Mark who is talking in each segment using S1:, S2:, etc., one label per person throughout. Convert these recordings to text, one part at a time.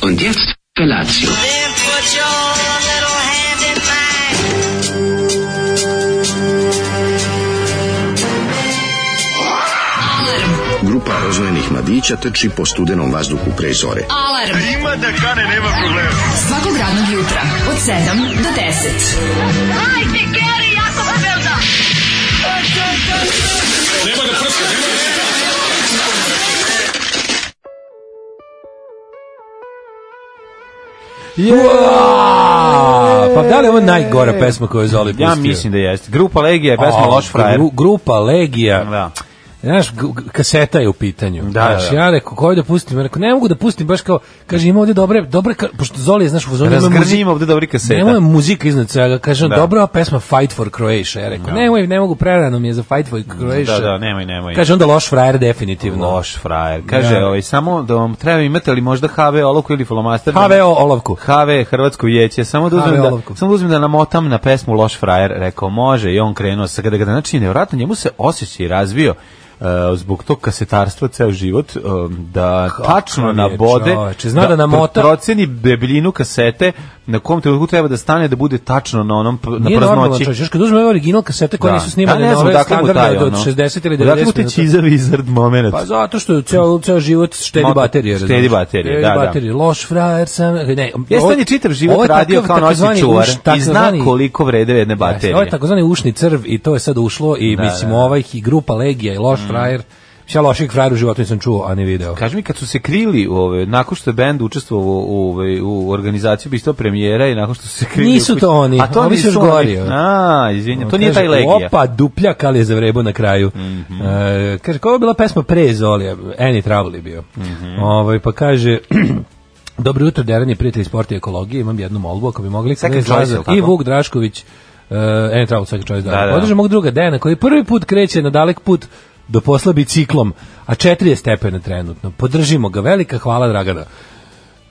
S1: Und jetzt Felatio.
S2: Then put your little hand in mine.
S3: Grupa rozvojenih mladića trči po studenom vazduhu pre zore.
S4: Alarm. Ima da kane, nema problema. Svakog radnog jutra, od 7 do 10.
S5: Jaa! Pa da li je ovo najgora pesma koju je Zoli pustio?
S6: E. Ja mislim da jeste. Grupa Legija je pesma
S5: A,
S6: Loš frajer.
S5: gru- grupa Legija.
S6: Da.
S5: Znaš, g- g- kaseta je u pitanju.
S6: Da,
S5: Znaš,
S6: da.
S5: ja rekao, koju da pustim? Ja rekao, ne mogu da pustim, baš kao, kaže, ima ovdje dobre, dobre, ka- pošto Zoli je, znaš, u fazonu, nema
S6: Razgrni
S5: muzike-
S6: ima ovde dobri kaseta.
S5: Nemoj muzika iznad svega, kaže on,
S6: Da.
S5: dobra ova pesma Fight for Croatia, ja rekao, nemoj, ne mogu, prerano mi je za Fight for Croatia.
S6: Da, da, nemoj, nemoj.
S5: Kaže onda loš frajer definitivno.
S6: Loš frajer. Kaže,
S5: Da.
S6: ovaj, samo da vam treba imate li možda HV olovku ili flomaster?
S5: HVO olovku.
S6: HV Hrvatsko vijeće, samo da uzmem
S5: HV
S6: da,
S5: olovku.
S6: samo da uzmem da namotam na pesmu Loš frajer, rekao može i on krenuo sa kada ga znači nevjerojatno njemu se osjećaj i razvio e, zbog tog kasetarstva ceo život e, da tačno
S5: je,
S6: nabode
S5: čoveče, zna da namota.
S6: pro- proceni debljinu kasete na kom trenutku treba da stane da bude tačno na onom pr- na
S5: Nije normalno,
S6: praznoći
S5: čovječ, još kad uzme ove original kasete koje nisu snimane
S6: ne
S5: na
S6: znam
S5: ove
S6: odakle mu taj,
S5: standardne od
S6: ono.
S5: 60 ili 90
S6: Odakle mu te
S5: minuta.
S6: čizavi izard moment?
S5: Pa zato što je ceo, ceo život štedi
S6: Moto-
S5: baterije.
S6: štedi
S5: razumeš?
S6: baterije,
S5: Štedi
S6: da, da.
S5: baterije. Loš frajer sam... Ne,
S6: Jeste
S5: ovo-
S6: on je čitav
S5: ovo
S6: život
S5: je
S6: radio
S5: takav
S6: kao noćni
S5: takozvani
S6: čuvar
S5: uš-
S6: i zna
S5: takozvani-
S6: koliko vrede jedne
S5: Jeste, Ovo
S6: baterije.
S5: je takozvani ušni crv i to je sad ušlo i mislim
S6: da. Mm.
S5: ovaj i grupa Legija i loš frajer. Ja loših frajera u životu nisam čuo, a ni video.
S6: Kaži mi, kad su se krili, ove, nakon što je bend učestvovao u, ove, u organizaciju bisto premijera i nakon što su se krili...
S5: Nisu
S6: u kući-
S5: to oni, ovi su
S6: nisu
S5: još
S6: oni.
S5: gori, ovi.
S6: A, izvinjam, to nije taj
S5: Kaže,
S6: Legija. Mhm.
S5: Opa, dupljak, ali je zavrebo na kraju. E, kaže, koja je bila pesma pre Zolija? Any Trouble je bio.
S6: Mhm.
S5: Ovaj, pa kaže... Dobro jutro, deranje prijatelji sporta i ekologije. Imam jednu molbu, ako bi mogli...
S6: Second
S5: Knez
S6: choice,
S5: Lazar
S6: jel tako?
S5: I Vuk Drašković, uh, Any Trouble, Second Choice, da.
S6: Da, da.
S5: Podržam mog druga Dejana, koji prvi put kreće na dalek put do posla biciklom, a četiri je stepena trenutno. Podržimo ga. Velika hvala, Dragana.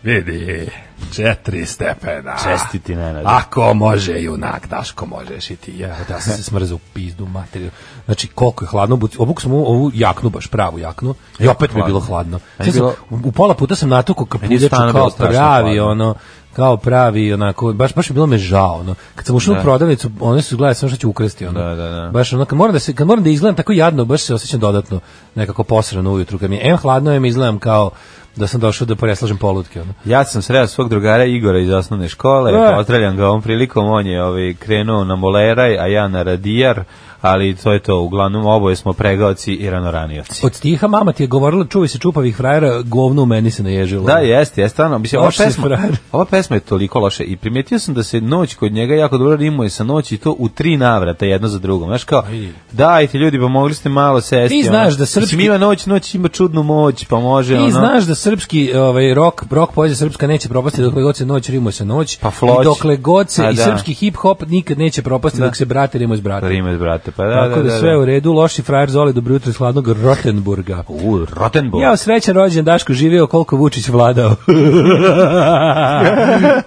S5: Vidi, četiri stepena.
S6: Čestiti, Nenade.
S5: Ako može junak, Daško možeš i ti. Ja, da sam se smrzao u pizdu materiju. Znači, koliko je hladno, buci- obuk sam ovu- ovu jaknu, baš pravu jaknu, i opet mi je bilo hladno.
S6: Meni
S5: Sad
S6: je
S5: sam-
S6: bilo-
S5: u pola puta sam natukao
S6: Meni je
S5: kapuljaču
S6: stvarno bilo
S5: kao
S6: strašno
S5: pravi,
S6: hladno.
S5: ono, kao pravi, onako, baš, baš je bilo me žao, ono. Kad sam ušao u prodavnicu, one su gledali samo što ću ukrasti, ono.
S6: Da, da, da.
S5: Baš ono, kad moram da, se, kad moram da izgledam tako jadno, baš se osjećam dodatno nekako posrano ujutru. Kad mi je em hladno, em izgledam kao da sam došao da preslažem polutke, ono.
S6: Ja sam sreo svog drugara Igora iz osnovne škole,
S5: E.
S6: pozdravljam ga ovom prilikom, on je ovaj, krenuo na moleraj, a ja na radijar, ali to je to, uglavnom oboje smo pregaoci i ranoranioci.
S5: Od stiha mama ti je govorila čuvaj se čupavih frajera, govno u meni se naježilo.
S6: Da, jeste, jeste, stvarno. Mislim, ova
S5: Loš si
S6: pesma,
S5: frajer.
S6: ova pesma je toliko loša i primetio sam da se noć kod njega jako dobro rimuje sa noći i to u tri navrata jedno za drugom. Znaš kao, dajte ljudi, pomogli ste malo sesti. ono.
S5: Ti znaš da srpski-
S6: Mislim, ima noć, noć ima čudnu moć, pa može
S5: Ti
S6: ono...
S5: znaš da srpski ovaj rock, rock poezija srpska neće propasti dokle god se noć rimuje sa noć.
S6: Pa floć.
S5: I dokle god se
S6: A,
S5: i
S6: da.
S5: srpski hip hop nikad neće propasti dok se brate rimuje s bratom.
S6: Rimes, brate, pa da,
S5: Tako
S6: da,
S5: da,
S6: da,
S5: sve
S6: da.
S5: u redu, loši frajer Zoli, dobro jutro iz hladnog Rotenburga.
S6: U, Rotenburg.
S5: Ja, srećan rođen Daško živio koliko Vučić vladao.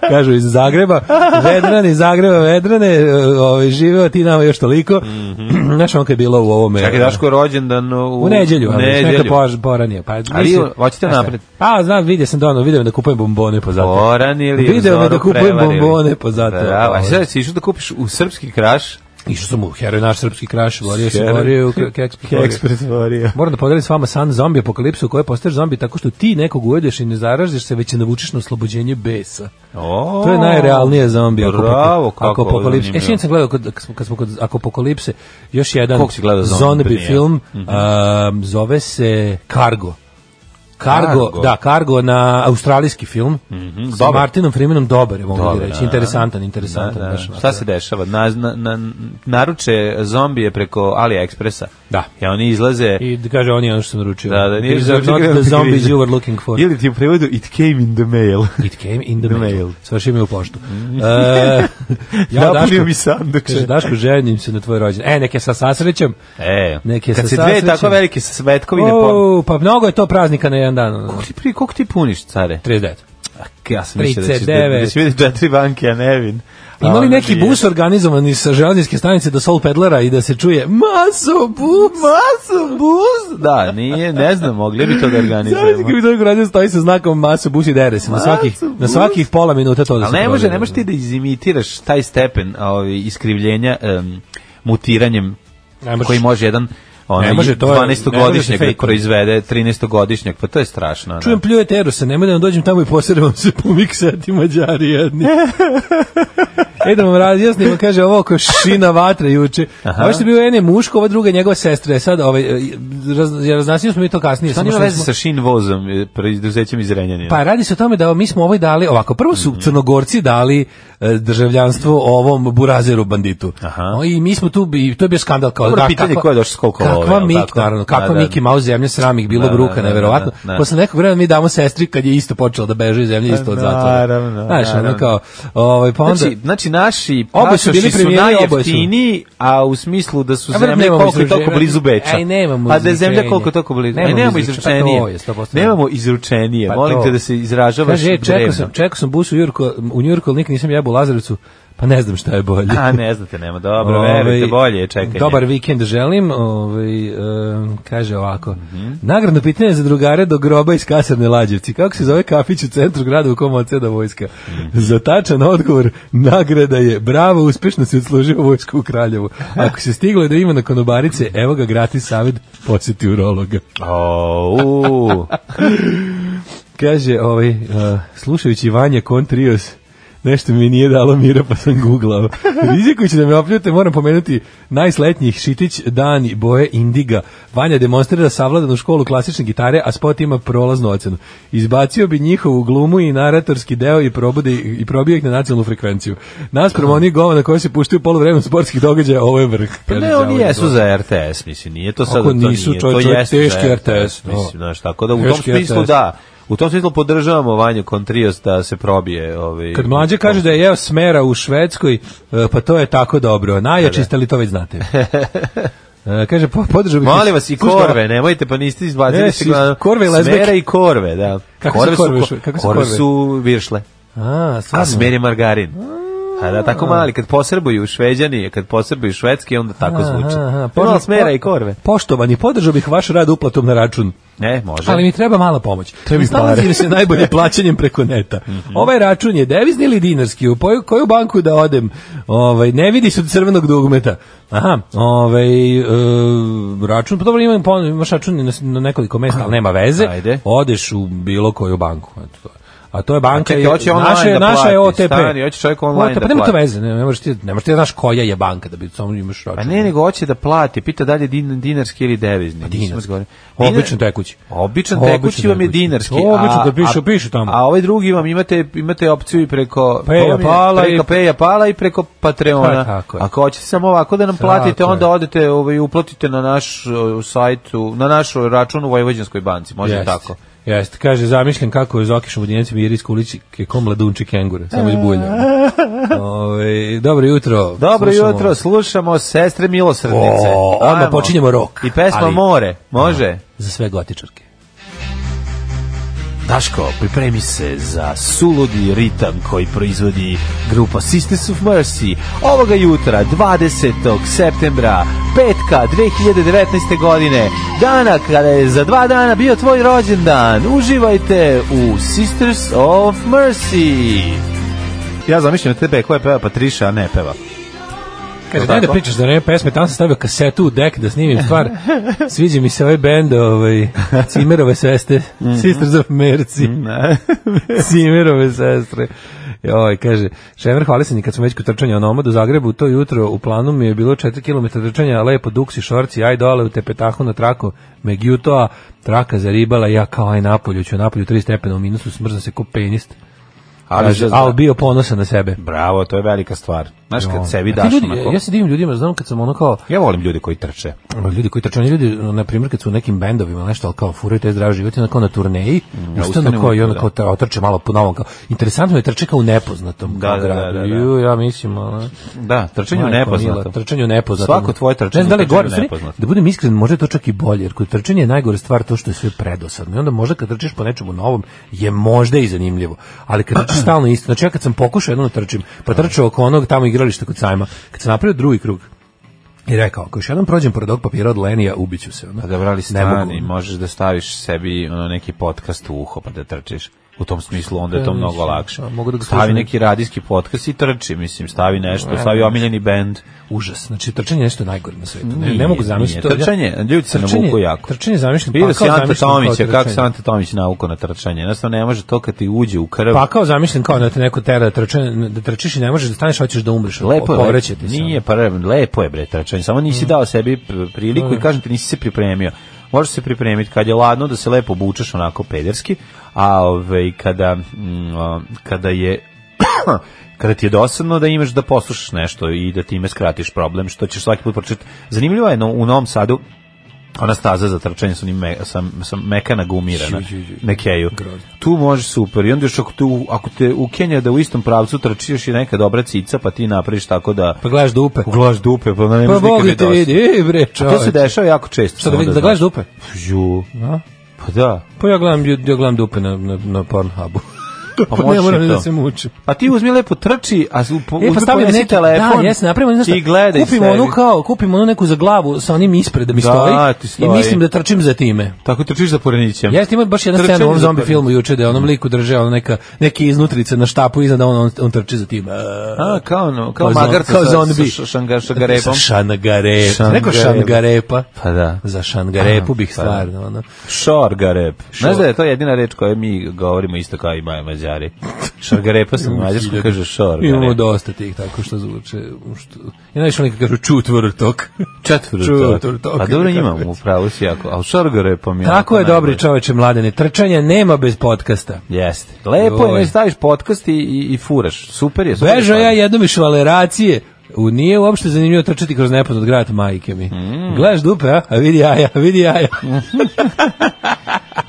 S5: Kažu iz Zagreba. Vedran iz Zagreba, Vedrane, e, ovaj, živeo ti nama još toliko. Znaš on kad je bilo u ovome...
S6: Mhm. Čekaj, Daško je rođendan u...
S5: U nedjelju,
S6: u
S5: ali
S6: nedjelju.
S5: neka pož, boranije. Pa,
S6: Ali,
S5: mislim,
S6: hoćete
S5: znaš šta,
S6: napred?
S5: Pa, znam, vidio sam dono, vidio me da kupujem bombone po zato.
S6: Boran ili
S5: Video me
S6: Zoru
S5: da kupujem
S6: prevarili.
S5: bombone po zato.
S6: Da, a
S5: Ovaj.
S6: sad si išao da kupiš u srpski kraš.
S5: Išao sam u heroj naš srpski kraš, borio se,
S6: Heroj.
S5: borio u kre- keks. borio.
S6: pretvorio.
S5: Moram da podelim s vama san zombi apokalipsu u kojoj postaješ zombi tako što ti nekog ujedeš i ne zaražiš se, već se navučeš na oslobođenje besa.
S6: O,
S5: To je najrealnije zombi.
S6: Bravo, kako
S5: ako
S6: ovo
S5: apokalipse. E,
S6: zanimljivo.
S5: sinoć sam gledao, kod, kad smo- kad smo kod apokalipse, još jedan
S6: Kog si gledao zombi?
S5: zombi
S6: Nije. Mhm.
S5: film, um, zove se Cargo. Cargo,
S6: Cargo. Mhm,
S5: da, Cargo na australijski film sa
S6: dobar.
S5: Martinom Freemanom dobar je, mogu
S6: Dobar,
S5: da reći.
S6: da.
S5: Interesantan, interesantan.
S6: Pa Da,
S5: baš onako,
S6: Šta se dešava? Na, na, na, naruče zombije preko AliExpressa.
S5: Da.
S6: I oni izlaze...
S5: I da kaže, on je ono što sam naručio.
S6: Da, da, nije
S5: These
S6: za-
S5: are not the zombies you were looking for.
S6: Ili ti u prevodu it came in the mail.
S5: It came in the,
S6: The
S5: mail.
S6: mail. Mhm.
S5: Svrši mi u poštu. E, ja,
S6: Napunio
S5: Daško,
S6: mi sanduče.
S5: kaže, Daško, ženim se na tvoj rođen. E, neke sa sasrećem.
S6: E,
S5: Neke
S6: kad
S5: se
S6: se dve
S5: sasrećem.
S6: tako velike svetkovine... Oh.
S5: pa O, pa mnogo je to praznika na jedan dan. ono.
S6: Ti prije, koliko ti puniš, care?
S5: 39.
S6: ja sam mislio da ćeš da, da ćeš vidjeti četiri banke, a nevin.
S5: Imali neki bus organizovani sa železničke stanice do Sol Pedlera i da se čuje maso bus,
S6: Maso bus! Da, nije, ne znam, mogli bi to da
S5: Zavljati
S6: organizujemo.
S5: kad bi to radio stoji sa znakom maso bus i dere se. Na svakih, na svakih pola minuta to da se
S6: Ali ne može,
S5: proveri.
S6: ne možeš ti da izimitiraš taj stepen ovaj, iskrivljenja em, mutiranjem
S5: Ne možeš.
S6: koji može jedan onaj,
S5: Ne može, to je-
S6: 12-godišnjak
S5: ne može
S6: da
S5: se
S6: proizvede, 13-godišnjak, pa to je strašno. ono.
S5: Čujem pljujete Erusa, nemoj da vam dođem tamo i posredam se po miksati mađari jedni. e da vam razjasnimo, kaže ovo oko šina vatre juče. Ovo što je bio jedan je muško, ova druga je njegova sestra. E Sad, ovaj, raz, ja raznasnili smo mi to kasnije.
S6: To
S5: samo
S6: nema
S5: što
S6: veze
S5: smo-
S6: sa šin vozom, e, proizduzećem iz Renjanina.
S5: Pa radi se o tome da mi smo ovoj dali, ovako, prvo su
S6: Mhm.
S5: crnogorci dali e, državljanstvo ovom burazeru banditu.
S6: Aha.
S5: O, I mi smo tu, bi- to je bio skandal. Kao,
S6: Dobro,
S5: da,
S6: pitanje
S5: kakva-
S6: ko je došao s koliko
S5: kakva
S6: love, jel
S5: Mik-
S6: tako?
S5: naravno, kakva
S6: Da, da,
S5: Miki Mouse zemlja sramih bilo
S6: Da, da,
S5: bruka,
S6: da, da,
S5: neverovatno.
S6: da, da.
S5: Posle nekog vremena mi damo sestri kad je isto počela da beže iz zemlje, isto od zatvora.
S6: Naravno,
S5: Znaš, ono
S6: naravno.
S5: kao, ovaj, pa onda...
S6: Znači, znači naši
S5: Oboje su bili
S6: pasoši su
S5: premijeri, oboje su.
S6: najjeftiniji, a u smislu da su
S5: A vrlo
S6: zemlje
S5: nemamo
S6: koliko je toliko
S5: izručenja.
S6: blizu Beča.
S5: Aj, nemamo
S6: Pa da je zemlja
S5: izručenje.
S6: koliko je toliko blizu. Nemamo,
S5: Nemamo
S6: nemamo
S5: izručenje. Pa to
S6: izručenije.
S5: je 100%.
S6: nemamo izručenije.
S5: Pa
S6: Molim
S5: to.
S6: te da se izražavaš
S5: Kaže, e, čekao
S6: drevno.
S5: sam, čekao sam bus u Njurku, u Njurku, ali nikad nisam jebao u Lazarevcu, pa ne znam šta je bolje.
S6: A ne znate, nema. Dobro, verujte,
S5: Ovaj,
S6: bolje je čekanje.
S5: Dobar vikend želim, ovaj, em, kaže ovako.
S6: Mhm.
S5: Nagradno pitanje za drugare do groba iz kasarne Lađevci. Kako se zove kafić u centru grada u kom odseda vojska?
S6: Mhm.
S5: Za tačan odgovor nagrada je bravo, uspešno si odslužio vojsku u Kraljevu. Ako se stiglo da ima na konobarice, evo ga gratis savjet posjeti urologa.
S6: O, u.
S5: Kaže, ovaj, uh, slušajući Vanja Kontrios, nešto mi nije dalo mira pa sam googlao. Rizikujući da me opljute, moram pomenuti najsletnjih Šitić, Dani, Boje, Indiga. Vanja demonstrira savladanu školu klasične gitare, a spot ima prolaznu ocenu. Izbacio bi njihovu glumu i naratorski deo i, probude, i probio ih na nacionalnu frekvenciju. Naspram onih govana koje se puštaju polu vremenu sportskih događaja, ovo je vrh.
S6: Pa
S5: kaže
S6: ne, oni
S5: Đavoljko.
S6: jesu za RTS, mislim, nije to sad
S5: Ako
S6: to nije,
S5: nisu,
S6: to
S5: čovječe,
S6: jeste
S5: teški
S6: za
S5: RTS, no.
S6: mislim, znaš, tako da u tom
S5: Teški
S6: smislu
S5: RTS.
S6: da, u tom smislu podržavamo Vanju Kontrios da se probije. Ovaj,
S5: Kad mlađe kaže da je jeo smera u Švedskoj, e, pa to je tako dobro. Najjači ste li to već znate? E, Kaže, po- podržao bih...
S6: Molim vas i
S5: Slušaj, ono-
S6: korve, nemojte pa niste izbacili
S5: Ne,
S6: se
S5: si-
S6: glavno.
S5: korve i lezbijke.
S6: Smere i korve, da.
S5: Kako su korve još- kako su
S6: korve
S5: korve?
S6: su viršle,
S5: A,
S6: a
S5: stvarno.
S6: smer je margarin. A da, tako mali, kad posrbuju šveđani, kad posrbuju švedski, onda tako
S5: Aha,
S6: zvuči.
S5: aha,
S6: Aha,
S5: podržao-
S6: smera i korve.
S5: Poštovani, podržao bih vaš rad uplatom na račun.
S6: Ne, može.
S5: Ali mi treba mala pomoć.
S6: Treba mi pare.
S5: Snalazim se najbolje plaćanjem preko neta. Ovaj račun je devizni ili dinarski, u poju- koju banku da odem? Ovaj, ne vidi se od crvenog dugmeta. Aha, ovaj, e, račun, pa dobro imam, pon- imaš račun na, s- na nekoliko mesta, ali nema veze.
S6: Ajde.
S5: Odeš u bilo koju banku. Eto to je. A to je banka,
S6: čekaj,
S5: je-
S6: hoće online
S5: naša, je-
S6: da
S5: naša je
S6: plati,
S5: OTP.
S6: stani, hoće čovjek online
S5: Možete,
S6: da
S5: pa nema to
S6: plati.
S5: veze, ne, ne možeš ti, ne možeš ti da znaš koja je banka da bi samo imaš račun.
S6: Pa ne, nego hoće da plati. Pita da li je din, dinarski ili devizni. Pa
S5: dinarski. Običan tekući.
S6: Običan
S5: Običan
S6: tekući vam je
S5: tekući.
S6: dinarski.
S5: Obično
S6: a-
S5: da piše,
S6: a-
S5: piše tamo.
S6: A ovaj drugi vam imate, imate opciju i preko
S5: Peja
S6: to vam je-
S5: Pala i-
S6: preko Peja Pala i preko Patreona.
S5: Pa, tako je.
S6: Ako hoćete samo ovako da nam platite,
S5: je.
S6: onda odete ovaj, uplatite na naš uh, sajtu, na naš račun u Vojvođanskoj banci. Može
S5: Jeste.
S6: tako.
S5: Jeste, kaže, zamišljam kako je Zokiš u Vodinjenici Miri iz Kuličike ko mladunči kengure, samo iz bulja. Ove, dobro jutro.
S6: Dobro
S5: slušamo.
S6: jutro, slušamo sestre milosrdnice.
S5: O, odmah
S6: Ajmo.
S5: počinjemo rok.
S6: I pesma
S5: Ali-
S6: More, može?
S5: Za sve gotičarke.
S6: Daško, pripremi se za suludi ritam koji proizvodi grupa Sisters of Mercy ovoga jutra 20. septembra petka 2019. godine dana kada je za dva dana bio tvoj rođendan uživajte u Sisters of Mercy ja zamišljam tebe koja peva Patriša, a ne peva.
S5: Kaže,
S6: Jel
S5: daj da
S6: tako?
S5: pričaš za vreme pesme, tamo sam stavio kasetu u dek da snimim stvar. Sviđa mi se ovaj bend, ovaj, Cimerove seste,
S6: Mhm.
S5: Sisters of Mercy. Cimerove sestre. Joj, kaže, Šemer, hvali se nikad smo već kod trčanja onoma do Zagrebu, to jutro u planu mi je bilo 4 km trčanja, lepo duksi, šorci, aj dole u tepetahu na traku Megjutoa, traka zaribala, ja kao aj napolju, ću napolju 3 stepena u minusu, smrzam se ko penist.
S6: Ali
S5: Kaže,
S6: za-
S5: al bio ponosan na sebe.
S6: Bravo, to je velika stvar. Znaš,
S5: Jo.
S6: kad sebi
S5: A ti
S6: daš
S5: ljudi,
S6: onako...
S5: Ja se divim ljudima, znam kad sam ono kao,
S6: Ja volim ljude koji trče.
S5: Ono, ljudi koji trče, oni ljudi, ono, na primjer, kad su u nekim bendovima, nešto, ali kao furaju te zdrav život, i onako na turneji,
S6: Mm, da,
S5: ustanu
S6: ustane
S5: kao i
S6: ujutru,
S5: ono kao tra- otrče malo po novom, kao, interesantno je trče kao u nepoznatom
S6: Da,
S5: kao
S6: da,
S5: gradu.
S6: da, da, da.
S5: Ju, ja mislim, ono,
S6: Da, trčanje
S5: Majko
S6: nepoznato.
S5: mila, Trčanje u nepoznato.
S6: Svako tvoje trčanje
S5: Ne znam da li je
S6: trčanje u
S5: gore, u stvari,
S6: nepoznato.
S5: Da budem iskren, možda je to čak i bolje, jer kod trčanja je najgore stvar to što je sve predosadno. I onda možda kad trčiš po nečemu novom je možda i zanimljivo. Ali kad trčiš stalno isto, znači ja kad sam pokušao jednom da trčim, pa trčao oko onog tamo igrališta kod sajma, kad sam napravio drugi krug, i rekao, ako još jednom prođem pored ovog papira od Lenija, ubiću se. Ono.
S6: Pa da brali
S5: Ne mogu.
S6: stani, možeš da staviš sebi ono, neki podcast u uho pa da trčiš. U tom smislu onda je to
S5: Ja
S6: mnogo
S5: mislim,
S6: lakše.
S5: a, mogu da ga
S6: stavi
S5: slušam.
S6: neki radijski podcast i trči, mislim, stavi nešto, stavi omiljeni bend.
S5: Užas. Znači, trčanje je nešto najgore na svetu. Ne,
S6: Nije,
S5: ne mogu zamisliti.
S6: nije.
S5: to. Ja-
S6: Trčanje, ljudi se
S5: Trčanje-
S6: navuku jako.
S5: Trčanje zamišljam.
S6: Vidio
S5: pa
S6: si
S5: kao
S6: Ante
S5: zamišljam kao
S6: Tomića, kako
S5: trčanje.
S6: se Ante Tomić nauko na trčanje. Jednostavno ne može to kad ti uđe u krv.
S5: Pa kao zamišljen kao da te neko tera da, trče, da trčiš i ne možeš da staneš, hoćeš da umreš.
S6: lepo je,
S5: povreće
S6: lepo,
S5: ti se. ono.
S6: nije pa re- lepo je bre trčanje, samo nisi dao sebi pr- priliku i kažem ti nisi se pripremio. Možeš se pripremiti kad je ladno da se lepo obučeš onako pederski, a ovaj kada mm, o, kada je kada ti je dosadno da imaš da poslušaš nešto i da time skratiš problem što ćeš svaki put pročitati. Zanimljivo je no, u Novom Sadu ona staza za trčanje sa, onim me, sa, sa mekana gumirana
S5: Ju, ju, ju.
S6: na keju.
S5: Grozno.
S6: Tu može super. I onda još ako, te u- ako te u Kenja da u istom pravcu trči još i neka dobra cica, pa ti napraviš tako da
S5: Pa gledaš dupe.
S6: glaš dupe, pa ne
S5: Pa
S6: možeš nikad
S5: Bog
S6: ni
S5: da te
S6: dosta.
S5: vidi, ej bre,
S6: A To se
S5: čoveč.
S6: dešava jako često.
S5: Šta da,
S6: samo
S5: vidi- da gledaš dupe?
S6: znaš. Ju.
S5: A?
S6: Pa da.
S5: Pa ja gledam, ja gledam dupe na, na, na Pornhubu.
S6: Pa
S5: Pa,
S6: može
S5: ne moram
S6: i
S5: ni
S6: to.
S5: da se mučim.
S6: Pa ti uzmi lepo trči, a u, po,
S5: E,
S6: uzmi
S5: pa stavimo
S6: ponesi
S5: neki
S6: telefon
S5: Da, jesam, napravimo, znaš šta,
S6: i gledaj
S5: kupimo
S6: sebi.
S5: onu kao, kupimo onu neku za glavu sa onim ispred da mi
S6: Da,
S5: stoji,
S6: ti stoji.
S5: i mislim da trčim za time.
S6: Tako trčiš za porenićem.
S5: Jeste ima baš jedan scena u ovom
S6: Trčanje za
S5: zombi
S6: Porenićem.
S5: filmu juče da je onom liku drže ono neka neki iznutrice na štapu iznad a on on, on trči za tim.
S6: A, kao, ono, kao,
S5: Kao zom-
S6: magarca
S5: kao
S6: sa,
S5: zombi.
S6: sa š- šanga- šagarepom.
S5: Sa šangarepa.
S6: Šangarepa.
S5: Rekao šangarepa.
S6: Pa da.
S5: Za šangarepu bih
S6: Pa da.
S5: stvarno. Ono.
S6: Šorgarep. Znaš
S5: Šor-
S6: da je to jedina reč koju mi govorimo isto kao i ma- mađari. Šorgarepa sam u mađarskom kaže
S5: Imamo
S6: šorgarep.
S5: dosta tih tako što zvuče. Što... Ja najviše oni kažu čutvrtok.
S6: Četvrtok.
S5: Četvrtok.
S6: Pa dobro imamo, upravo si jako. Ali šorgarepom je... onako
S5: Tako je
S6: najbolje.
S5: dobri čoveče mladene. Trčanja nema bez podcasta.
S6: Jeste. Lepo je,
S5: Joj.
S6: ne staviš podcast i, i, i furaš. Super je. super pa. je
S5: Bežao ja
S6: stvar.
S5: jednom iz valeracije. U, nije uopšte zanimljivo trčati kroz nepoznat grad majke mi.
S6: Mm.
S5: Gledaš dupe, a? A vidi jaja, a vidi jaja.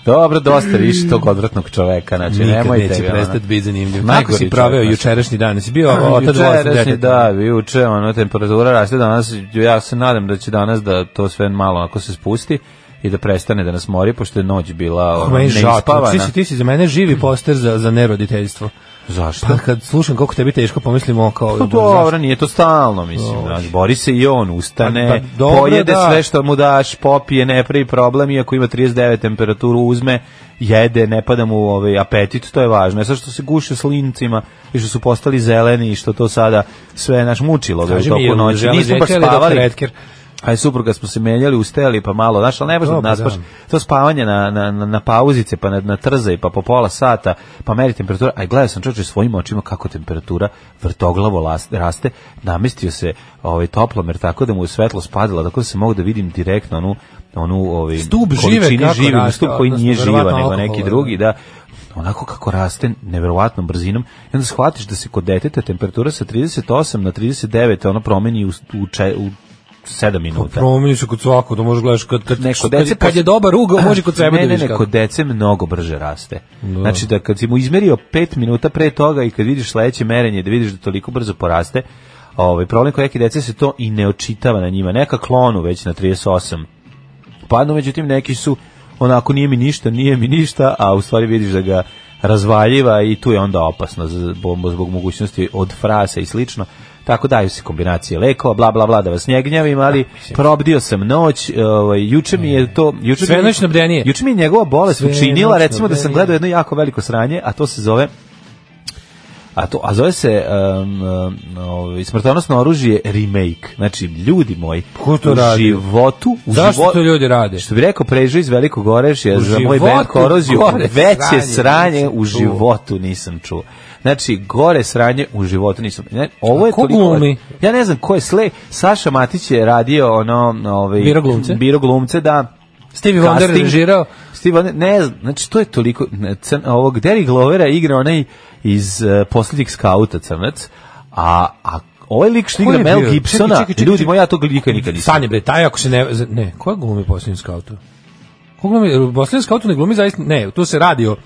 S6: Dobro, dosta više tog odvratnog čoveka. Znači,
S5: Nikad
S6: nemojte
S5: neće
S6: ga, ono.
S5: prestati biti zanimljiv. Kako
S6: Najgori
S5: si proveo
S6: čovjek, pa.
S5: jučerašnji dan? Si bio otac vlastitog
S6: Jučerašnji,
S5: deteta?
S6: da, juče, ono, temperatura raste danas, ja se nadam da će danas da to sve malo ako se spusti i da prestane da nas mori, pošto je noć bila ono,
S5: Meni je žao,
S6: neispavana.
S5: ti si, ti si za mene živi poster za, za neroditeljstvo.
S6: Zašto?
S5: Pa kad slušam koliko tebi teško, pomislim o kao...
S6: Pa dobro, nije to stalno, mislim. znaš, bori se i on, ustane,
S5: Pa, pa, dobro,
S6: pojede
S5: da.
S6: sve što mu daš, popije, ne pravi problem, iako ima 39 temperaturu, uzme, jede, ne pada mu ovaj, apetit, to je važno. E sad što se guše s lincima i što su postali zeleni i što to sada sve naš mučilo ga u
S5: Kaži mi,
S6: toku
S5: jel
S6: noći.
S5: žele
S6: Nismo baš
S5: dete ili doktor
S6: spavali.
S5: Edker?
S6: A je supruga smo se menjali, ustajali pa malo, znaš, ali ne možda
S5: Dobro,
S6: nas baš
S5: da.
S6: to spavanje na, na, na, na pauzice, pa na, na trzaj, pa po pola sata, pa meri temperatura. Aj, gledao sam čoče svojim očima kako temperatura vrtoglavo las- raste. Namestio se ovaj, toplomer tako da mu je svetlo spadalo, tako da se mogu da vidim direktno onu, onu ovaj,
S5: Stup žive
S6: količini
S5: kako
S6: živih,
S5: raste,
S6: stup koji
S5: odnosno,
S6: nije živa,
S5: verovatno
S6: nego neki
S5: alkohola,
S6: drugi, da onako kako raste neverovatnom brzinom i onda shvatiš da se kod deteta temperatura sa 38 na 39 ono promeni u, u, če- u 7 minuta.
S5: Promeni se kod svakog, to možeš gledaš kad, kad,
S6: Ne, kod
S5: kad,
S6: dece
S5: kad je
S6: pos-
S5: dobar ugao, može kod sebe da
S6: ne, ne,
S5: vidiš
S6: ne,
S5: kako.
S6: kod dece mnogo brže raste. Znači da kad si mu izmerio 5 minuta pre toga i kad vidiš sledeće merenje da vidiš da toliko brzo poraste, ovaj problem kod neke dece se to i ne očitava na njima. Neka klonu već na 38 padnu, međutim neki su onako nije mi ništa, nije mi ništa, a u stvari vidiš da ga razvaljiva i tu je onda opasno zbog, zbog mogućnosti od frasa i slično. Tako daju se kombinacije lekova, bla bla bla da vas ne gnjavim, ali probdio sam noć, ovaj juče mi je to juče mi je-
S5: Svenoćno bdenije.
S6: Juče mi je njegova bolest
S5: Svenoćno
S6: učinila recimo da sam
S5: bdenije.
S6: gledao jedno jako veliko sranje, a to se zove a to a zove se um, um, ovaj, smrtonosno oružje remake. Znači ljudi moji,
S5: Ko to
S6: u
S5: radi?
S6: životu, u
S5: Zašto
S6: živo-
S5: to ljudi rade?
S6: što bi rekao Prežo iz Velikog Orešja
S5: U
S6: za moj
S5: životu
S6: band Koroziju,
S5: gore
S6: veće
S5: sranje
S6: sranje
S5: nisam
S6: u
S5: čuo.
S6: životu nisam čuo. Znači, gore sranje u životu nisam. Ne, ovo je
S5: A ko
S6: toliko...
S5: glumi?
S6: Ja ne znam ko je sle. Saša Matić je radio ono... Ovaj,
S5: Biro glumce?
S6: Biro glumce, da.
S5: Stevie Wonder
S6: casting.
S5: režirao.
S6: Steve Wonder, ne znam, znači to je toliko, ne, crn, ovog Derry Glovera igra onaj iz uh, posljednjih skauta crnac, a, a ovaj lik što
S5: Ko
S6: igra
S5: je
S6: Mel
S5: bio?
S6: Gibsona,
S5: Čekaj, čekaj, čekaj,
S6: ljudi
S5: čekaj.
S6: moji, ja tog lika nikad nisam.
S5: Stani bre, taj ako se ne... Ne, koja glumi posljednji skautu? Ko glumi? Posljednji skautu ne glumi zaista... Ne, tu se radi o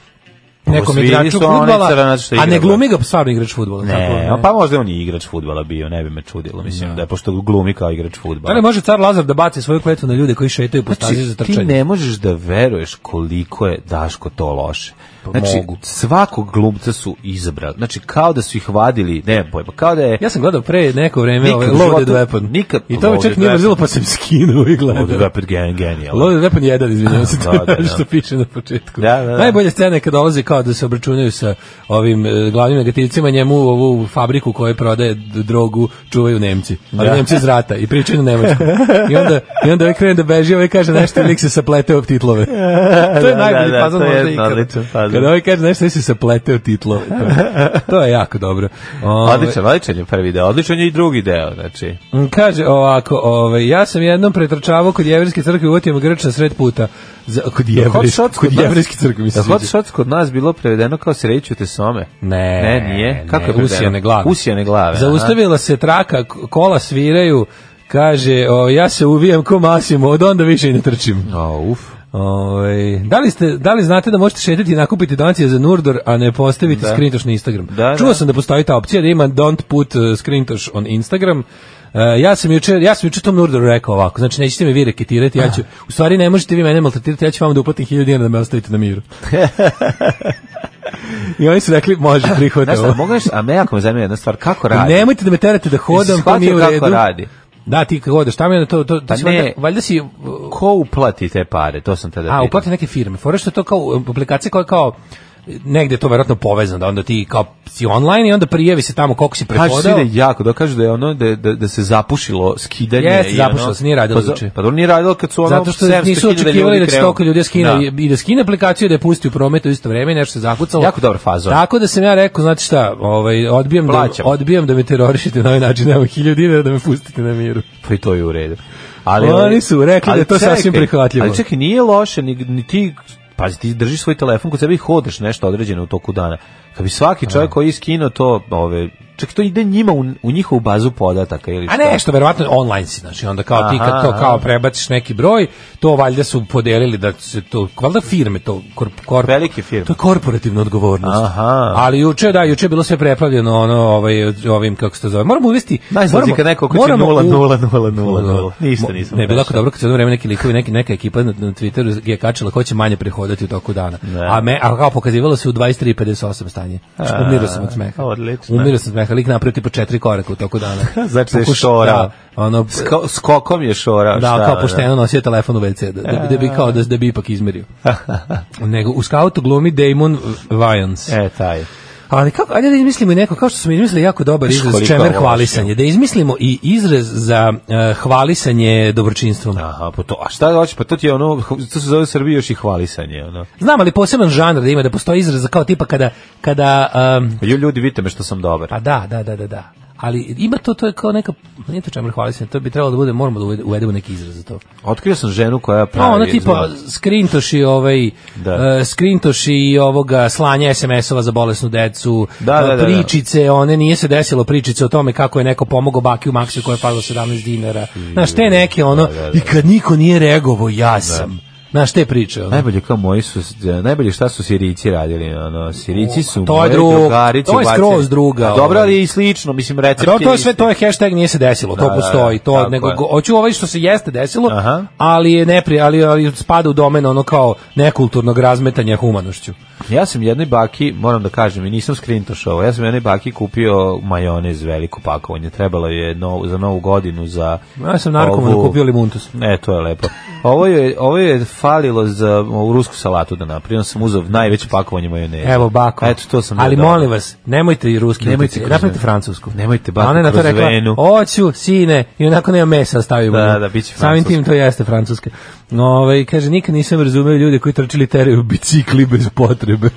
S5: nekom
S6: Osvili
S5: igraču
S6: Pa su onaj
S5: futbala,
S6: crnac što
S5: a
S6: igra
S5: ne
S6: bal.
S5: glumi ga stvarno igrač futbola. tako,
S6: Ne, a pa možda on je igrač fudbala bio, ne bi me čudilo, mislim da je pošto glumi kao igrač fudbala.
S5: Da li može car Lazar da baci svoju kletvu na ljude koji šetaju po stazi za
S6: Znači,
S5: trčanje?
S6: ti ne možeš da veruješ koliko je Daško to loše.
S5: Pa
S6: Znači,
S5: mogu.
S6: svakog glumca su izabrali. Znači, kao da su ih vadili, ne pojma, kao da je...
S5: Ja sam gledao pre neko vreme
S6: Nikad
S5: ovaj
S6: u životu-
S5: Loaded Weapon.
S6: nikad
S5: I to me čak
S6: Loaded
S5: nije
S6: Weapon.
S5: mrzilo, pa sam skinuo i gledao.
S6: Ovdje je opet gen, genijalno.
S5: Loaded Weapon 1, izvinjavam se, to
S6: Da, da,
S5: je
S6: da.
S5: što piše na početku.
S6: Da, da, da.
S5: Najbolja scena je kad dolazi kao da se obračunaju sa ovim e, glavnim negativcima, njemu u ovu fabriku koja prodaje d- drogu čuvaju Nemci. Ali
S6: Da.
S5: Nemci iz rata i pričaju na Nemačkom. I onda, i onda ovaj krene da beži, ovaj kaže nešto i lik se saplete u titlove. To je
S6: Da,
S5: najbolji
S6: da, da,
S5: fazon
S6: to je
S5: možda
S6: jedna
S5: ikad.
S6: odličan fazon.
S5: Kada ovaj kaže nešto i se saplete u titlove. To je, to je jako dobro. Ovaj,
S6: Odličan, odličan je prvi deo, odličan je i drugi deo, znači.
S5: Mm, Kaže ovako, ovaj, ja sam jednom pretrčavao kod jevrejske crkve, uvatio me grč na sred puta. Za, kod jevrejske,
S6: Hot Shots
S5: kod
S6: nas-
S5: jevrejske crkve mi se
S6: Jel Hot
S5: sviđa.
S6: Shots kod nas bilo prevedeno kao sreću te some.
S5: Ne,
S6: ne, nije. Kako
S5: ne,
S6: je prevedeno?
S5: usijane glave.
S6: Usijane glave.
S5: Zaustavila se traka, k- kola sviraju, kaže, o, ja se uvijam ko Masimo, od onda više i ne trčim.
S6: aha. O, uf.
S5: Ovaj, da, li ste, da li znate da možete šetiti i nakupiti donacije za Nurdor, a ne postaviti da. na Instagram?
S6: Da,
S5: Čuo
S6: da.
S5: sam da postoji ta opcija da ima don't put uh, screentosh on Instagram. Uh, ja sam juče ja sam juče tom Nurdoru rekao ovako, znači nećete me vi reketirati, ja ću, u stvari ne možete vi mene maltretirati, ja ću vam da uplatim 1000 dinara da me ostavite na miru. I oni su rekli, može,
S6: Znaš šta,
S5: prihvatamo.
S6: mogu nešto, a me jako me zanima jedna stvar, kako radi?
S5: Nemojte da me terate da hodam, to
S6: shvatio
S5: nije u
S6: kako
S5: redu.
S6: radi?
S5: Da, ti kako hodeš, tamo je to, to, to
S6: Pa
S5: si
S6: ne.
S5: valjda, valjda si uh,
S6: Ko uplati te pare? To sam tada
S5: a,
S6: pitao.
S5: uplate neke firme. Fora što je to kao aplikacija koja je kao negde je to verovatno povezano, da onda ti kao si online i onda prijavi se tamo koliko si
S6: Kažu svi da
S5: prepodao.
S6: je jako, da kažu da je ono da, da, da se zapušilo skidanje.
S5: Jeste,
S6: i
S5: zapušilo
S6: ono-
S5: se, nije radilo
S6: pa, za-
S5: juče.
S6: Pa dobro nije radilo kad su ono
S5: Zato što
S6: 700.000
S5: nisu očekivali da će
S6: krenu.
S5: toliko ljudi skine
S6: Da.
S5: i da skine aplikaciju i da je pusti u promet u isto vreme i nešto se zakucalo.
S6: Jako dobar fazon.
S5: Tako da sam ja rekao, znate šta, ovaj, odbijam, da,
S6: Plaćam.
S5: odbijam da me terorišite na ovaj način, evo hiljadu dinara da me pustite na miru.
S6: Pa i to je u redu.
S5: Oni su rekli
S6: ali
S5: da je to sasvim prihvatljivo.
S6: Ali čekaj, nije loše, ni, ni ti, pazi, ti držiš svoj telefon kod sebe i hodeš nešto određeno u toku dana. Kad bi svaki čovjek koji je skinuo to, ove, čak to ide njima u, u njihovu bazu podataka ili
S5: A
S6: šta.
S5: nešto, verovatno online si, znači onda kao ti kad
S6: Aha,
S5: to
S6: aha.
S5: kao prebaciš neki broj, to valjda su podelili da se to, valjda firme, to korp, korp,
S6: Velike firme.
S5: To je korporativna odgovornost.
S6: Aha.
S5: Ali juče, da, juče je bilo sve preplavljeno ono, ovaj, ovim, kako se to zove. Moramo uvesti...
S6: Najzad
S5: moramo-
S6: zika neko ko će
S5: moramo
S6: nula,
S5: u-
S6: nula, nula, nula, nula. Ništa
S5: Mo-
S6: nisam
S5: Ne, bilo je jako
S6: prešao.
S5: dobro kad se jedno vreme neki likovi, neki, neka ekipa na, na Twitteru je kačila ko će manje prehodati u toku dana. A, me, a kao pokazivalo se u 23.58 stanje. Umirao sam od smeha.
S6: odlično.
S5: Umirao sam od smeha. Lik napravio tipa četiri koraka u toku dana.
S6: Znači da je
S5: Pokuš-
S6: šorao.
S5: da, ono,
S6: Sko- skokom je šorao.
S5: da,
S6: šta,
S5: kao
S6: ono.
S5: pošteno nosio telefon u WC, da, da, da bi kao da, da bi ipak izmerio. Nego u skautu glumi Damon Vajans.
S6: E, taj.
S5: Ali kako, ajde da izmislimo i neko, kao što smo izmislili jako dobar
S6: Znaš
S5: izraz,
S6: koliko
S5: čemer
S6: ovo
S5: hvalisanje, da izmislimo i izraz za eh, hvalisanje dobročinstvom.
S6: Aha, pa to, a šta hoće, pa to ti je ono, to se zove Srbiji još i hvalisanje, ono.
S5: Znam, ali poseban žanr da ima, da postoji izraz za kao tipa kada, kada em,
S6: Pa ju- ljudi, vidite me što sam dobar.
S5: pa da, da, da, da, da. Ali ima to, to je kao neka, nije to čemer hvalisanje, to bi trebalo da bude, moramo da uvede- uvedemo neki izraz za to.
S6: Otkrio sam ženu koja pravi...
S5: Pa ona tipa
S6: zlo-
S5: skrintoši ovaj
S6: Da.
S5: e, skrintoši ovoga slanja SMS-ova za bolesnu decu,
S6: Da, da,
S5: e,
S6: da, da.
S5: pričice, one nije se desilo pričice o tome kako je neko pomogao baki u Maksu koja je pala 17 dinara. Znaš, te neke ono, i kad niko nije reagovao, ja sam. Znaš, te priče. Ono.
S6: Najbolje kao moji su, najbolje šta su Sirici radili, ono, Sirici su
S5: to je
S6: moje
S5: drug-
S6: drugarice.
S5: to je
S6: ubacili-
S5: skroz druga,
S6: A Dobro,
S5: ovaj.
S6: ali i slično, mislim, recept
S5: To, to je
S6: isti.
S5: sve, to je hashtag nije se desilo, to
S6: da,
S5: postoji, to
S6: tako
S5: nego
S6: je.
S5: go- hoću ovaj što se jeste desilo,
S6: Aha.
S5: ali je nepri, ali, ali spada u domen ono kao nekulturnog razmetanja humanošću.
S6: Ja sam jednoj baki, moram da kažem, i nisam skrintošao, ja sam jednoj baki kupio majonez veliko pakovanje, trebalo je novu- za novu godinu za...
S5: Ja sam narkomanu
S6: ovu-
S5: kupio limuntus.
S6: E, to je lepo. Ovo je, ovo je falilo za ovu rusku salatu da napravim. Onda sam uzeo najveće pakovanje majoneza.
S5: Evo bako.
S6: Eto, to sam
S5: Ali
S6: dodao.
S5: molim vas, nemojte i ruski
S6: Nemojte
S5: utjecaj,
S6: kroz
S5: napravite
S6: venu.
S5: francusku.
S6: Nemojte bako
S5: A ona je na to
S6: kroz
S5: rekla,
S6: venu.
S5: Oću, sine, i onako nema mesa stavio.
S6: Da,
S5: mu.
S6: da, bit će
S5: Samim tim
S6: francuska.
S5: to jeste francuska. No, ovaj, kaže, nikad nisam razumeo ljude koji trčili teraju bicikli bez potrebe.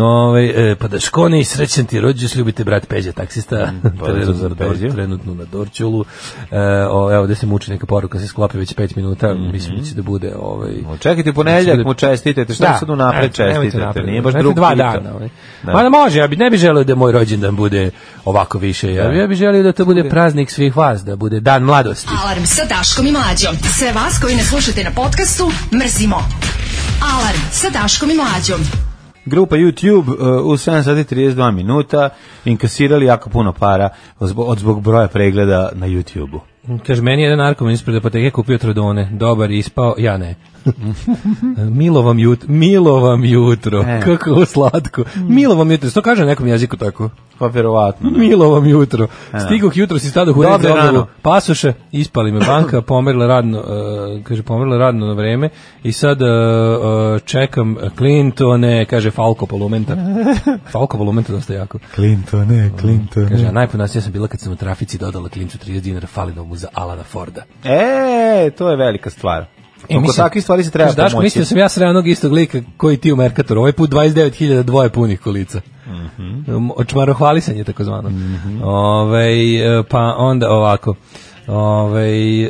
S5: Ove, e, pa da škone i srećen ti rođus, ljubite brat Peđa, taksista,
S6: pa
S5: trenutno,
S6: za
S5: na Dor-
S6: Peđu.
S5: trenutno na Dorčulu. E, o, evo, gde se muči neka poruka, se sklopi već pet minuta,
S6: Mhm.
S5: mislim da će da bude... Ovaj,
S6: Čekajte
S5: Mislim Znači, da-
S6: ponedjeljak mu čestitajte, šta sad unapred
S5: eto, nemojte
S6: čestitajte,
S5: napred.
S6: nije baš
S5: Znate,
S6: drugi
S5: dva
S6: pita.
S5: dana. Ovaj.
S6: Da.
S5: Ma da može, ja bi ne bi želeo da moj rođendan bude ovako više. Ja, bi- ja bih želio da to bude praznik svih vas, da bude dan mladosti.
S4: Alarm sa Daškom i Mlađom. Sve vas koji ne slušate na podcastu, mrzimo. Alarm sa Daškom i Mlađom.
S6: Grupa YouTube uh, u 7 sati 32 minuta inkasirali jako puno para zbog, od zbog broja pregleda na YouTube-u.
S5: Kaže, meni je jedan narkoman ispred apoteke kupio trodone. Dobar, je ispao, ja ne. milo vam jutro, milo vam jutro.
S6: E.
S5: Kako ovo slatko. Milo vam jutro, što kaže na nekom jeziku tako?
S6: Pa verovatno. da.
S5: Milo vam jutro. Stigoh jutro si stadoh u red
S6: Dobro
S5: za obnovu
S6: rano.
S5: pasuše, ispali me banka, pomerila radno, e, kaže, pomerila radno na vreme i sad e, e, čekam Clintone, kaže Falko Polumenta. Falko Polumenta dosta jako.
S6: Clintone, Clintone.
S5: Kaže, a najponosnija sam bila kad sam u trafici dodala Clintu 30 dinara Falinovu za Alana Forda.
S6: E, to je velika stvar. E, Oko
S5: mislim-
S6: takvih stvari se treba
S5: Znaš, Daško,
S6: pomoći.
S5: mislim da sam ja sreo onog istog lika koji ti u Merkatoru. Ovaj put 29.000 dvoje punih kolica.
S6: Mhm.
S5: Mm Očmarohvalisanje, tako zvano. Ovaj, e, pa onda ovako. Ovaj, e,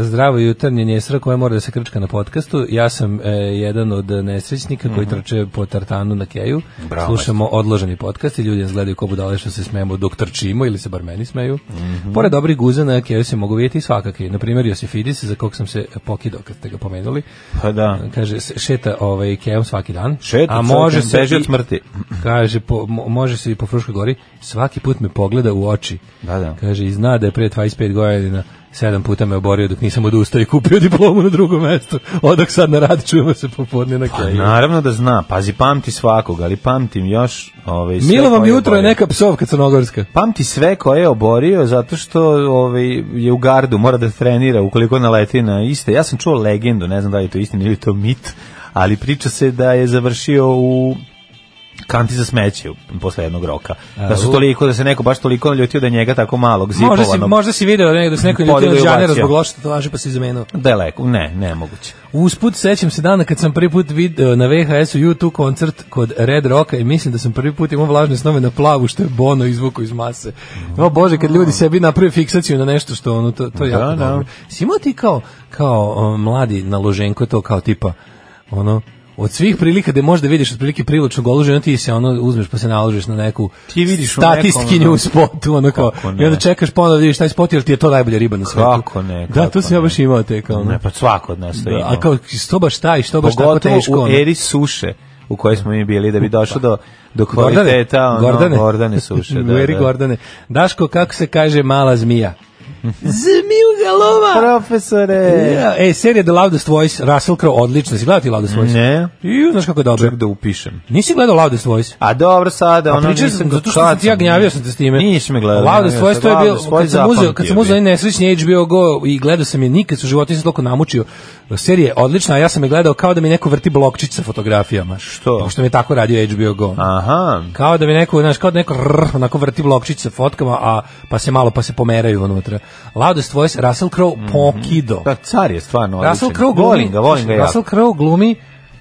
S5: zdravo jutarnje njesra koja mora da se krčka na podcastu. Ja sam e, jedan od nesrećnika koji trče po tartanu na keju.
S6: Mhm. Bravo,
S5: Slušamo odloženi podcast i ljudi nas gledaju ko budale što se smemo dok trčimo ili se bar meni smeju.
S6: Mhm.
S5: Pored dobrih guza na keju se mogu vidjeti i svakakvi. Na primjer Josifidis za kog sam se pokidao kad ste ga pomenuli
S6: Pa da.
S5: kaže se- šeta ovaj Ikejom svaki dan.
S6: Šeta,
S5: a može
S6: čovječe,
S5: se
S6: beži
S5: i-
S6: od smrti.
S5: Kaže po, mo- može se i po Fruškoj gori. Svaki put me pogleda u oči.
S6: Da, da.
S5: Kaže i zna da je pre 25 godina sedam puta me oborio dok nisam odustao i kupio diplomu na drugom mestu. Odak sad na rad čujemo se popodne na
S6: Pa,
S5: kraju.
S6: naravno da zna, pazi, pamti svakog, ali pamtim još... Ovaj, sve
S5: Milo vam
S6: koje
S5: jutro je
S6: oborio.
S5: neka psovka crnogorska.
S6: Pamti sve koje je oborio zato što ovaj, je u gardu, mora da trenira ukoliko naleti na iste. Ja sam čuo legendu, ne znam da li je to istina ili je to mit, ali priča se da je završio u kanti za smeće u- posle jednog roka. Da
S5: u-
S6: su toliko, da se neko baš toliko naljutio da je njega tako malog
S5: Možda si,
S6: zipovanog.
S5: možda si video da neko- da se neko ljudi
S6: Podigao
S5: od
S6: i
S5: žanera
S6: ubacio.
S5: zbog loše tatuaže pa se izmenuo.
S6: Daleko, ne, nemoguće.
S5: Usput sećam se dana kad sam prvi put video na VHS-u U2 koncert kod Red Rocka i mislim da sam prvi put imao vlažne snove na plavu što je Bono izvuko iz mase. O bože, kad ljudi sebi naprave fiksaciju na nešto što ono to to je
S6: Da,
S5: jako
S6: da.
S5: dobro. Si imao ti kao kao o, mladi na loženku to kao tipa ono od svih prilika gde možda vidiš otprilike prilično goluženo ti se ono uzmeš pa se naložiš na neku
S6: Ti vidiš u nekom,
S5: statistkinju
S6: ono-
S5: u spotu ono kao
S6: Kako
S5: i onda
S6: ne.
S5: čekaš pa onda vidiš taj spot jer ti je to najbolja riba na svetu.
S6: Kako ne,
S5: Da, to
S6: kako
S5: sam ja
S6: ne.
S5: baš imao te kao ono.
S6: Ne, pa svako od nas
S5: Da,
S6: to ima.
S5: a kao što baš taj, što baš tako
S6: Pogotovo
S5: teško.
S6: u
S5: ono.
S6: eri suše u kojoj smo mi bili da bi došlo do, do
S5: Gordane,
S6: kvaliteta ono,
S5: Gordane.
S6: Gordane suše. Da,
S5: u eri
S6: da.
S5: Gordane. Daško, kako se kaže mala zmija? Zmijuga lova!
S6: Profesore!
S5: Ja, E, serija The Loudest Voice, Russell Crowe, odlično. Si gledao ti Loudest Voice?
S6: Ne.
S5: Ju, znaš kako je dobro.
S6: Ček da upišem.
S5: Nisi gledao Loudest Voice?
S6: A dobro sada,
S5: A
S6: ono
S5: pričao sam,
S6: nisam
S5: zato što sam ti ja gnjavio sam te s time.
S6: Nisi me gledao.
S5: Loudest
S6: gnjavio
S5: Voice,
S6: sam.
S5: to je bio,
S6: Loudest
S5: kad
S6: Voice
S5: sam uzeo,
S6: zapamtio
S5: kad sam
S6: bi.
S5: uzeo onaj nesrećni HBO Go i gledao sam je nikad u životu, nisam toliko namučio. Serija je odlična, a ja sam je gledao kao da mi neko vrti blokčić sa fotografijama.
S6: Što?
S5: Pošto mi je tako radio HBO Go.
S6: Aha.
S5: Kao da bi neko, znaš, kao da neko rrr, onako vrti blokčić sa fotkama, a pa se malo pa se pomeraju unutra. Loudest voice, Russell Crowe,
S6: Mhm.
S5: pokido.
S6: Da, Pa car je stvarno odličan.
S5: Russell Crowe glumi, Znači,
S6: Volim ga, volim ga ja.
S5: Russell Crowe glumi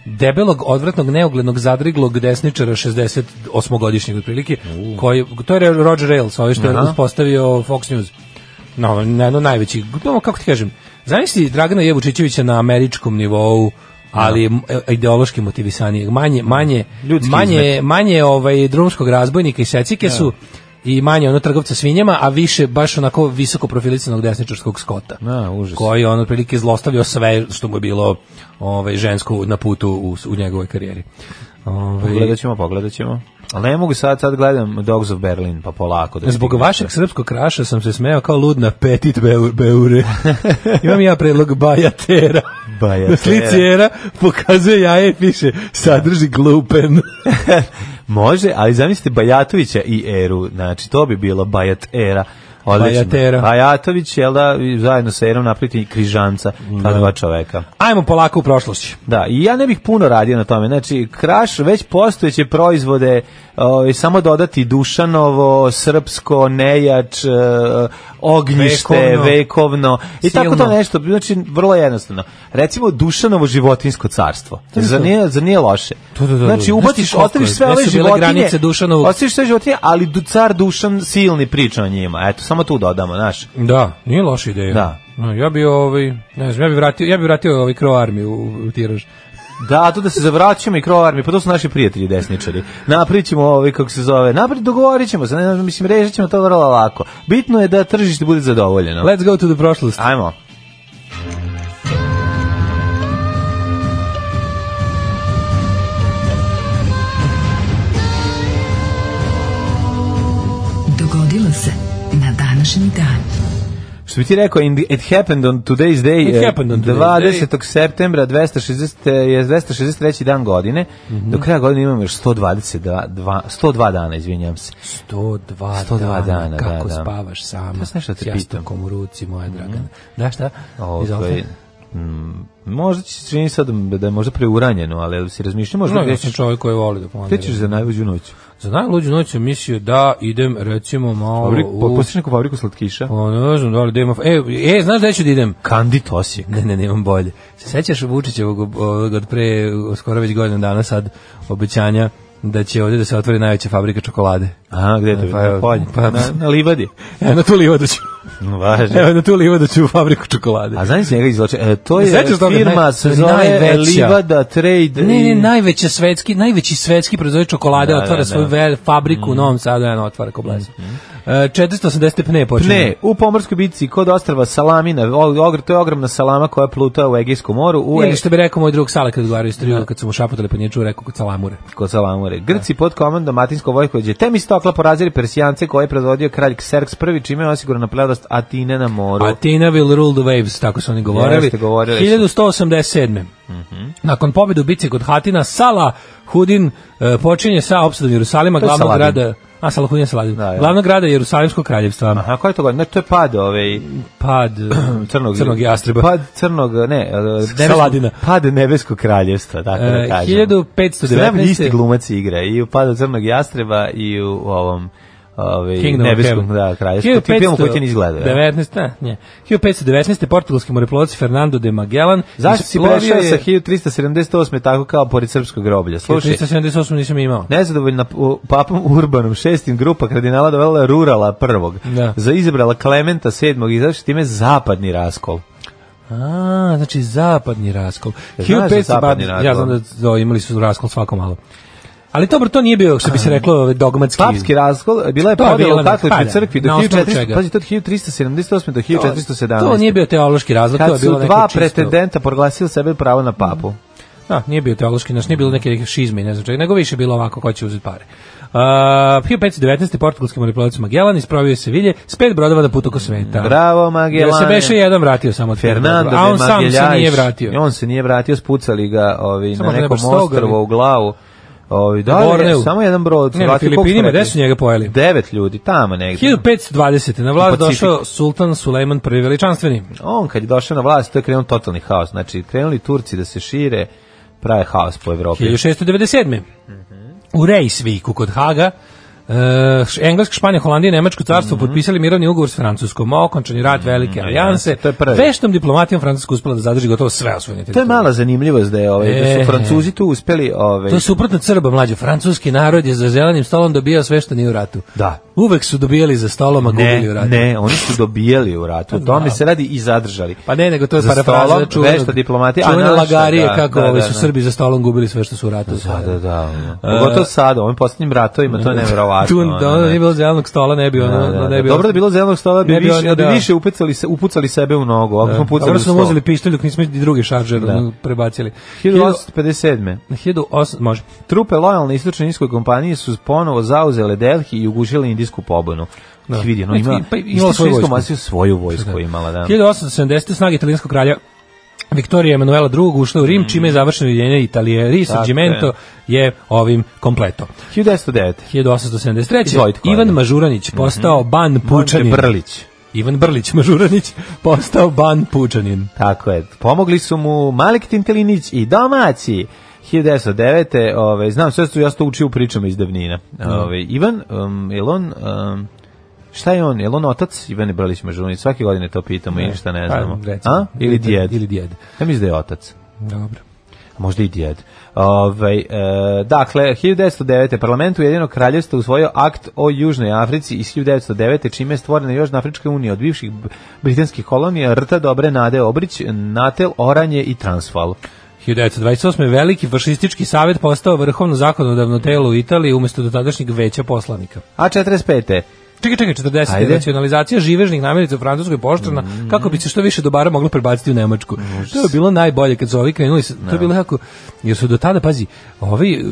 S5: debelog, odvratnog, neuglednog, zadriglog desničara 68-godišnjeg otprilike, koji, to je Roger Ailes, ovaj što je uspostavio Fox News. No, na jedno najveći, ono, kako ti kažem, zamisli Dragana Jevučićevića na američkom nivou, ali e, ideološki motivisanijeg, manje, manje,
S6: Ljudski
S5: manje, manje ovaj, drumskog razbojnika i secike su, i manje ono trgovca svinjama, a više baš onako visoko profilisanog desničarskog skota
S6: Da, užas.
S5: koji je on otprilike zlostavljao sve što mu je bilo ovaj žensko na putu u, u njegovoj karijeri. Ovaj
S6: Pogledat ćemo, pogledat ćemo. Ali ne mogu sad, sad gledam Dogs of Berlin, pa polako. Da
S5: Zbog
S6: stignem
S5: vašeg srpskog kraša sam se smejao kao lud na petit beur- beure. Imam ja predlog bajatera.
S6: Bajatera.
S5: Na slici era pokazuje jaje i piše sadrži glupen.
S6: Može, ali zamislite Bajatovića i Eru, znači to bi bilo Bajat Era. Odlično.
S5: Bajatera.
S6: Bajatović, jel da, i zajedno sa Erom napriti križanca, ta dva čoveka.
S5: Ajmo polako u prošlost.
S6: Da, i ja ne bih puno radio na tome. Znači, Kraš već postojeće proizvode ovaj, samo dodati Dušanovo, Srpsko, Nejač, eh, Ognjište,
S5: Vekovno.
S6: Vekovno, i
S5: Silno.
S6: tako to nešto. Znači, vrlo jednostavno. Recimo, Dušanovo životinsko carstvo. Zar nije, zar nije loše?
S5: To, to, to, to.
S6: Znači,
S5: Znaš
S6: ubaciš,
S5: ti koliko
S6: ostaviš
S5: je?
S6: sve
S5: Gde
S6: ove
S5: su bile
S6: životinje.
S5: granice Dušanovog?
S6: Ostaviš sve životinje, ali du- car Dušan silni priča o njima. Eto, samo tu dodamo, znaš.
S5: Da, nije loša ideja.
S6: Da.
S5: No, ja bi ovaj, ne znam, ja bi vratio, ja bi vratio ovaj Crow Army u, u tiraž.
S6: Da, to da se zavraćamo i krovarmi, pa to su naši prijatelji desničari. Naprićemo ovaj kako se zove, naprijed dogovorit ćemo se, ne, znam, mislim, rešit ćemo to vrlo lako. Bitno je da tržište bude zadovoljeno.
S5: Let's go to the prošlost.
S6: Ajmo.
S4: Dogodilo se na današnji dan.
S6: Što bi ti rekao, in the- it happened on today's day,
S5: It
S6: eh,
S5: happened on today's
S6: 20. septembra 260, je 263. dan godine,
S5: Mhm.
S6: do kraja godine imamo još 122, dva- 102 dana, izvinjam se.
S5: 102,
S6: 102
S5: dana,
S6: dana,
S5: kako
S6: da, da.
S5: spavaš sama,
S6: Ja sam nešto te
S5: s
S6: pitam. Mhm.
S5: jastokom u ruci, moja dragana. Da, šta?
S6: Ovaj,
S5: Izvolite.
S6: mm, možda će se čini sad da je možda preuranjeno, ali si razmišljao, možda
S5: No, ja
S6: gde
S5: sam
S6: ćeš,
S5: čovjek koji voli da planira.
S6: gde ćeš za najluđu noću?
S5: Za najluđu noć sam mislio da idem, recimo, malo
S6: Fabriku,
S5: Ono, u...
S6: postiš neku fabriku slatkiša?
S5: O, ne znam da li da imam... E, e, znaš gde ću da idem?
S6: Kandit Osijek.
S5: Ne, ne, nemam bolje. Se sećaš Vučićevog ovog od pre skoro već godinu dana sad obećanja da će ovdje da se otvori najveća fabrika čokolade.
S6: A, gde je to?
S5: Pa,
S6: Pa, na, polju?
S5: pa-
S6: na, na livadi.
S5: Evo na tu livadu ću.
S6: Važno.
S5: Evo na tu livadu ću u fabriku čokolade.
S6: A znaš njega izlače? E, to je
S5: Sećaš toga?
S6: firma
S5: Naj-
S6: se zove
S5: najveća.
S6: Livada Trade.
S5: Ne, ne,
S6: i-
S5: najveći svetski, najveći svetski proizvođač čokolade
S6: Da,
S5: otvara
S6: da,
S5: svoju
S6: da. Mm.
S5: vel- fabriku u Novom Sadu, jedan otvara ko blesav. E, 480 pne počinje.
S6: Ne, u pomorskoj bitci kod ostrava Salamina, o- ogr- to je ogromna salama koja pluta u Egejskom moru, u
S5: Ili što bi rekao moj drug Sale kad govorio istriju, kad su mu šapotali po nječu, rekao kod salamure.
S6: kod Salamure. Grci pod komandom Atinskog vojkođe Temistokla porazili Persijance koje je predvodio kralj Xerx prvi, čime je osigurana prevlast Atine na moru.
S5: Atina will rule the waves, tako su oni govorili.
S6: Jeste, govorili su. Mhm.
S5: 1187. Nakon pobjede u bici kod Hatina, Sala Hudin e, počinje sa opsadom Jerusalima,
S6: To je
S5: glavnog
S6: Saladin.
S5: grada... A, Salahudin Saladin.
S6: Da, da.
S5: Glavnog grada Jerusalimskog kraljevstva.
S6: Aha, koja je to godina? Ne, to je pad ovaj...
S5: Pad
S6: crnog,
S5: crnog jastreba.
S6: Pad crnog, ne, nebeskog-
S5: Saladina.
S6: Pad nebeskog kraljevstva, tako da
S5: E,
S6: kažem.
S5: 1519.
S6: isti glumac igra i u padu crnog jastreba i u ovom ovaj
S5: Kingdom of
S6: nebeskom
S5: Heaven.
S6: da, kraljevstva. Ti film koji ti nisi gledao. ja?
S5: 19, da, nje. 1519. portugalski moreplovac Fernando de Magellan
S6: Zašto si
S5: isplovio
S6: prešao
S5: je-
S6: sa 1378 tako kao pored srpskog groblja? Slušaj,
S5: 378 nisam imao.
S6: Nezadovoljna u- papom Urbanom šestim grupa kardinala dovela je Rurala prvog.
S5: Da.
S6: Za izabrala Klementa sedmog i zašto time zapadni raskol.
S5: A, znači zapadni raskol.
S6: Znaš za
S5: 1500
S6: zapadni
S5: ba-
S6: raskol?
S5: Ja znam da da, imali su raskol svako malo. Ali dobro, to nije bio, što bi se reklo, ovaj, dogmatski.
S6: Um, Papski raskol bila je
S5: To je bila
S6: podela u
S5: neka-
S6: katoličkoj
S5: pa da,
S6: crkvi do
S5: na osnovu
S6: 1400,
S5: čega?
S6: pazi, to od 1378 do
S5: To-
S6: 1417.
S5: To nije bio teološki razlog, to
S6: Kad
S5: je bilo
S6: su
S5: neko
S6: dva
S5: čisto-
S6: pretendenta proglasili sebe pravo na papu.
S5: Da, nije bio teološki, znači nije bilo neke neke šizme, i ne znam čega, nego više bilo ovako ko će uzeti pare. Uh, 1519. portugalski moreplovac Magellan isprovio je Sevilje s pet brodova da put oko sveta.
S6: Bravo, Magellane.
S5: Jer se beše jedan vratio samo od pet
S6: Fernando
S5: brodova, a on
S6: de
S5: sam se
S6: Magellaš.
S5: nije vratio.
S6: I On se nije vratio, spucali ga ovi,
S5: Samo
S6: na
S5: da ne
S6: nekom
S5: baš stoga,
S6: ostrovu
S5: ali-
S6: u glavu. Ovi, da,
S5: Na
S6: ali
S5: Borneu.
S6: samo jedan brod.
S5: Ne, na
S6: vratio, koliko
S5: Filipinima,
S6: smo rekli?
S5: gde su njega pojeli?
S6: Devet ljudi, tamo negdje.
S5: 1520. na vlast
S6: U Pacifiku.
S5: došao sultan Sulejman I veličanstveni.
S6: On kad je došao na vlast, to je krenuo totalni haos. Znači, krenuli Turci da se šire, prave haos po Evropi.
S5: 1697. U Rejsviku kod Haga Uh, Engleska, Španija, Holandija i Nemačko carstvo
S6: Mhm.
S5: potpisali mirovni ugovor s Francuskom, okončani rat velike alijanse.
S6: to je prvi.
S5: Veštom diplomatijom Francuska uspela da zadrži gotovo sve osvojene
S6: To je
S5: teritorije.
S6: mala zanimljivost da, je, ovaj, da
S5: E.
S6: su Francuzi tu uspeli... Ovaj,
S5: To je suprotno crba mlađe. Francuski narod je za zelenim stolom dobijao sve što nije u ratu.
S6: Da.
S5: Uvek su dobijali za stolom, a gubili u
S6: ne,
S5: ratu.
S6: ne, oni su dobijali u ratu. O tome se radi i zadržali.
S5: Pa ne, nego to je
S6: Za
S5: parafraza
S6: stolom,
S5: čuvenog-
S6: vešta diplomatija, a
S5: čuvene
S6: naša,
S5: lagarije
S6: da,
S5: kako
S6: da,
S5: ovi
S6: da,
S5: su
S6: da.
S5: Srbi za stolom gubili sve što su u ratu.
S6: Da, da, da. ono. Pogotovo sad, u ovim posljednjim ratovima, to je nevjerovatno.
S5: Tu,
S6: ono,
S5: da, ono
S6: ne.
S5: nije bilo zelenog stola, ne bi ono,
S6: Da, da,
S5: ne
S6: da.
S5: bi
S6: Dobro da je bilo zelenog stola, bi
S5: ne bi
S6: više,
S5: oni,
S6: da bi
S5: da.
S6: više upucali, se, upucali sebe u nogu. Ako smo pucali
S5: Dobro
S6: u
S5: smo
S6: stol.
S5: uzeli pištolj dok nismo i drugi šaržer ono, prebacili.
S6: 1857.
S5: 1800, može.
S6: Trupe lojalne istočne indijske kompanije su ponovo zauzele Delhi i ugušile indijsku pobunu.
S5: Da.
S6: Da. Vidi, no,
S5: I-
S6: ima,
S5: pa imala
S6: istočna
S5: svoju
S6: indijska
S5: vojsku.
S6: masija svoju vojsku imala, da.
S5: 1870. snage italijanskog kralja Viktorija Emanuela II ušla u Rim,
S6: Mhm.
S5: čime je završeno jedinjenje Italije. Risorgimento je ovim kompleto.
S6: 1909.
S5: 1873.
S6: Izvolite, kolega.
S5: Ivan
S6: Mhm.
S5: Mažuranić postao ban
S6: Pučanin.
S5: pučanin.
S6: Brlić.
S5: Ivan Brlić Mažuranić postao ban pučanin.
S6: Tako je. Pomogli su mu Malik Tintelinić i domaći. 1909. Ove, ovaj, znam, sve su ja sam to učio u pričama iz davnina. Ove, Ivan, um, je li on... Um, šta je on? Je li on otac Ivane Brlić Mažunić? Svake godine to pitamo i ništa ne
S5: pa,
S6: znamo.
S5: recimo.
S6: A? Ili
S5: Ili djed.
S6: djed?
S5: Ili djed.
S6: Ja mislim da je otac.
S5: Dobro.
S6: Možda i djed. Ove, e, dakle, 1909. parlament Ujedinog kraljevstva usvojio akt o Južnoj Africi iz 1909. čime je stvorena Južna Afrička unija od bivših b- britanskih kolonija Rta, Dobre, Nade, Obrić, Natel, Oranje i Transval.
S5: 1928. Veliki fašistički savjet postao vrhovno zakonodavno telo u Italiji umjesto dotadašnjeg veća poslanika.
S6: A 45.
S5: Čekaj, čekaj, 40.
S6: Ajde.
S5: Racionalizacija živežnih namirnica u Francuskoj poštrana kako bi se što više dobara moglo prebaciti u Nemačku. To je bilo najbolje kad su ovi krenuli, s- to je bilo jako, jer su do tada, pazi, ovi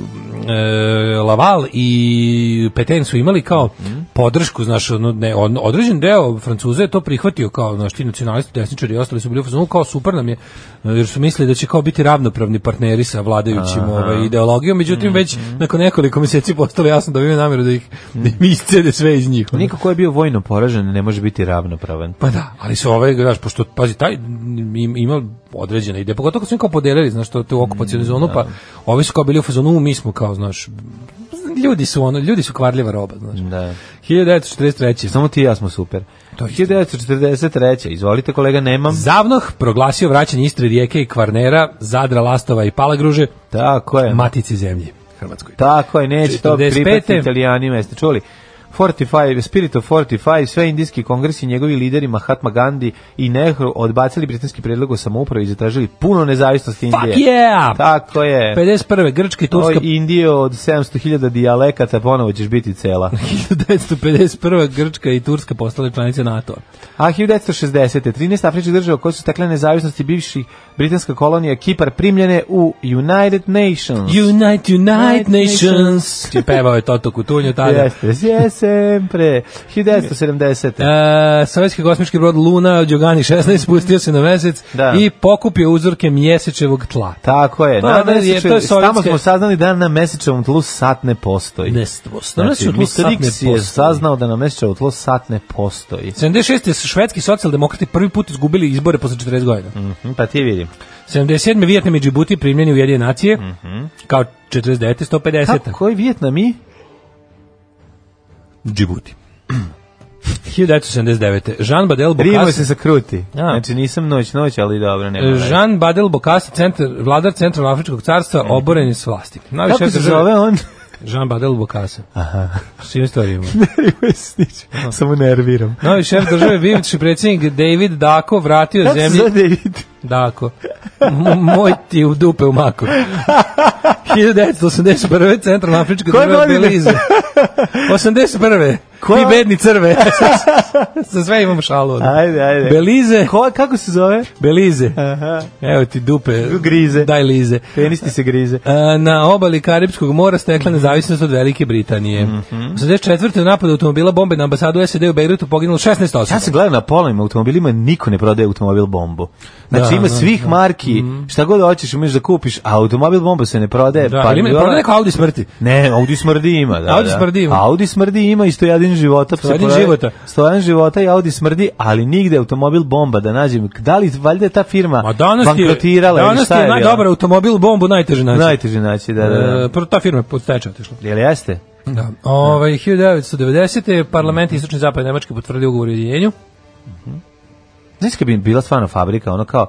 S5: e, Laval i Peten su imali kao podršku, znaš, ono, ne, on- određen deo Francuza je to prihvatio kao, znaš, ti nacionalisti, desničari i ostali su bili u fazonu, kao super nam je, e, jer su mislili da će kao biti ravnopravni partneri sa vladajućim ovaj, ideologijom, međutim već nakon nekoliko mjeseci postalo jasno da imaju namjeru da ih, da im iscede sve iz njih. ono.
S6: Niko ko je bio vojno poražen ne može biti ravnopravan.
S5: Pa da, ali su ove, znaš, pošto, pazi, taj im, ima određene ideje, pogotovo kad su im kao podelili, znaš, to, to u
S6: Mm,
S5: okupacijonu zonu, pa ovi su kao bili u fazonu, "U, mi smo kao, znaš, ljudi su ono, ljudi su kvarljiva roba, znaš.
S6: Da.
S5: 1943.
S6: Samo ti i ja smo super.
S5: To je
S6: 1943. Izvolite kolega, nemam.
S5: Zavnoh proglasio vraćanje Istre, Rijeke i Kvarnera, Zadra, Lastova i Palagruže,
S6: Tako je.
S5: matici zemlji, Hrvatskoj.
S6: Tako je, neće to
S5: 45..
S6: pripati italijanima, jeste čuli? 45, Spirit of 45, sve indijski kongres i njegovi lideri Mahatma Gandhi i Nehru odbacili britanski predlog o samoupravi i zatražili puno nezavisnosti
S5: Fuck
S6: Indije.
S5: yeah!
S6: Tako je.
S5: 51. Grčka i
S6: Oj,
S5: Turska
S6: Indiju od 700.000 dijalekata ponovo ćeš biti cela.
S5: 1951. Grčka i Turska postale članice NATO-a.
S6: A 1960. 13 afričkih država koje su stekle nezavisnosti bivših britanska kolonija Kipar primljene u United Nations.
S5: Unite, unite
S6: United
S5: nations! Pevao je Toto Kutunju tada.
S6: Jeste, jesem pre. 1970.
S5: E, sovjetski kosmički brod Luna Đogani 16 spustio se na mesec
S6: Da.
S5: i pokupio uzorke mjesečevog tla.
S6: Tako je.
S5: To
S6: na
S5: je- to Pa je
S6: mesečev-
S5: sovjetske-
S6: Tamo smo saznali da na mesečevom tlu sat ne postoji.
S5: Ne postoji.
S6: Znači,
S5: Na mesečevom tlu
S6: Mr.
S5: sat
S6: X
S5: ne
S6: je
S5: postoji.
S6: saznao da na mesečevom tlu sat ne postoji.
S5: 76. su švedski socijaldemokrati prvi put izgubili izbore posle 40 godina.
S6: Mhm, Pa ti vidim.
S5: 77. Vijetnam i Džibuti primljeni u jedine nacije, kao 49. 150.
S6: Mhm. Kako, koji Vjetnam i?
S5: Džibuti. 1979. Jean Badel
S6: Rimo
S5: Bokassa,
S6: se sakruti.
S5: A.
S6: Znači, nisam noć, noć, ali dobro, nema. veze.
S5: Jean Badel Bokassa, centar, vladar Centralno Afričkog carstva, oboren je s vlasti. Najviše
S6: Mhm. Kako se zove on?
S5: Jean Badel Bokassa. Aha. S čim stvarima?
S6: Rimo se nič. Samo nerviram.
S5: Novi šef države, bivši predsjednik David Dako vratio
S6: Kako se
S5: zemlji...
S6: zove David?
S5: Dako. M- moj ti u dupe u maku. 1981. Centralna Afrička
S6: Koje
S5: država
S6: godine?
S5: Belize. 81.
S6: Koja-
S5: Mi bedni crve. Sa sve imamo šalu. ono.
S6: Ajde, ajde.
S5: Belize.
S6: Ko, kako se zove?
S5: Belize.
S6: Aha.
S5: Evo ti dupe.
S6: Grize.
S5: Daj lize.
S6: Penis ti se grize.
S5: E, na obali Karibskog mora stekla nezavisnost od Velike Britanije.
S6: Mhm.
S5: Mm 84. u napadu automobila bombe na ambasadu SED u Beirutu poginulo 16 osoba.
S6: Ja sam gledao na polovnim automobilima, niko ne prodaje automobil bombu. Znači
S5: Da,
S6: ima
S5: da, Mhm.
S6: svih marki, šta god hoćeš, umeš da kupiš, a automobil bomba se ne prodaje.
S5: Da,
S6: pa
S5: ili ima-
S6: i ona-
S5: prodaje neko Audi smrti.
S6: Ne, Audi smrdi ima. Da,
S5: Audi
S6: da.
S5: smrdi ima.
S6: Audi smrdi ima i stojadin života.
S5: Stojadin
S6: se prodaje.
S5: života.
S6: Stojadin života i Audi smrdi, ali nigde automobil bomba da nađem. Da li valjda je ta firma
S5: A danas ti je,
S6: bankrotirala ili
S5: danas ti
S6: šta
S5: je
S6: je bila?
S5: najdobar automobil bombu najteže naći.
S6: Najteže naći, da, da. da.
S5: E, prvo ta firma je pod stečaj otišla.
S6: Jel jeste?
S5: Da. Ovaj 1990. je parlament istočni zapad Nemačke potvrdio ugovor o jedinjenju.
S6: Znaš kad bi bila stvarno fabrika, ono kao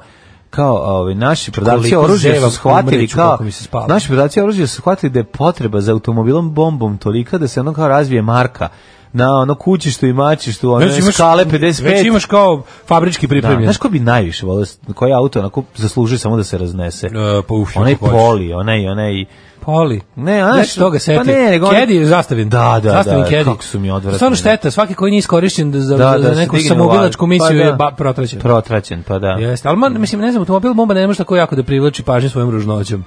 S6: kao ovaj naši prodavci
S5: Koliko
S6: oružja
S5: zevam
S6: su shvatili
S5: umreću,
S6: kao
S5: koliko mi se spava.
S6: naši prodavci oružja su shvatili da je potreba za automobilom bombom tolika da se ono kao razvije marka na ono kućištu i mačištu ono skale 55
S5: Već Znači, imaš kao fabrički
S6: Da,
S5: pripremljen.
S6: znaš ko bi najviše volio, koji auto onako zaslužuje samo da se raznese?
S5: E, pa uf,
S6: onaj
S5: kako hoćeš.
S6: poli, onaj, onaj...
S5: Poli.
S6: Ne, a
S5: Ja
S6: znaš-
S5: ću toga setio.
S6: pa ne, nego on-
S5: Kedi je zastavin.
S6: Da, da,
S5: zastavin
S6: da,
S5: Kedi.
S6: kako su mi odvratni.
S5: Stvarno šteta, svaki koji nije iskorišćen za,
S6: Da,
S5: za
S6: da, se
S5: neku
S6: digne
S5: samoubilačku
S6: u vagu.
S5: misiju
S6: Pa
S5: je
S6: da.
S5: ba, protraćen.
S6: Protraćen, pa da.
S5: Jeste, ali man, mislim, ne znam, automobil bomba ne može tako jako da privlači pažnju svojom ružnoćom.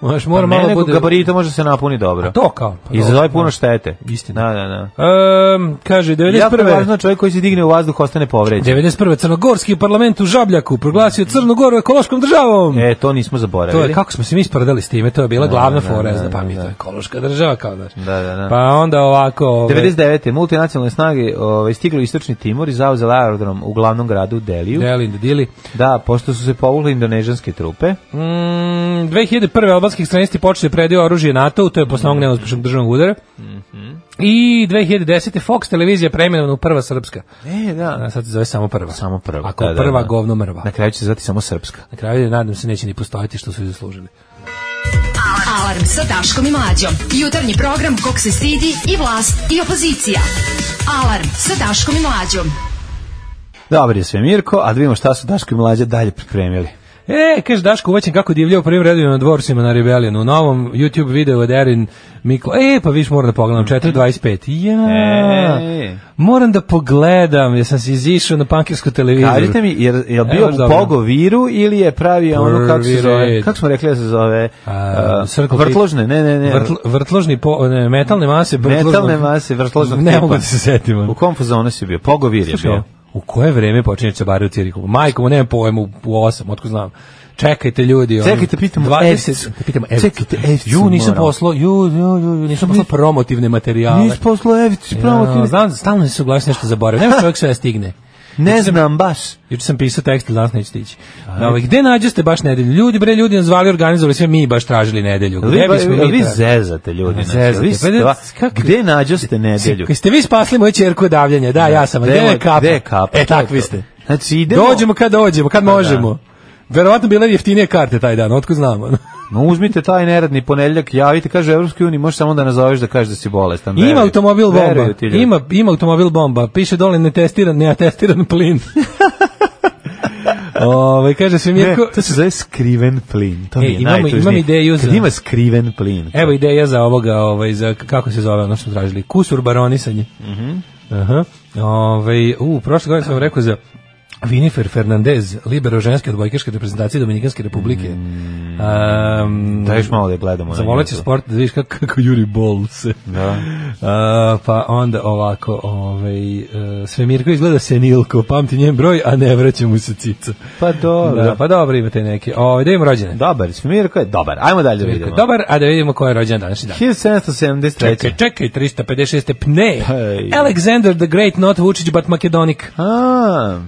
S5: Znaš,
S6: Pa
S5: mora
S6: ne,
S5: malo
S6: nego
S5: bude...
S6: gabarito može se napuni dobro.
S5: A to kao. pa
S6: I
S5: dobro,
S6: zove puno
S5: znaš.
S6: štete.
S5: Istina.
S6: Da, da, da.
S5: Em, kaže,
S6: Jako je
S5: 91.
S6: važno čovjek koji se digne u vazduh ostane povređen.
S5: 91. Crnogorski parlament u Žabljaku proglasio Crnu Goru ekološkom državom.
S6: Mm. E, to nismo
S5: To
S6: zaboravili.
S5: je, kako smo se mi sporedali s time, to je bila glavna
S6: da,
S5: fora,
S6: da,
S5: zna, pa
S6: da,
S5: mi
S6: da.
S5: to je ekološka država, kao znaš.
S6: Da, da, da.
S5: Pa onda ovako... ovaj,
S6: 99. multinacionalne snage ovaj, stiglo u istočni Timor i zauzela aerodrom u glavnom gradu Deliju.
S5: Deli, da dili.
S6: Da, pošto su se povukle indonežanske trupe.
S5: Mm, 2001. albanski ekstremisti počeli predaju oružje NATO-u, to je posle
S6: Mm.
S5: onog neuspešnog državnog udara.
S6: Mhm.
S5: I 2010. Fox televizija preimenovana u prva srpska.
S6: E, da.
S5: A sad se zove samo prva.
S6: Samo prva.
S5: Ako
S6: da, da,
S5: prva
S6: da.
S5: govno mrva.
S6: Na kraju će se zvati samo srpska.
S5: Na kraju nadam se neće ni postojati što su i zaslužili.
S4: Alarm sa Daškom i Mlađom. Jutarnji program kog se stidi i vlast i opozicija. Alarm sa Daškom i Mlađom.
S6: Dobar je sve Mirko, a da vidimo šta su Daško i Mlađa dalje pripremili.
S5: E, kaže Daško uvaćen kako divlja u prvim redovima na dvorcima na Rebelionu. U novom YouTube videu od Erin Miklo... E, pa viš moram da pogledam, 4.25. Ja,
S6: E.
S5: moram da pogledam, jer sam se izišao na pankirsku televiziju.
S6: Kažite mi, je, je li bio
S5: Evo,
S6: u
S5: dobro.
S6: Pogo Viru ili je pravio ono, kako se
S5: Prvi
S6: zove,
S5: red.
S6: kako smo rekli da se zove,
S5: A,
S6: a,
S5: circle pit.
S6: uh, vrtložne, ne, ne, ne,
S5: Vrtl, vrtložni po, ne, metalne mase vrtložnog-
S6: Metalne mase, vrtložnog
S5: ne
S6: tipa.
S5: mogu da se setim ono.
S6: u kom fazonu si bio, Pogo Vir je bio.
S5: u koje vreme počinje čabare u cirikumu majko mu nemam pojma u, u osam otko znam čekajte ljudi ono,
S6: Čekajte, pitamo
S5: 20
S6: Evcu.
S5: pitamo Evcu.
S6: Čekajte, Evcu
S5: ju nisam
S6: moram.
S5: poslao ju, ju, ju, ju nisam poslao promotivne materijale
S6: Nis poslo Ević, pravo
S5: Ja,
S6: ti
S5: znam, stalno se uglavnom nešto zaboravio. Nema čovjek sve stigne.
S6: ne znam baš.
S5: Juče sam pisao tekst, ali danas neću stići. Da, ovaj, gde nađeste baš nedelju? Ljudi, bre, ljudi nas zvali, organizovali sve, mi baš tražili nedelju.
S6: Jel Vi,
S5: Gde bismo
S6: jel
S5: mi
S6: vi
S5: tražili?
S6: zezate ljudi. znači,
S5: Zezate,
S6: jel vi
S5: pa da-
S6: stva-
S5: kako-
S6: Gde nađoste nedelju?
S5: Kad ste vi spasli moju čerku od davljenja, da, ja sam. a Gde je kapa?
S6: Gde je kapa?
S5: E,
S6: To je
S5: takvi
S6: to.
S5: ste.
S6: Znači, idemo...
S5: Dođemo kad dođemo,
S6: Pa
S5: kad možemo. Verovatno bile jeftinije karte taj dan, otko znamo.
S6: No, uzmite taj neradni ponedeljak, javite, kaže u Evropskoj uniji, možeš samo da nazoveš da kažeš da si bolestan.
S5: Ima
S6: veruju-
S5: automobil bomba.
S6: veruju ti ljudi.
S5: Ima, ima automobil bomba. Piše dole netestiran, neatestiran plin. Ove, kaže se
S6: Ne,
S5: Mirko,
S6: to se zove skriven plin. To
S5: E,
S6: mi je
S5: imam-
S6: najtužnije.
S5: imam ideju
S6: Kad
S5: za-
S6: ima skriven plin.
S5: Evo ideja za ovoga, ovaj, za, kako se zove ono što smo tražili, kusur baronisanje.
S6: Mhm.
S5: Aha. Ovaj, u, prošle godine sam vam rekao za Vinifer Fernandez, libero ženske odbojkaške reprezentacije Dominikanske republike.
S6: Mm.
S5: Um,
S6: Da još malo da je gledamo. na
S5: Zavolat će
S6: nju.
S5: sport da vidiš kako, kako juri bol se.
S6: Pa Da.
S5: A, pa onda ovako, ovaj, e, sve Mirko izgleda senilko, pamti njen broj, a ne vraća mu se cica.
S6: Pa dobro.
S5: Da, pa dobro imate neke. Ovaj, da im rođene.
S6: Dobar, Smirko je dobar. Ajmo dalje da
S5: Mirko je
S6: vidimo.
S5: dobar, a da vidimo ko je rođen današnji dan.
S6: 1773.
S5: Čekaj, čekaj, 356. Pne.
S6: Hej.
S5: Alexander the Great, not Vučić, but Makedonik.
S6: A,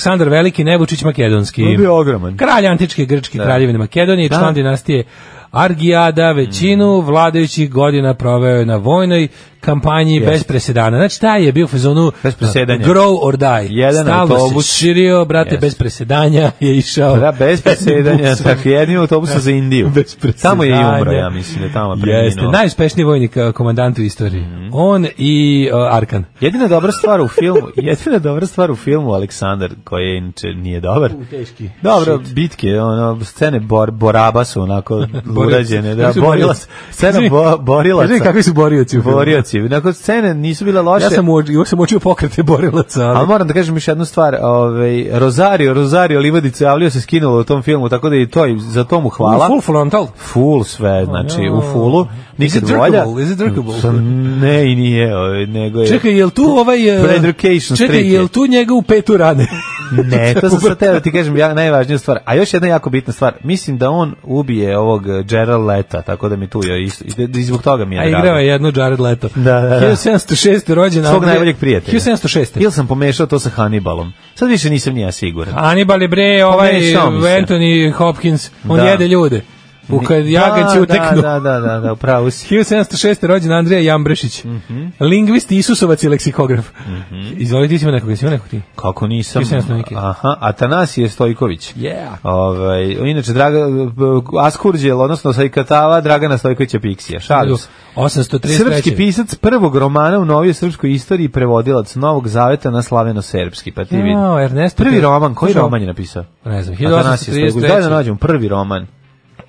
S5: Aleksandar Veliki, ne Vučić, Makedonski.
S6: on je bio ogroman.
S5: Kralj antičke grčke kraljevine Makedonije,
S6: Da. Mm.
S5: član dinastije Argijada, većinu vladajućih godina proveo je na vojnoj kampanji bez presedana. Znači, taj je bio u fazonu
S6: Bez presedanja.
S5: grow or die.
S6: Jedan
S5: Stalno
S6: autobus.
S5: se širio, brate,
S6: Jest.
S5: bez presedanja je išao.
S6: Da, bez presedanja, tako jednim autobusom za Indiju.
S5: Bez presedanja.
S6: Tamo je i umro, ja mislim, da tamo je preminuo.
S5: Jeste, najuspešniji vojnik e, komandant u istoriji.
S6: Mhm.
S5: On i e, Arkan.
S6: Jedina dobra stvar u filmu, jedina dobra stvar u filmu Aleksandar koji je inče nije dobar.
S5: teški.
S6: Dobro, bitke, ono scene bor, boraba su onako urađene, da
S5: Kakvi su
S6: borila
S5: borioci?
S6: scena
S5: Izvini,
S6: bo,
S5: Kaži mi
S6: borilaca.
S5: kakvi su borioci u filmu?
S6: Borioci, onako scene nisu bile loše.
S5: Ja sam, u, ja sam učio pokrete borilaca. ali-
S6: Ali moram da kažem još jednu stvar, ovaj Rosario, Rosario Livadice Avlio se skinulo u tom filmu, tako da i to i za to mu hvala.
S5: U Full frontal.
S6: full sve, znači u fullu,
S5: Is
S6: nikad
S5: it
S6: volja.
S5: jerkable? Is it jerkable?
S6: Sa- Ne, i nije, ovaj, nego je...
S5: Čekaj, jel tu ovaj... e,
S6: Preducation
S5: Čekaj,
S6: Street je.
S5: jel tu njega u petu rane?
S6: Ne, to sam sad teo da ti kažem ja, najvažnija stvar. A još jedna jako bitna stvar, mislim da on ubije ovog eh, Gerald Leta, tako da mi tu je isto, i da- i zbog toga mi je
S5: A igrao je jedno Jared Leto.
S6: Da, da, da.
S5: 1706. rođen.
S6: Svog
S5: Andrej-
S6: najboljeg prijatelja.
S5: 1706.
S6: Ili sam pomešao to sa Hannibalom. Sad više nisam ni ja siguran.
S5: Anibal je
S6: Pa
S5: bre, ovaj
S6: Pomešao mi se.
S5: Anthony Hopkins, on
S6: Da.
S5: jede ljude. U kad jagan će uteknu.
S6: Da, da, da, da, upravo si.
S5: 1706. rođen Andrija Jambrešić.
S6: Mhm.
S5: Lingvist, Isusovac i leksikograf. Izvoli, ti si imao nekog, jesi imao nekog ti?
S6: Kako nisam?
S5: 1700 neki.
S6: Aha, Atanasije Stojković.
S5: Yeah.
S6: Ovaj, inače, Draga, Askurđel, odnosno Sajkatava, Dragana Stojkovića Piksija. Šalim se.
S5: 833.
S6: Srpski pisac prvog romana u novijoj srpskoj istoriji i prevodilac Novog Zaveta na slaveno-serbski, pa ti vidi.
S5: Jao, Ernesto
S6: Prvi
S5: Pet-
S6: roman, koji
S5: Slušaj,
S6: roman je napisao?
S5: Ne znam,
S6: Atanasije Stojković. Daj da
S5: 1833.
S6: nađemo prvi roman.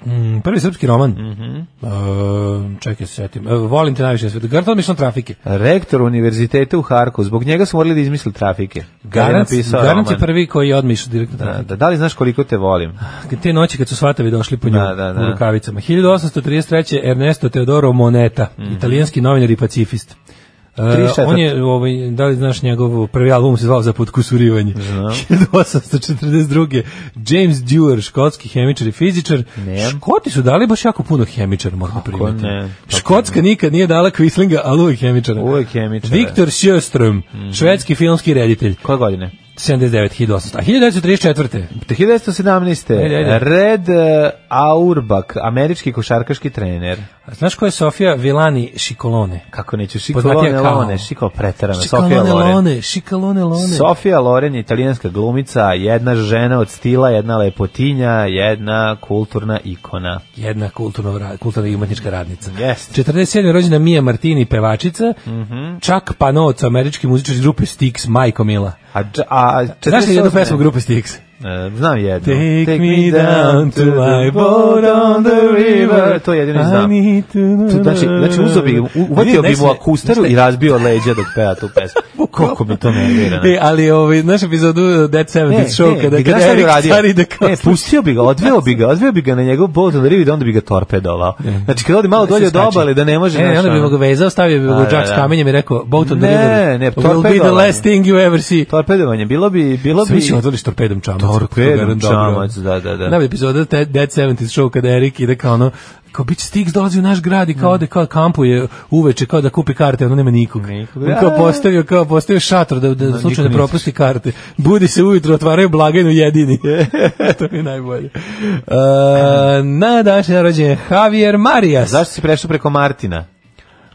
S5: Mm, prvi srpski roman.
S6: Mhm.
S5: Mm -hmm. čekaj, se setim. E, volim te najviše na svetu. Garant odmišljam trafike.
S6: Rektor univerziteta u Harku, zbog njega su morali da izmisle trafike. Kad je
S5: Garant,
S6: napisao
S5: garant je
S6: roman.
S5: prvi koji je odmišljao direktno
S6: Da,
S5: trafike.
S6: da, da li znaš koliko te volim?
S5: Te noći kad su svatavi došli po nju
S6: Da, da, da.
S5: u rukavicama. 1833. Ernesto Teodoro Moneta,
S6: Mhm.
S5: italijanski novinar i pacifist. E,
S6: Tri četvrt.
S5: on je, ovaj, da li znaš njegov prvi album se zvao Za podkusurivanje. 1842. James Dewar, škotski hemičar i fizičar.
S6: Ne.
S5: Škoti su dali baš jako puno hemičara, moram primiti.
S6: ne? Kako
S5: Škotska nikad nije dala Kvislinga, ali uvijek hemičara.
S6: Uvek hemičara. Mhm.
S5: Viktor Sjöström, švedski filmski reditelj.
S6: Koje godine?
S5: 79, 1800. A 1934.
S6: 1917.
S5: Ajde, ajde.
S6: Red eh, Auerbach, američki košarkaš trener.
S5: A Znaš ko je Sofia Vilani Šikolone?
S6: Kako neću,
S5: Poznatija
S6: Šikolone
S5: kao-
S6: Lone, Šiko pretarana, Sofia
S5: Šikolone
S6: Loren.
S5: Lone, Šikolone Lone.
S6: Sofia Loren je italijanska glumica, jedna žena od stila, jedna lepotinja, jedna kulturna ikona.
S5: Jedna kulturno, ra- kulturna i umetnička radnica.
S6: Jest.
S5: 47. rođena Mija Martini, pevačica.
S6: Mhm.
S5: Čak Panoc, američki muzičar iz grupe Styx, Majko Mila.
S6: A, dž- a,
S5: Znaš li jednu
S6: 48?
S5: pesmu grupe Styx?
S6: E, znam jednu.
S5: Take, me down to my boat on the river.
S6: To jedino i znam.
S5: I need to
S6: Tu, Znači, znači uzo bi, u- uvatio bi mu akustaru i razbio leđa dok peva tu pesmu. Koliko mi to nervira. znači.
S5: E, ali ovaj, naš epizodu uh,
S6: E,
S5: Dead 70's show, kada,
S6: bi E, ga
S5: kada
S6: stavio
S5: Erik
S6: radio.
S5: stari da
S6: Ne, pustio bi ga, odveo bi ga, odveo bi ga na njegov bot na rivi da onda bi ga torpedovao. Znači kad odi malo dolje od
S5: Skače.
S6: obale da ne može
S5: E,
S6: znaš,
S5: onda bi
S6: ono.
S5: mu ga vezao, stavio bi mu
S6: A,
S5: ga
S6: da,
S5: džak s
S6: da.
S5: kamenjem i rekao, boat on the
S6: Ne,
S5: river
S6: ne,
S5: will be the
S6: torpedovanje.
S5: last thing you ever see.
S6: Torpedovanje, bilo bi, bilo
S5: Svi
S6: bi...
S5: će odvališ torpedom čamac.
S6: Torpedom
S5: Torpedom
S6: čamac, da, da, da.
S5: Najbolja epizoda te- Dead 70's show kada Erik ide kao ono, kao bit će Stix dolazi u naš grad i kao
S6: Mm.
S5: ode, kao kampuje uveče, kao da kupi karte, ono nema nikog.
S6: Nikog.
S5: On kao postavio, kao postavio šator da, da, slučajno
S6: niko
S5: ne propusti karte. Budi se ujutro, otvaraju blagajnu jedini. to mi je najbolje. E, na današnji dan rođen je Javier Marias.
S6: Zašto si prešao preko Martina?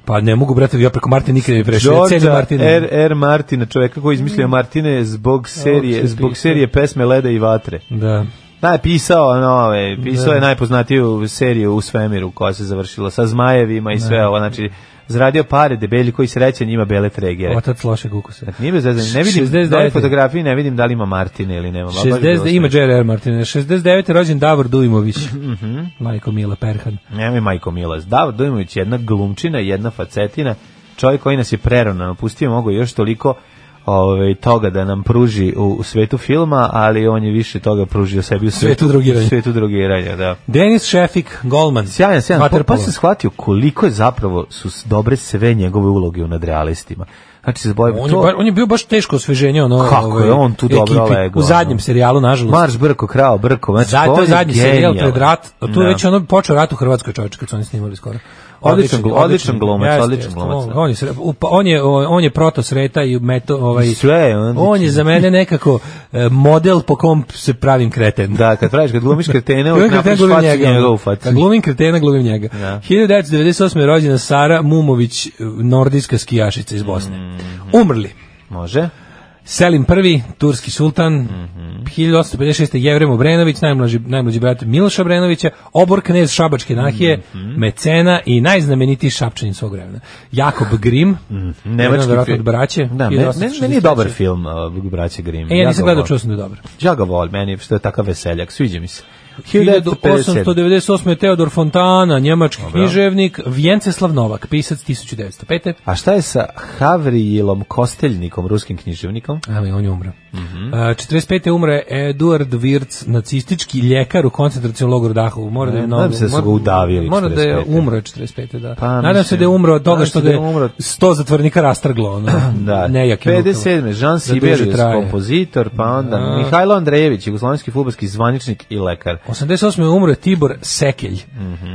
S5: Pa ne mogu, brate, ja preko Martina nikad ne prešao. Cijeli
S6: Georgia
S5: Martina.
S6: R. R. Martina, čoveka koji je izmislio Martine zbog serije,
S5: uopšte
S6: zbog
S5: pisao.
S6: serije pesme Leda i vatre.
S5: Da.
S6: Da, je pisao, ono, ovaj, pisao je najpoznatiju seriju u svemiru koja se završila sa zmajevima i sve ovo, znači, zaradio pare debelji koji sreće njima bele tregere. Dakle,
S5: Otac lošeg ukusa.
S6: Nije bez veze, ne vidim,
S5: 69.
S6: na ovoj fotografiji ne vidim da li ima Martine ili nema. ali baš bi bilo
S5: 60, ima
S6: smešno.
S5: J.R.R. Martine. 69. je rođen Davor Dujmović.
S6: Mhm.
S5: Majko Mila Perhan.
S6: Nemoj majko Milas. Davor Dujmović je jedna glumčina, jedna facetina, čovjek koji nas je prerano napustio, mogu još toliko ovaj, toga da nam pruži u, u svetu filma, ali on je više toga pružio sebi u svetu,
S5: Svetu drogiranja.
S6: u svetu drogiranja, da.
S5: Denis Šefik, Golman.
S6: Sjajan, sjajan. Pa, pa
S5: Vaterpolo.
S6: sam shvatio koliko je zapravo su s- dobre sve njegove uloge u nadrealistima. Znači, se zbavim
S5: On je,
S6: to...
S5: ba- on je bio baš teško osveženje ono,
S6: Kako je on tu dobro legao,
S5: U zadnjem
S6: ono.
S5: serijalu, nažalost.
S6: Marš Brko, Krao Brko. Znači,
S5: Zato
S6: on
S5: je zadnji serijal
S6: genijalan.
S5: pred rat. a Tu je
S6: Da.
S5: već ono počeo rat u Hrvatskoj čovječe kad su oni snimali skoro.
S6: Odličan glu- odličan glumac,
S5: Jeste,
S6: odličan
S5: jeste,
S6: glumac,
S5: On,
S6: da.
S5: on je, sre- upa- on je, on je proto sreta i meto, ovaj,
S6: Sve je on.
S5: on je za mene nekako e, model po kom se pravim kreten.
S6: Da, kad praviš, kad glumiš kretene, uvijek
S5: Glumim
S6: napraviš
S5: kretena, glumim
S6: facu
S5: njega. ono.
S6: njegovu facu.
S5: Kad glumim kretena, glumim njega. 1998. je rođena Sara Mumović, e, nordijska skijašica iz Bosne.
S6: Mhm.
S5: Umrli.
S6: Može.
S5: Selim I, turski sultan,
S6: Mhm.
S5: 1856. Jevrem Obrenović, najmlađi, najmlađi brat Miloša Obrenovića, obor knez Šabačke nahije,
S6: Mhm.
S5: mecena i najznamenitiji šapčanin svog vremena. Jakob Grimm,
S6: Mhm. Nemački
S5: jedan od
S6: film.
S5: braće.
S6: Da, meni, meni- meni
S5: 1863.
S6: je dobar film uh, Braće Grimm.
S5: E, ja nisam
S6: ga
S5: gledao,
S6: volim.
S5: čuo sam da je dobar.
S6: Ja ga volim, meni je što je takav veseljak, sviđa mi se. 1857.
S5: 1898. je Teodor Fontana, njemački
S6: Dobro.
S5: književnik, Vjenceslav Novak, pisac 1905.
S6: A šta je sa Havrijilom Kosteljnikom, ruskim književnikom?
S5: Ali on je umro.
S6: Mhm.
S5: A, 45. umre Eduard Wirtz, nacistički ljekar u koncentracijom logoru Dahovu. Mora da je
S6: Nadam se da su
S5: mora-
S6: ga udavili
S5: Mora da je
S6: 45..
S5: umro 45. Da.
S6: Pa,
S5: Nadam se
S6: mislim,
S5: da je umro od toga
S6: nadam se
S5: što
S6: da
S5: ga
S6: je
S5: je
S6: umro-
S5: 100 zatvornika rastrglo. Ono,
S6: Da,
S5: nejake rukama.
S6: 57. Jean
S5: Da duže
S6: Sibelius,
S5: traje.
S6: kompozitor, pa onda Mihajlo Andrejević, jugoslovenski fudbalski zvaničnik i lekar.
S5: 88. je umro Tibor Sekelj,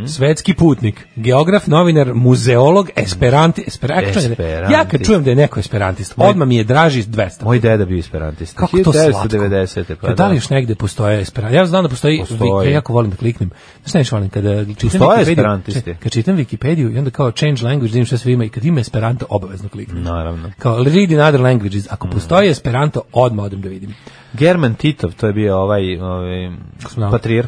S5: svetski putnik, geograf, novinar, muzeolog, esperanti, esperanti,
S6: Esperantist.
S5: ja kad čujem da je neko esperantist, odmah mi je draži 200.
S6: Moj deda bio esperantista.
S5: Kako to slatko.
S6: 1990. Pa,
S5: Ja, da li još negde postoje esperanti? Ja znam da postoji,
S6: Postoji.
S5: Wiki- ja jako volim da kliknem. Znaš nešto volim, kada čitam
S6: Postoje
S5: Wikipediju-
S6: esperantisti.
S5: Kad čitam Wikipediju i onda kao change language, da vidim šta sve ima i kad ima esperanto, obavezno kliknem.
S6: Naravno. Mm.
S5: Kao read in other languages, ako postoji esperanto, odmah odem da vidim.
S6: German Titov, to je bio ovaj, ovaj
S5: Kosmonaut.
S6: patrijarh.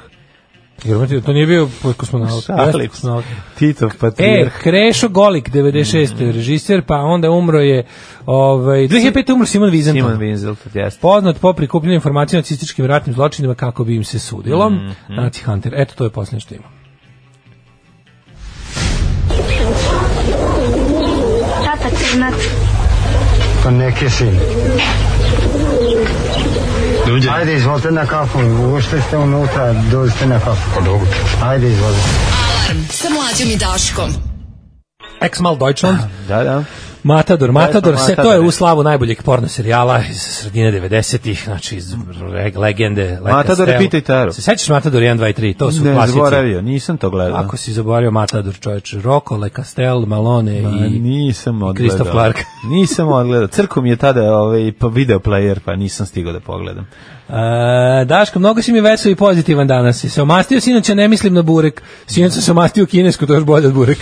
S5: Jer mrtvi, to nije bio kosmonaut.
S6: Šalim
S5: Jeste kosmonaut.
S6: Titov
S5: E,
S6: patrijarh.
S5: Krešo Golik, 96.
S6: Mm.
S5: režiser, pa onda umro je, ovaj, 2005. umro Simon Wiesenthal.
S6: Simon Winzelford, jeste.
S5: Poznat po prikupljanju informacija o nacističkim ratnim zločinima kako bi im se sudilo.
S6: Mm-hmm.
S5: Nazi Hunter. Eto, to je posljednje što imam.
S1: Tata Crnac,
S7: Pa neke sin. Dođe. Ajde, izvolite na kafu. Ušli ste unutra, dođite na kafu. Pa dobro. Ajde, izvolite.
S4: Alarm sa mlađom i Daškom.
S5: Ex Mal Deutschland.
S6: Da, da.
S5: Ah, Matador, Matador,
S6: Matador,
S5: se to je
S6: Matador.
S5: u slavu najboljeg porno serijala iz sredine 90-ih, znači iz reg- legende. Leka
S6: Matadore,
S5: Stella.
S6: pitaj Taru.
S5: Se sećaš Matador 1, 2 i 3, to su
S6: Ne,
S5: klasici.
S6: zaboravio, nisam to gledao.
S5: Ako si zaboravio Matador, čoveč, Rocco, Le Castel, Malone
S6: Ma,
S5: i...
S6: nisam odgledao.
S5: Christoph Clark.
S6: nisam odgledao. Crko mi je tada ovaj, pa video player, pa nisam stigao da pogledam.
S5: E, Daško, mnogo si mi vesel i pozitivan danas. Se omastio sinoć, a ne mislim na burek. Sinoć sam se omastio kinesku, to je još bolje od burek.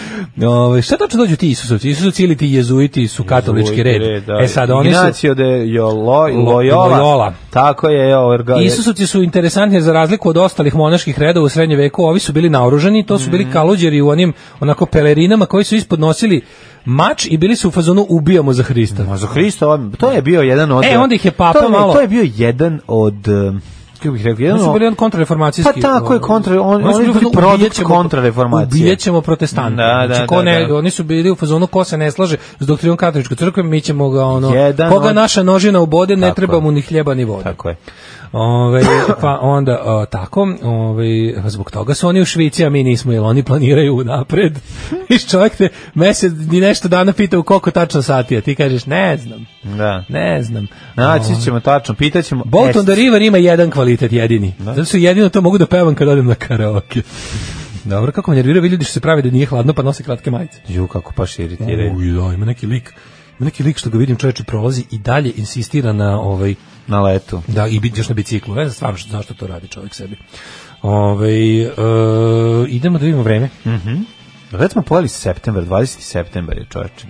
S5: Ove, šta tačno dođu ti Isusovci? Isusovci ili ti jezuiti su katolički red. E sad, oni su...
S6: Ignacio de Jolo,
S5: Lo-
S6: Loyola.
S5: Loyola.
S6: Tako je, evo, ga-
S5: Isusovci su interesantni jer za razliku od ostalih monaških redova u srednjem veku, ovi su bili naoružani, to su bili kaluđeri u onim onako pelerinama koji su ispod nosili mač i bili su u fazonu ubijamo za Hrista.
S6: Ma za Hrista, on- to je bio jedan od...
S5: E, onda ih je papa
S6: to je,
S5: malo-
S6: To je bio jedan od... um, Kako bih rekao, jedan
S5: Oni su
S6: od-
S5: bili ovaj- on kontrareformacijski.
S6: Pa tako je, kontra- on- oni su bili
S5: u fazonu,
S6: produkt
S5: "Ubijet ćemo-
S6: kontrareformacije."
S5: Ubijet ćemo protestante.
S6: Da, da,
S5: znači, ko
S6: da,
S5: ne,
S6: da.
S5: Oni su bili u fazonu ko se ne slaže s doktrinom katoličke crkve, mi ćemo ga ono...
S6: Jedan
S5: koga
S6: od-
S5: naša nožina ubode, ne
S6: Tako
S5: treba
S6: je.
S5: mu ni hljeba ni vode.
S6: Tako je.
S5: Ove, pa onda o, tako, ove, zbog toga su oni u Švici, a mi nismo, jer oni planiraju napred. I čovjek te mesec ni nešto dana pita u koliko tačno sati, a ti kažeš ne znam,
S6: Da.
S5: ne znam.
S6: Naći ćemo tačno, pitaćemo... E,
S5: Boat on
S6: Est-
S5: the River ima jedan kvalitet jedini. Zato su jedino to mogu da pevam kad odem na karaoke. Dobro, kako me nerviraju ovi ljudi što se prave da nije hladno pa nose kratke majice.
S6: Ju, kako pa širitiraju.
S5: Uj, da, ima neki lik. Ima neki lik što ga vidim čovječe prolazi i dalje insistira na ovaj
S6: Na letu.
S5: da, i bit- još na biciklu. Ne znam stvarno što, zašto to radi čovjek sebi. Ove, idemo da vidimo vreme.
S6: Već smo pojeli september, 20. september je čoveče.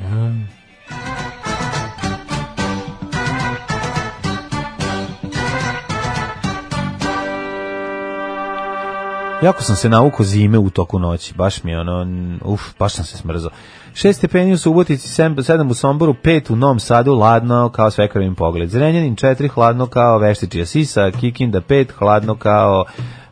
S6: Jako sam se naukao zime u toku noći, baš mi je ono, n- uf, baš sam se smrzao. 6 stepeni u Subotici, 7 u Somboru, 5 u Novom Sadu, hladno kao svekarovim pogled. Zrenjanin 4, hladno kao veštičija sisa, Kikinda 5, hladno kao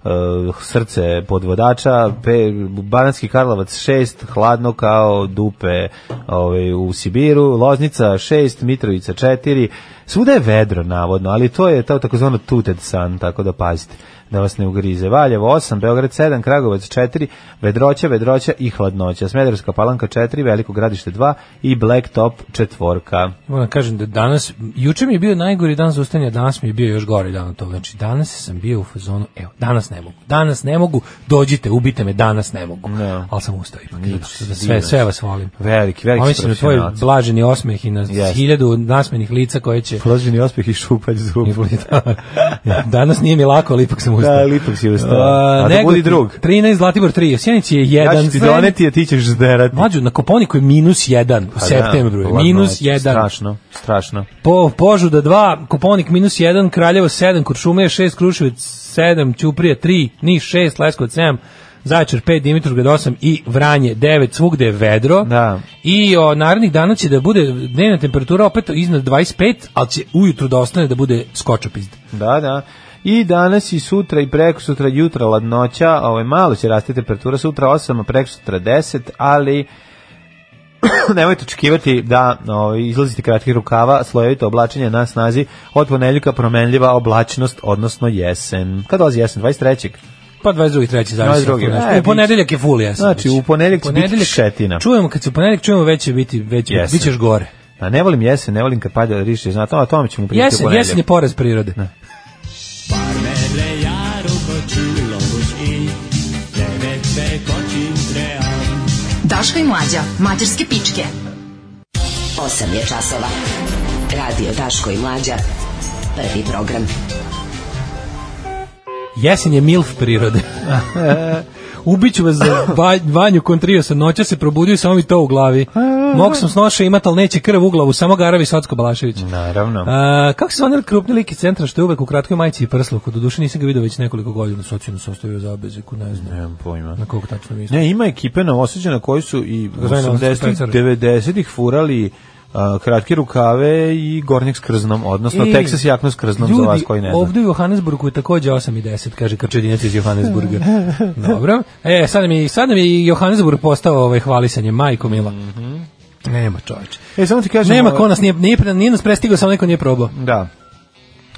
S6: e, srce podvodača, pe, Banatski Karlovac 6, hladno kao dupe ovaj, u Sibiru, Loznica 6, Mitrovica 4, svuda je vedro navodno, ali to je ta takozvano tuted san, tako da pazite da vas ne ugrize. Valjevo 8, Beograd 7, Kragovac 4, Vedroća, Vedroća i Hladnoća. Smederska palanka 4, Veliko gradište 2 i Blacktop četvorka.
S5: Moram kažem da danas, juče mi je bio najgori dan za ustajanje, a danas mi je bio još gori dan od toga. Znači, danas sam bio u fazonu, evo, danas ne mogu, danas ne mogu, dođite, ubite me, danas ne mogu.
S6: Da.
S5: Ali sam ustao ipak, zato što
S6: divno
S5: sve,
S6: si.
S5: sve vas volim.
S6: Veliki, veliki
S5: Pomislim na tvoj
S6: profesionalac.
S5: blaženi osmeh i na
S6: Jeste.
S5: hiljadu nasmenih lica koje će...
S6: Ploženi ospeh i šupalj zubu.
S5: Danas nije mi lako, ali ipak sam ustao.
S6: Da, ali ipak si ustao.
S5: A,
S6: A da
S5: Negotin
S6: budi drug.
S5: 13, Zlatibor 3, u Sjenici je 1.
S6: Ja ću ti doneti, a ti ćeš zderati.
S5: Mlađu, na Koponiku je minus 1 u
S6: Pa da,
S5: septembru. je
S6: hladnoća.
S5: minus 1.
S6: Strašno, strašno.
S5: Po, Požuda 2, Koponik minus 1, Kraljevo 7, Kuršumlija 6, Kruševac 7, Ćuprija 3, Niš 6, Leskovac 7, Zaječar 5, Dimitrovgrad 8 i Vranje 9, svugde je vedro.
S6: Da.
S5: I o, narednih dana će da bude dnevna temperatura opet iznad 25, ali će ujutru da ostane da bude skočopizd.
S6: Da, da. I danas i sutra i preko sutra jutra ladnoća, ovaj malo će rasti temperatura sutra 8, a preko sutra 10, ali nemojte očekivati da ovaj, izlazite kratkih rukava, slojevito oblačenje na snazi od ponedjeljka promenljiva oblačnost, odnosno jesen. Kad dolazi jesen? 23.
S5: Pa 22. 3. zavisi.
S6: 22.,
S5: kako nešto.
S6: e,
S5: U ponedeljak je full jesen.
S6: Znači, u ponedeljak će biti
S5: Ponedeljak-
S6: šetina.
S5: Čujemo, kad se u ponedeljak čujemo, već će biti, već
S6: Jesen.
S5: bićeš gore.
S6: A ne volim jesen, ne volim kad pada riše, znate, a o tome ćemo pričati u
S5: Jesen,
S6: ponedjeljak.
S5: jesen je poraz prirode.
S4: Daško i mlađa, mađarske pičke.
S8: 8 je časova. Radio Daško i Mlađa. Prvi program.
S5: Jesen je milf prirode. Ubiću vas za ba- vanju kontrio sa noća se probudio i samo mi to u glavi. Mog sam snoša imat, ali neće krv u glavu, samo garavi Svatsko Balašević.
S6: Mm. Naravno.
S5: A, kako se zvane krupni lik iz centra što je uvek u kratkoj majici i prsluku? Doduše nisam ga vidio već nekoliko godina, socijalno sam ostavio za beziku, ne znam.
S6: Nemam pojma.
S5: Na kog tačno mislim.
S6: Ne, ima ekipe Novosađana koji su i
S5: Zvane Novosađani
S6: 80-ih,
S5: pecari.
S6: 90-ih furali a, kratke rukave i gornjak s krznom, odnosno
S5: I-
S6: Texas jaknu s krznom za vas koji ne
S5: Ljudi,
S6: zna.
S5: ovde u Johannesburgu je takođe 8 i 10, kaže Krčedinac iz Johannesburga. Dobro. E, sad nam je, sad nam je i Johannesburg postao ovaj, hvalisanje, majko mila.
S6: Mm,
S5: Nema čoveče.
S6: E, samo ti kažem...
S5: Nema
S6: o-
S5: ko nas, nije, nije, pre- nije nas prestigao, samo neko nije probao.
S6: Da.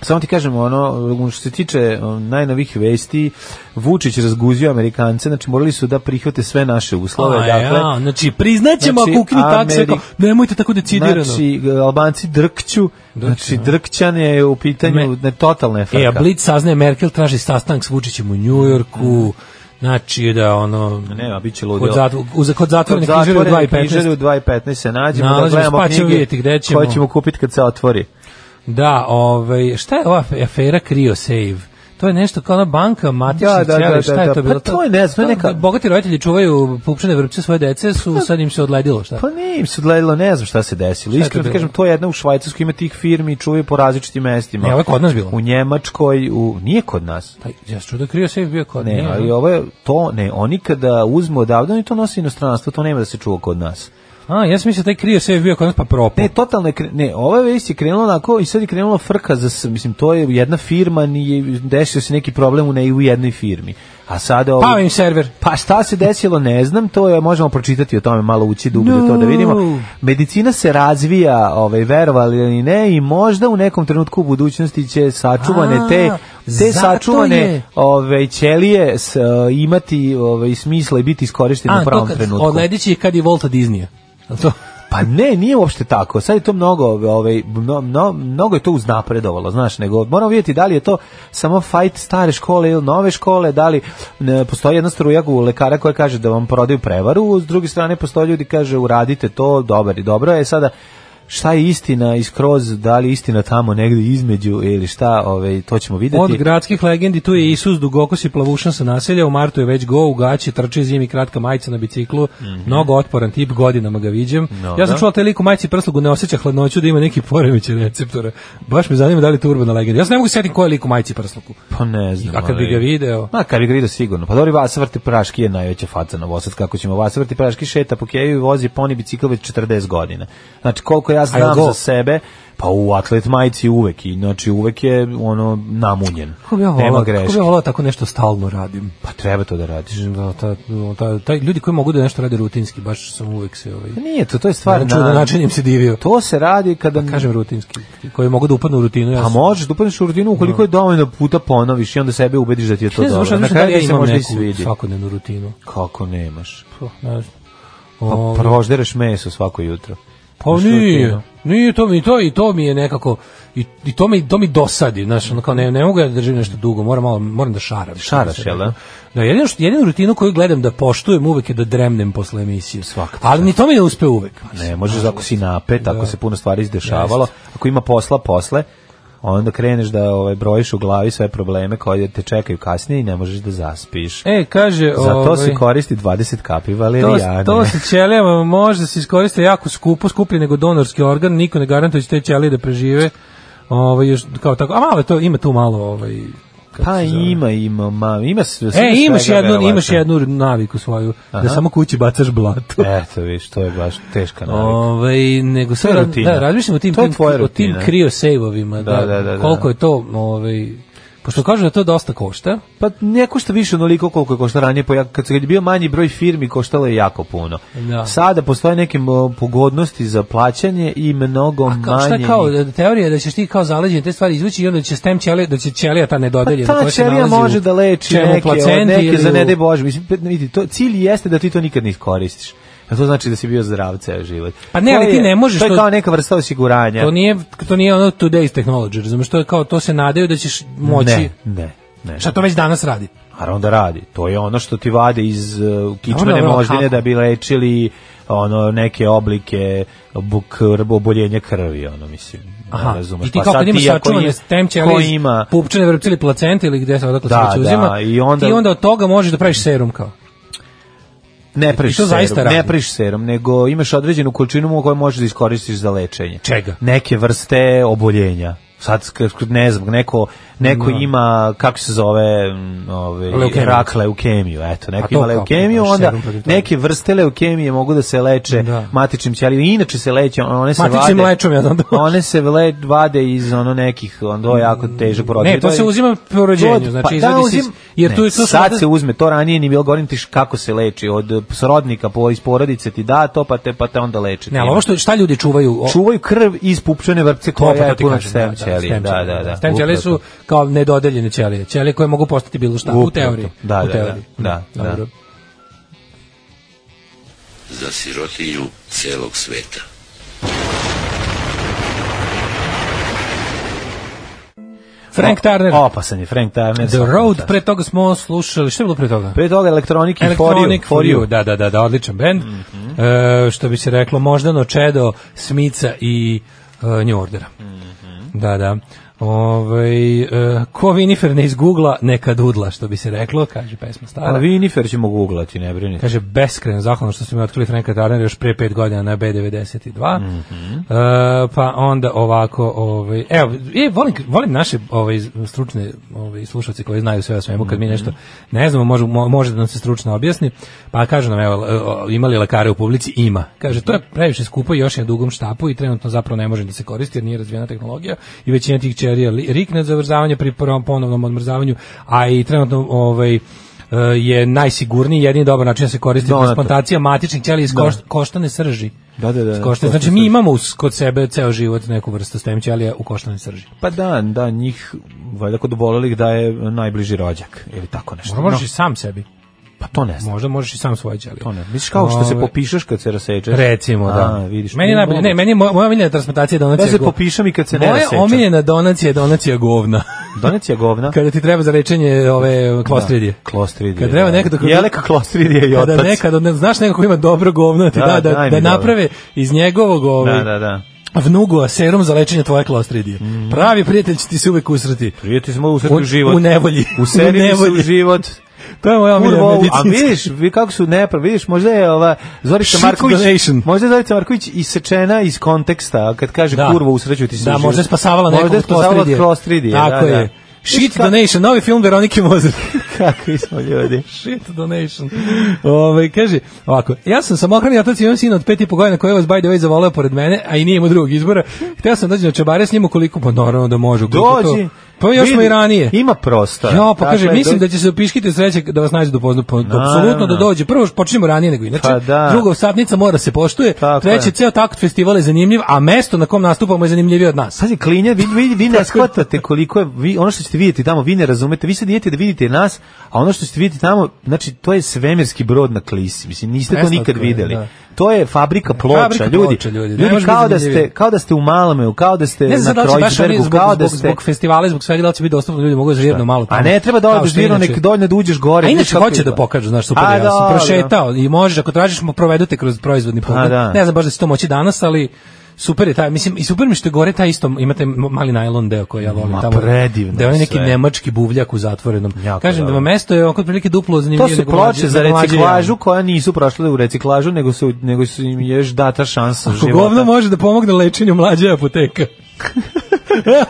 S6: Samo ti kažem, ono, što se tiče um, najnovih vesti, Vučić razguzio Amerikance, znači morali su da prihvate sve naše uslove,
S5: A,
S6: dakle,
S5: ja, znači, priznaćemo
S6: Znači,
S5: ako ukinu takse,
S6: Ameri-
S5: kao, nemojte tako decidirano.
S6: Znači, Albanci drkću, znači, drkćan je u pitanju
S5: Me-
S6: ne, totalna je frka.
S5: E, a Blitz saznaje Merkel traži sastanak s Vučićem u Njujorku, znači da ono...
S6: Ne, a bit će
S5: Kod
S6: ludilo.
S5: zatvo- uz- kod zatvorenih knjižara u 2.15.
S6: knjižare u 2.15 se nađemo, da
S5: Nalazimo se,
S6: gledamo
S5: pa ćemo
S6: knjige
S5: vidjeti gde ćemo.
S6: koje ćemo kupiti kad se otvori.
S5: Da, ovaj, šta je ova afera CryoSave? To je nešto kao ona banka matičnih
S6: Da, da,
S5: ćelija,
S6: da,
S5: šta
S6: da,
S5: je
S6: da.
S5: to
S6: Pa
S5: bilo?
S6: to je ne znam, to je neka-
S5: Bogati roditelji čuvaju pupčane vrpce svoje dece, su, sad im se odledilo, šta?
S6: Pa ne, im se odledilo, ne znam šta se desilo. Iskreno ti
S5: bilo?
S6: kažem, to je jedna u Švajcarskoj, ima tih firmi, čuvaju po različitim mestima.
S5: Ne, ovo je kod nas bilo.
S6: U Njemačkoj, u... nije kod nas.
S5: Pa, ja sam čuo da je CryoSave bio kod
S6: Ne,
S5: nje.
S6: ali ovo je to, ne, oni kada uzmu odavde, oni to nose inostranstvo, to nema da se čuva kod nas.
S5: A, ja sam mislio da je CryoSave bio kod nas, pa propao.
S6: Ne, totalno je, kre- ne, ova vest je krenula onako i sad je krenula frka za, s- mislim, to je jedna firma, nije, desio se neki problem u, ne, u jednoj firmi. A sada ovo...
S5: Pao im server.
S6: Pa šta se desilo, ne znam, to je možemo pročitati o tome malo ući dublje to da vidimo. Medicina se razvija, ovaj verovali ili ne, i možda u nekom trenutku u budućnosti će sačuvane
S5: A,
S6: te te
S5: zato
S6: sačuvane
S5: je.
S6: ovaj ćelije s, e, imati ovaj smisla i biti iskorištene u
S5: A, to
S6: pravom
S5: kad,
S6: trenutku.
S5: odledit će ih kad je Volta Disneya. Jel to?
S6: Pa ne, nije uopšte tako. Sad je to mnogo, ovaj, mno- mno- mnogo je to uznapredovalo, znaš, nego moramo vidjeti da li je to samo fight stare škole ili nove škole, da li ne, postoji jedna struja u lekara koja kaže da vam prodaju prevaru, s druge strane postoje ljudi kaže uradite to, dobar i dobro je sada šta je istina i skroz, da li je istina tamo negdje između ili šta, ovaj, to ćemo vidjeti.
S5: Od gradskih legendi tu je Isus Dugokos i plavušan sa naselja, u martu je već go u gaći, trče zimi kratka majica na biciklu,
S6: Mhm.
S5: mnogo otporan tip, godinama ga viđem. ja sam
S6: da.
S5: čuo taj lik u majici i prslugu ne osjeća hladnoću da ima neki poremećaj receptora. Baš me zanima da li je to urbana legenda. Ja se ne mogu sjetiti ko je lik u majici i prslugu.
S6: Pa ne znam.
S5: A kad bi
S6: ali-
S5: ga video...
S6: Ma, kad bi ga vidio sigurno. Pa dobro, Vasa vrti praški je najveća faca na Vosad, kako ćemo. Vasa vrti praški šeta po Keju i vozi poni bicikl već 40 godina. Znači, koliko ja
S5: A
S6: znam
S5: jel go?
S6: za sebe, pa u atlet majici uvek, i, znači uvek je ono namunjen.
S5: Kako bi ja
S6: Nema
S5: volao, kako
S6: greške.
S5: bi ja volao tako nešto stalno radim?
S6: Pa treba to da radiš.
S5: Da, ta, ta, taj- ljudi koji mogu da nešto rade rutinski, baš sam uvek se... Ovaj,
S6: Pa Nije to, to je stvar
S5: Znači, da
S6: na...
S5: načinim se divio.
S6: To se radi kada...
S5: Kažem rutinski, koji mogu da upadnu u rutinu. Ja
S6: A
S5: sam-
S6: možeš da upadneš u rutinu ukoliko je dovoljno puta ponoviš i onda sebe ubediš da ti je to
S5: Ne znam,
S6: dobro.
S5: možda
S6: Na
S5: da li ja
S6: kraju ti se
S5: imam
S6: možda i
S5: neku
S6: svidi.
S5: svakodnevnu rutinu.
S6: Kako nemaš?
S5: Ne znam.
S6: Pa
S5: Ovaj,
S6: proždereš meso svako jutro.
S5: Pa
S6: Imaš
S5: nije,
S6: rutinu.
S5: nije to mi i to i to mi je nekako i, i to mi to mi dosadi, znaš, ono kao ne, ne mogu ja da držim nešto dugo, moram malo moram da šaram.
S6: Šaraš, jel da?
S5: Da, jedinu, što- jedinu rutinu koju gledam da poštujem uvek je da dremnem posle emisije.
S6: Svaka čast.
S5: Ali ni to mi ne uspe uvek.
S6: Pa Ne, možeš ako si napet, ako
S5: Da.
S6: se puno stvari izdešavalo, ako ima posla posle, onda kreneš da ovaj brojiš u glavi sve probleme koje te čekaju kasnije i ne možeš da zaspiš.
S5: E, kaže,
S6: Zato se
S5: ovaj,
S6: koristi 20 kapi
S5: to,
S6: valerijane.
S5: to se ćelijama može da se iskoriste jako skupo, skuplje nego donorski organ, niko ne garantuje da će te ćelije da prežive. Ovaj još kao tako. A malo je to ima tu malo ovaj kako
S6: Pa
S5: se zove.
S6: ima, ima, ma, ima sve.
S5: E, imaš
S6: svega,
S5: jednu,
S6: verovatno.
S5: imaš jednu naviku svoju, da samo kući bacaš blato.
S6: Eto, viš, to je baš teška navika.
S5: Ovaj nego
S6: E, To
S5: sve
S6: je rutina.
S5: da razmišljam o tim
S6: To je
S5: tim,
S6: tvoja
S5: o tim
S6: rutina.
S5: krio saveovima,
S6: Da,
S5: da,
S6: da, da, da.
S5: koliko je to ovaj pošto kažu da to dosta košta.
S6: Pa ne košta više onoliko koliko je košta ranije, po, kad se kad je bio manji broj firmi koštalo je jako puno.
S5: Da.
S6: Sada postoje neke m, pogodnosti za plaćanje i mnogo
S5: A kao, šta
S6: manje.
S5: je kao da- teorija da ćeš ti kao zaleđen te stvari izvući i onda će stem ćelija da će ćelija ta nedodeljena
S6: Pa ta
S5: koja se
S6: ćelija
S5: nalazi u
S6: može da leči
S5: čemu,
S6: neke,
S5: placenti
S6: od neke
S5: ili
S6: za
S5: u-
S6: ne daj Bože. Mislim, pe- vidi, to, cilj jeste da ti to nikad ne iskoristiš. A to znači da si bio zdrav ceo život.
S5: Pa ne,
S6: To
S5: ali ti
S6: je-
S5: ne možeš
S6: To je
S5: to-
S6: kao neka vrsta osiguranja.
S5: To nije to nije ono today's technology, razumeš, to je kao to se nadaju da ćeš moći.
S6: Ne, ne, ne.
S5: Šta to već danas radi?
S6: Naravno da radi. To je ono što ti vade iz uh, kičmene
S5: Dobro, dobro,
S6: moždine
S5: kako?
S6: da bi lečili ono neke oblike buk- oboljenja krvi, ono mislim.
S5: Aha,
S6: razumeš.
S5: i ti
S6: Pa
S5: kako
S6: sad
S5: kad imaš
S6: ako
S5: sačuvane
S6: im-
S5: stem
S6: ko
S5: ćelije, iz
S6: ima,
S5: pupčane vrpce ili placente ili gde se odakle
S6: Da,
S5: se već
S6: da,
S5: uzima,
S6: i onda-
S5: ti onda od toga možeš da praviš serum kao.
S6: Ne
S5: I
S6: praviš
S5: to zaista
S6: serum, ne
S5: radi.
S6: praviš serum, nego imaš određenu količinu u kojoj možeš da iskoristiš za lečenje.
S5: Čega?
S6: Neke vrste oboljenja. Sad, sk- sk- ne znam, neko, neko ima, kako se zove, m, ovaj,
S5: Leukemiju.
S6: rak, leukemiju, eto, neko
S5: to
S6: ima
S5: kao,
S6: leukemiju,
S5: imaš
S6: onda
S5: serum protiv toga.
S6: neke vrste leukemije mogu da se leče
S5: Da.
S6: matičnim ćelijama, inače se leče, one se
S5: Matičnim
S6: vade,
S5: lečom, ja znam da može.
S6: one se vle, vade iz ono nekih, ono to je jako teže poroditi.
S5: Ne, to se uzima po rođenju, znači izvadi se, iz- jer
S6: Pa ne,
S5: tu je to
S6: sad se uzme, to ranije ni bilo govorim ti š- kako se leči, od srodnika, po, iz porodice ti da to, pa te, pa te onda leči.
S5: Ne, ali ovo što šta ljudi čuvaju, o-
S6: Čuvaju krv iz pupčane vrpce
S5: To,
S6: koja
S5: pa to
S6: je
S5: ti
S6: puna
S5: kažem,
S6: stem ćelija. Da, da, da.
S5: Stem ćelije su
S6: upravo to.
S5: kao nedodeljene ćelije, ćelije koje mogu postati bilo šta,
S6: Upravo
S5: u teoriji.
S6: to. Da,
S5: u
S6: da,
S5: teoriji.
S6: da, da,
S5: Dobro.
S9: za sirotinju celog sveta.
S5: Frank Turner,
S6: Opasan je Frank Turner.
S5: The
S6: svaka
S5: Road,
S6: čast.
S5: pre toga smo slušali, što je bilo pre toga?
S6: Pre toga Electronic,
S5: Electronic
S6: for you. Mhm. For you.
S5: Da, da, da, da, odličan band. E, što bi se reklo, moždano čedo, smica i e, New Ordera.
S6: Mhm.
S5: Da, da. Ovaj, e, ko Winifer ne iz Googla, neka dudla, što bi se reklo, kaže pesma stara.
S6: A Vinifer ćemo googlati, ne brinite.
S5: Kaže, beskreno zahvalno što su mi otkrili Franka Tarnera još pre pet godina na B92. E, pa onda ovako, ovaj, evo, e, volim, volim naše ovaj, stručne ovaj, slušalce koji znaju sve o svemu, kad mi nešto ne znamo, može, mo- može da nam se stručno objasni. Pa kažu nam, evo, e, imali lekare u publici? Ima. Kaže, to je previše skupo i još je na dugom štapu i trenutno zapravo ne može da se koristi jer nije razvijena tehnologija i većina tih ćelija li- rikne od zamrzavanja pri prvom ponovnom odmrzavanju, a i trenutno ovaj, e, je najsigurniji, jedini dobar način da se koristi
S6: Donator.
S5: transplantacija matičnih ćelija iz koš- koštane srži.
S6: Da, da, da,
S5: Iz koštane-
S6: da, koštane
S5: znači mi
S6: srži.
S5: imamo us- kod sebe ceo život neku vrstu stem ćelija u koštanoj srži.
S6: Pa da, da, njih, valjda kod obolelih da je najbliži rođak, ili tako nešto.
S5: Možda možeš
S6: No,
S5: i sam sebi.
S6: pa to ne znam.
S5: Možda možeš i sam svoje ćelije.
S6: To ne. Misliš kao što se
S5: Ove,
S6: popišeš kad se rasečeš?
S5: Ovaj- Recimo,
S6: A,
S5: da.
S6: vidiš,
S5: meni je
S6: nije
S5: najbolje, ne,
S6: moguće.
S5: meni je moja, moja omiljena transplantacija je donacija.
S6: Da se
S5: gov-
S6: popišem i kad se ne
S5: Moja
S6: rasečem.
S5: omiljena donacija je donacija govna.
S6: Donacija govna.
S5: Kada ti treba za lečenje ove klostridije.
S6: Da, klostridije.
S5: Kad treba
S6: da.
S5: nekad-
S6: Jeleka klostridije i
S5: Kada
S6: otac.
S5: nekad, od- ne, znaš nekako ima dobro govno, ti
S6: Da,
S5: da, da, da,
S6: daj mi dobro.
S5: naprave iz njegovog ovaj, ove,
S6: Da, da, da.
S5: vnugova serum za lečenje tvoje klostridije. Pravi prijatelj će ti se uvek usreti.
S6: Prijeti smo usreti u
S5: U-
S6: Mhm. život.
S5: u nevolji.
S6: U seri
S5: U
S6: mi se u
S5: nevolji.
S6: život.
S5: To je moja
S6: Kurvo,
S5: omiljena
S6: ovu- a
S5: medicinska.
S6: vidiš, vi kako su nepravi, vidiš, možda je ova Zorica
S5: Shit
S6: Marković,
S5: donation.
S6: možda je Zorica Marković isečena iz konteksta, kad kaže
S5: Da.
S6: kurvo usreću ti se u
S5: Da,
S6: život.
S5: možda je spasavala nekog
S6: Možda je spasavala od
S5: klostridije.
S6: klostridije.
S5: Tako
S6: da,
S5: je.
S6: Da.
S5: Shit
S6: Kako-
S5: Donation, novi film Veronike Mozart.
S6: Kakvi smo ljudi.
S5: Shit donation. Ove, kaže, ovako, ja sam samohrani otac i imam sina od pet i po godina koji je vas by the way zavoleo pored mene, a i nije imao drugog izbora. Hteo sam dođi na čabare s njim ukoliko, pa naravno da može. ukoliko
S6: Dođi.
S5: to- Pa još smo
S6: Vidi,
S5: i ranije.
S6: Ima prostora.
S5: Jo, pa kaže,
S6: Dakle,
S5: mislim
S6: do-
S5: da će se upiškiti sreće da vas nađe do pozno. Pa,
S6: Naravno.
S5: apsolutno da dođe. Prvo počinjemo ranije nego inače.
S6: Pa da.
S5: Drugo, satnica mora se poštuje.
S6: Tako
S5: Treće,
S6: je.
S5: ceo takt festival je zanimljiv, a mesto na kom nastupamo je zanimljivije od nas.
S6: Sad je klinja, vi, vi, vi ne shvatate koliko je, vi, ono što ćete vidjeti tamo, vi ne razumete, vi sad idete da vidite nas, a ono što ćete vidjeti tamo, znači, to je svemirski brod na klisi, mislim, niste to
S5: Preslatko
S6: nikad
S5: E je,
S6: videli.
S5: da.
S6: To je fabrika ploča,
S5: Fabrika
S6: ljudi.
S5: ploča, ljudi, ne
S6: ljudi
S5: može
S6: kao,
S5: biti
S6: da ste,
S5: zanimljivije.
S6: kao da ste u Malmeu, kao da ste
S5: Ne
S6: na
S5: znam da li će baš oni
S6: Krojčbergu,
S5: zbog,
S6: kao da
S5: zbog,
S6: ste...
S5: zbog festivala i zbog svega da li će biti dostupno ljudi mogu zažirno malo tamo.
S6: A ne treba da
S5: Kao
S6: odeš
S5: što
S6: dirno,
S5: inače.
S6: nek dođe da uđeš gore.
S5: A
S6: vidiš
S5: inače
S6: kako
S5: hoće da
S6: izgleda.
S5: pokažu, znaš, super,
S6: A,
S5: ja sam
S6: dobro.
S5: prošetao i možeš, ako tražiš, mo- provedete kroz proizvodni pogled.
S6: da.
S5: Ne znam baš da se to moći danas, ali super je taj, mislim, i super mi je što je gore taj isto, imate m- mali najlon deo koji ja volim
S6: Ma,
S5: tamo.
S6: predivno
S5: Da je onaj neki
S6: sve.
S5: nemački buvljak u zatvorenom.
S6: Jako
S5: Kažem da
S6: dobro.
S5: vam mesto je oko prilike duplo
S6: To
S5: zanimljivije.
S6: su
S5: nego mlađe-
S6: ploče za
S5: nego mlađe ono.
S6: reciklažu
S5: ja.
S6: koja nisu prošle u reciklažu, nego su, nego su im još data šansa
S5: Ako
S6: života.
S5: govno može da pomogne lečenju mlađe apoteka.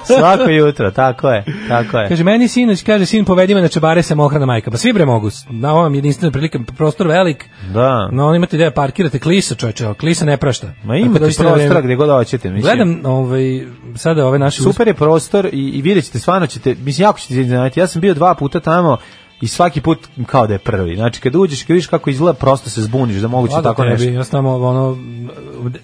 S6: Svako jutro, tako je, tako je.
S5: Kaže, meni sinoć, kaže, sin povedi me na čebare sam ohrana majka. Pa svi bre mogu, na ovom jedinstvena prilika, prostor velik,
S6: Da.
S5: no on imate ideja, parkirate klisa, čoveče, evo, klisa ne prašta.
S6: Ma
S5: Tako
S6: ima
S5: da dođite na
S6: prostora
S5: vreme.
S6: gdje god hoćete, mislim.
S5: Gledam, ovaj, sada ove naše...
S6: Super je prostor i, i vidjet ćete, stvarno ćete, mislim, jako ćete se iznenaditi. Ja sam bio dva puta tamo i svaki put kao da je prvi. Znači, kad uđeš, kad vidiš kako izgleda, prosto se zbuniš da moguće
S5: Hvala
S6: tako
S5: tebi,
S6: nešto.
S5: Ja sam tamo, ono,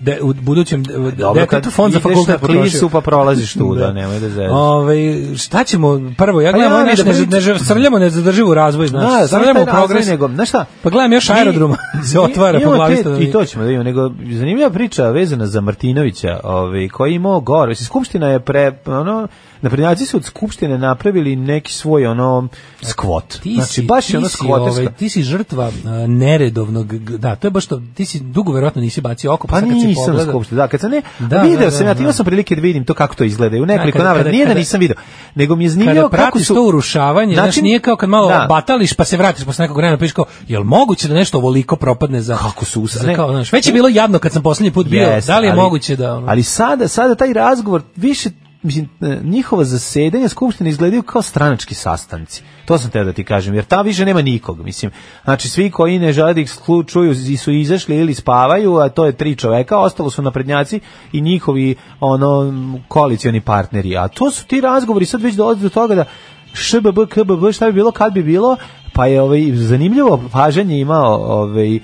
S5: de, u budućem de, detetu fond za
S6: ideš
S5: fakultet
S6: na klisu pa prolaziš tu, da, nemoj da zezaš.
S5: Ove, šta ćemo, prvo, ja
S6: Pa
S5: gledam,
S6: ja
S5: ja,
S6: vidim
S5: naš,
S6: da
S5: ne, ne,
S6: pričam.
S5: ne, srljamo nezadrživu razvoj, znači,
S6: Da, samo
S5: srljamo
S6: taj
S5: u progres,
S6: razvoj, nego, znaš šta?
S5: pa gledam još
S6: Mi-
S5: aerodroma, se
S6: mi-
S5: otvara po
S6: imamo
S5: glavi
S6: te- I
S5: stanovnika.
S6: to ćemo da imamo, nego zanimljiva priča vezana za Martinovića, ovaj, koji je imao gore. Mislim, Skupština je pre, ono, naprednjaci su od Skupštine napravili neki svoj, ono, skvot.
S5: ti
S6: Znači,
S5: si,
S6: baš je
S5: ti
S6: ono
S5: si,
S6: skvoterska.
S5: ovaj, ti si žrtva a, neredovnog, g- da, to je baš to, ti si dugo verovatno nisi bacio oko, pa,
S6: Pa
S5: sad kad si
S6: nisam
S5: pogledao-
S6: skupšte, da, kad sam ne,
S5: Da,
S6: video
S5: da, da,
S6: sam ja,
S5: da.
S6: imao sam prilike da vidim to kako to izgleda, i u nekoliko
S5: kada-
S6: navrata,
S5: kada-
S6: nije da
S5: kada-
S6: nisam video, nego mi je
S5: kada
S6: zanimljivo kako
S5: pratiš
S6: su...
S5: to urušavanje, znaš,
S6: Način-
S5: nije kao kad malo
S6: Da.
S5: batališ pa se vratiš posle nekog vremena pa viš kao, jel moguće da nešto ovoliko propadne za...
S6: Kako su usa-
S5: za
S6: ne.
S5: kao, znaš, već je bilo jadno kad sam poslednji put bio,
S6: Jeste,
S5: da li je
S6: ali-
S5: moguće da... Ono,
S6: Ali sada, sada taj razgovor više mislim e, njihova zasedanja skupštine izgledaju kao stranački sastanci. To sam teo da ti kažem, jer tam više nema nikog, mislim. Znači svi koji ne žele da ih slu- čuju i su izašli ili spavaju, a to je tri čoveka, ostalo su naprednjaci i njihovi ono koalicioni partneri. A to su ti razgovori sad već dolazi do toga da ŠBB, KBB, šta bi bilo kad bi bilo, pa je ovaj, zanimljivo pažanje imao ovaj,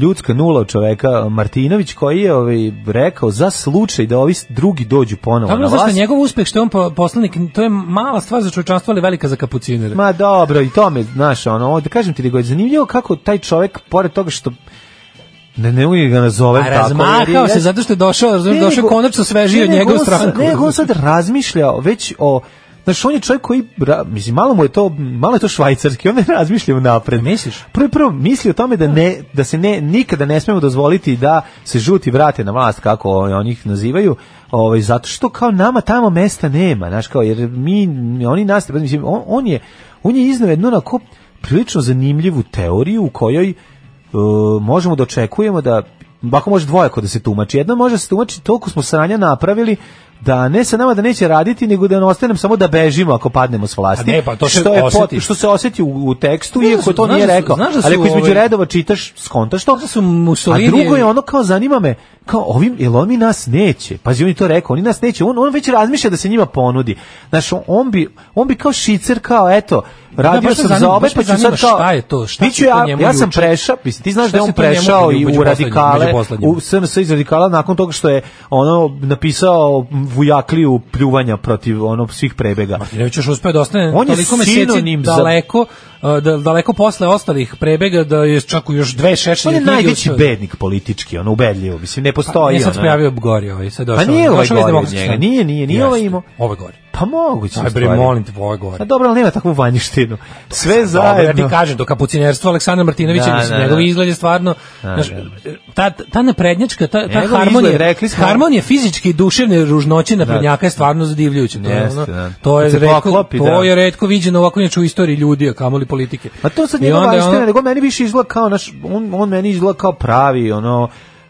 S6: ljudska nula od čoveka Martinović koji je ovaj, rekao za slučaj da ovi drugi dođu ponovo na
S5: Dobro, zašto
S6: vlast.
S5: njegov uspeh što je on po- poslanik, to je mala stvar za čovječanstvo, ali velika za kapucinere.
S6: Ma dobro, i to me, znaš, ono, da kažem ti da je zanimljivo kako taj čovek, pored toga što ne, ne mogu ga nazovem
S5: A
S6: tako. jer
S5: razmakao
S6: je-
S5: se zato što je došao, razumiješ,
S6: Ne,
S5: došao je
S6: nego-
S5: konačno svežiji
S6: ne,
S5: od
S6: nego
S5: njega u
S6: on sad-
S5: stranku.
S6: Ne, nego on sad razmišljao već o Znaš, on je čovjek koji, ra- mislim, malo mu je to, malo je to švajcarski, on ne razmišlja unapred.
S5: Misliš?
S6: Prvo, prvo misli o tome da, ne, da se ne, nikada ne smemo dozvoliti da se žuti vrate na vlast, kako ovaj, oni ih nazivaju, ovaj, zato što kao nama tamo mesta nema, znaš, kao, jer mi, oni nas, mislim, on, on je, on je iznao jednu onako prilično zanimljivu teoriju u kojoj e, možemo da očekujemo da Bako može dvojako da se tumači. Jedna može da se tumači toliko smo sranja napravili da ne sa nama da neće raditi, nego da ne ostanem samo da bežimo ako padnemo s vlasti.
S5: A ne, pa to se
S6: što, je
S5: osjeti.
S6: što se osjeti u, u tekstu,
S5: Znaš da
S6: iako
S5: su-
S6: to
S5: znaš
S6: nije
S5: da su-
S6: rekao.
S5: znaš da su
S6: Ali ako između
S5: ovaj-
S6: redova čitaš, skontaš to.
S5: Da su
S6: A
S5: Mussolini...
S6: drugo je ono kao zanima me, kao ovim, jel oni nas neće? Pazi, on je to rekao, oni nas neće, on, on već razmišlja da se njima ponudi. Znaš, on, on bi, on bi kao šicer, kao eto, radio
S5: baš me
S6: sam za
S5: zanima-
S6: ove,
S5: baš
S6: pa
S5: me
S6: ću sad
S5: zanima
S6: kao...
S5: šta je to, šta
S6: Bit ću
S5: se to
S6: ja,
S5: njemu
S6: ja sam
S5: juče-
S6: prešao, mislim, ti znaš
S5: šta
S6: da je
S5: se
S6: on
S5: to njemu
S6: prešao
S5: među-
S6: i
S5: među
S6: u
S5: poslednjim-
S6: radikale,
S5: među poslednjim?
S6: u SNS iz radikala nakon toga što je ono napisao vujakliju pljuvanja protiv ono svih prebega.
S5: Martinović još uspeo da ostane
S6: On je
S5: toliko meseci
S6: sinonim za-
S5: daleko, a, da, daleko posle ostalih prebega da je čak u još dve
S6: On
S5: šešelje
S6: je
S5: knjige.
S6: najveći
S5: uspeo-
S6: bednik politički, ono ubedljivo, mislim, ne
S5: Pa,
S6: postoji.
S5: Nije sad se
S6: ono.
S5: pojavio Gori ovaj, sad došao.
S6: Pa nije ovaj
S5: došao iz
S6: gori od
S5: Demokratske
S6: njega,
S5: stranke.
S6: nije, nije, nije
S5: Jeste,
S6: ovaj imao.
S5: Ovaj Gori.
S6: Pa moguće.
S5: Aj bre,
S6: stvari.
S5: molim te, ovo je gore. Pa,
S6: Pa dobro, ali nema takvu vanjštinu. Sve
S5: Dobro, ja ti
S6: zajedno.
S5: kažem, do kapucinerstva Aleksandra Martinovića,
S6: Da,
S5: mislim,
S6: da,
S5: njegov
S6: da.
S5: izgled je stvarno, znaš, ta, ta naprednjačka, ta, ta
S6: Njegov
S5: harmonija,
S6: izgled, rekli smo-
S5: harmonija fizičke i duševne ružnoće naprednjaka je stvarno zadivljujuća. To, je,
S6: Jeste,
S5: ono-
S6: da.
S5: to je
S6: Kad se
S5: retko,
S6: poklopi,
S5: to
S6: da.
S5: je retko viđeno ovako inače u istoriji ljudi, a kamoli politike.
S6: Ma to sad
S5: I
S6: nije
S5: onda je ono-
S6: vanjština, nego meni više izgleda kao naš, on, on meni izgleda kao pravi, ono,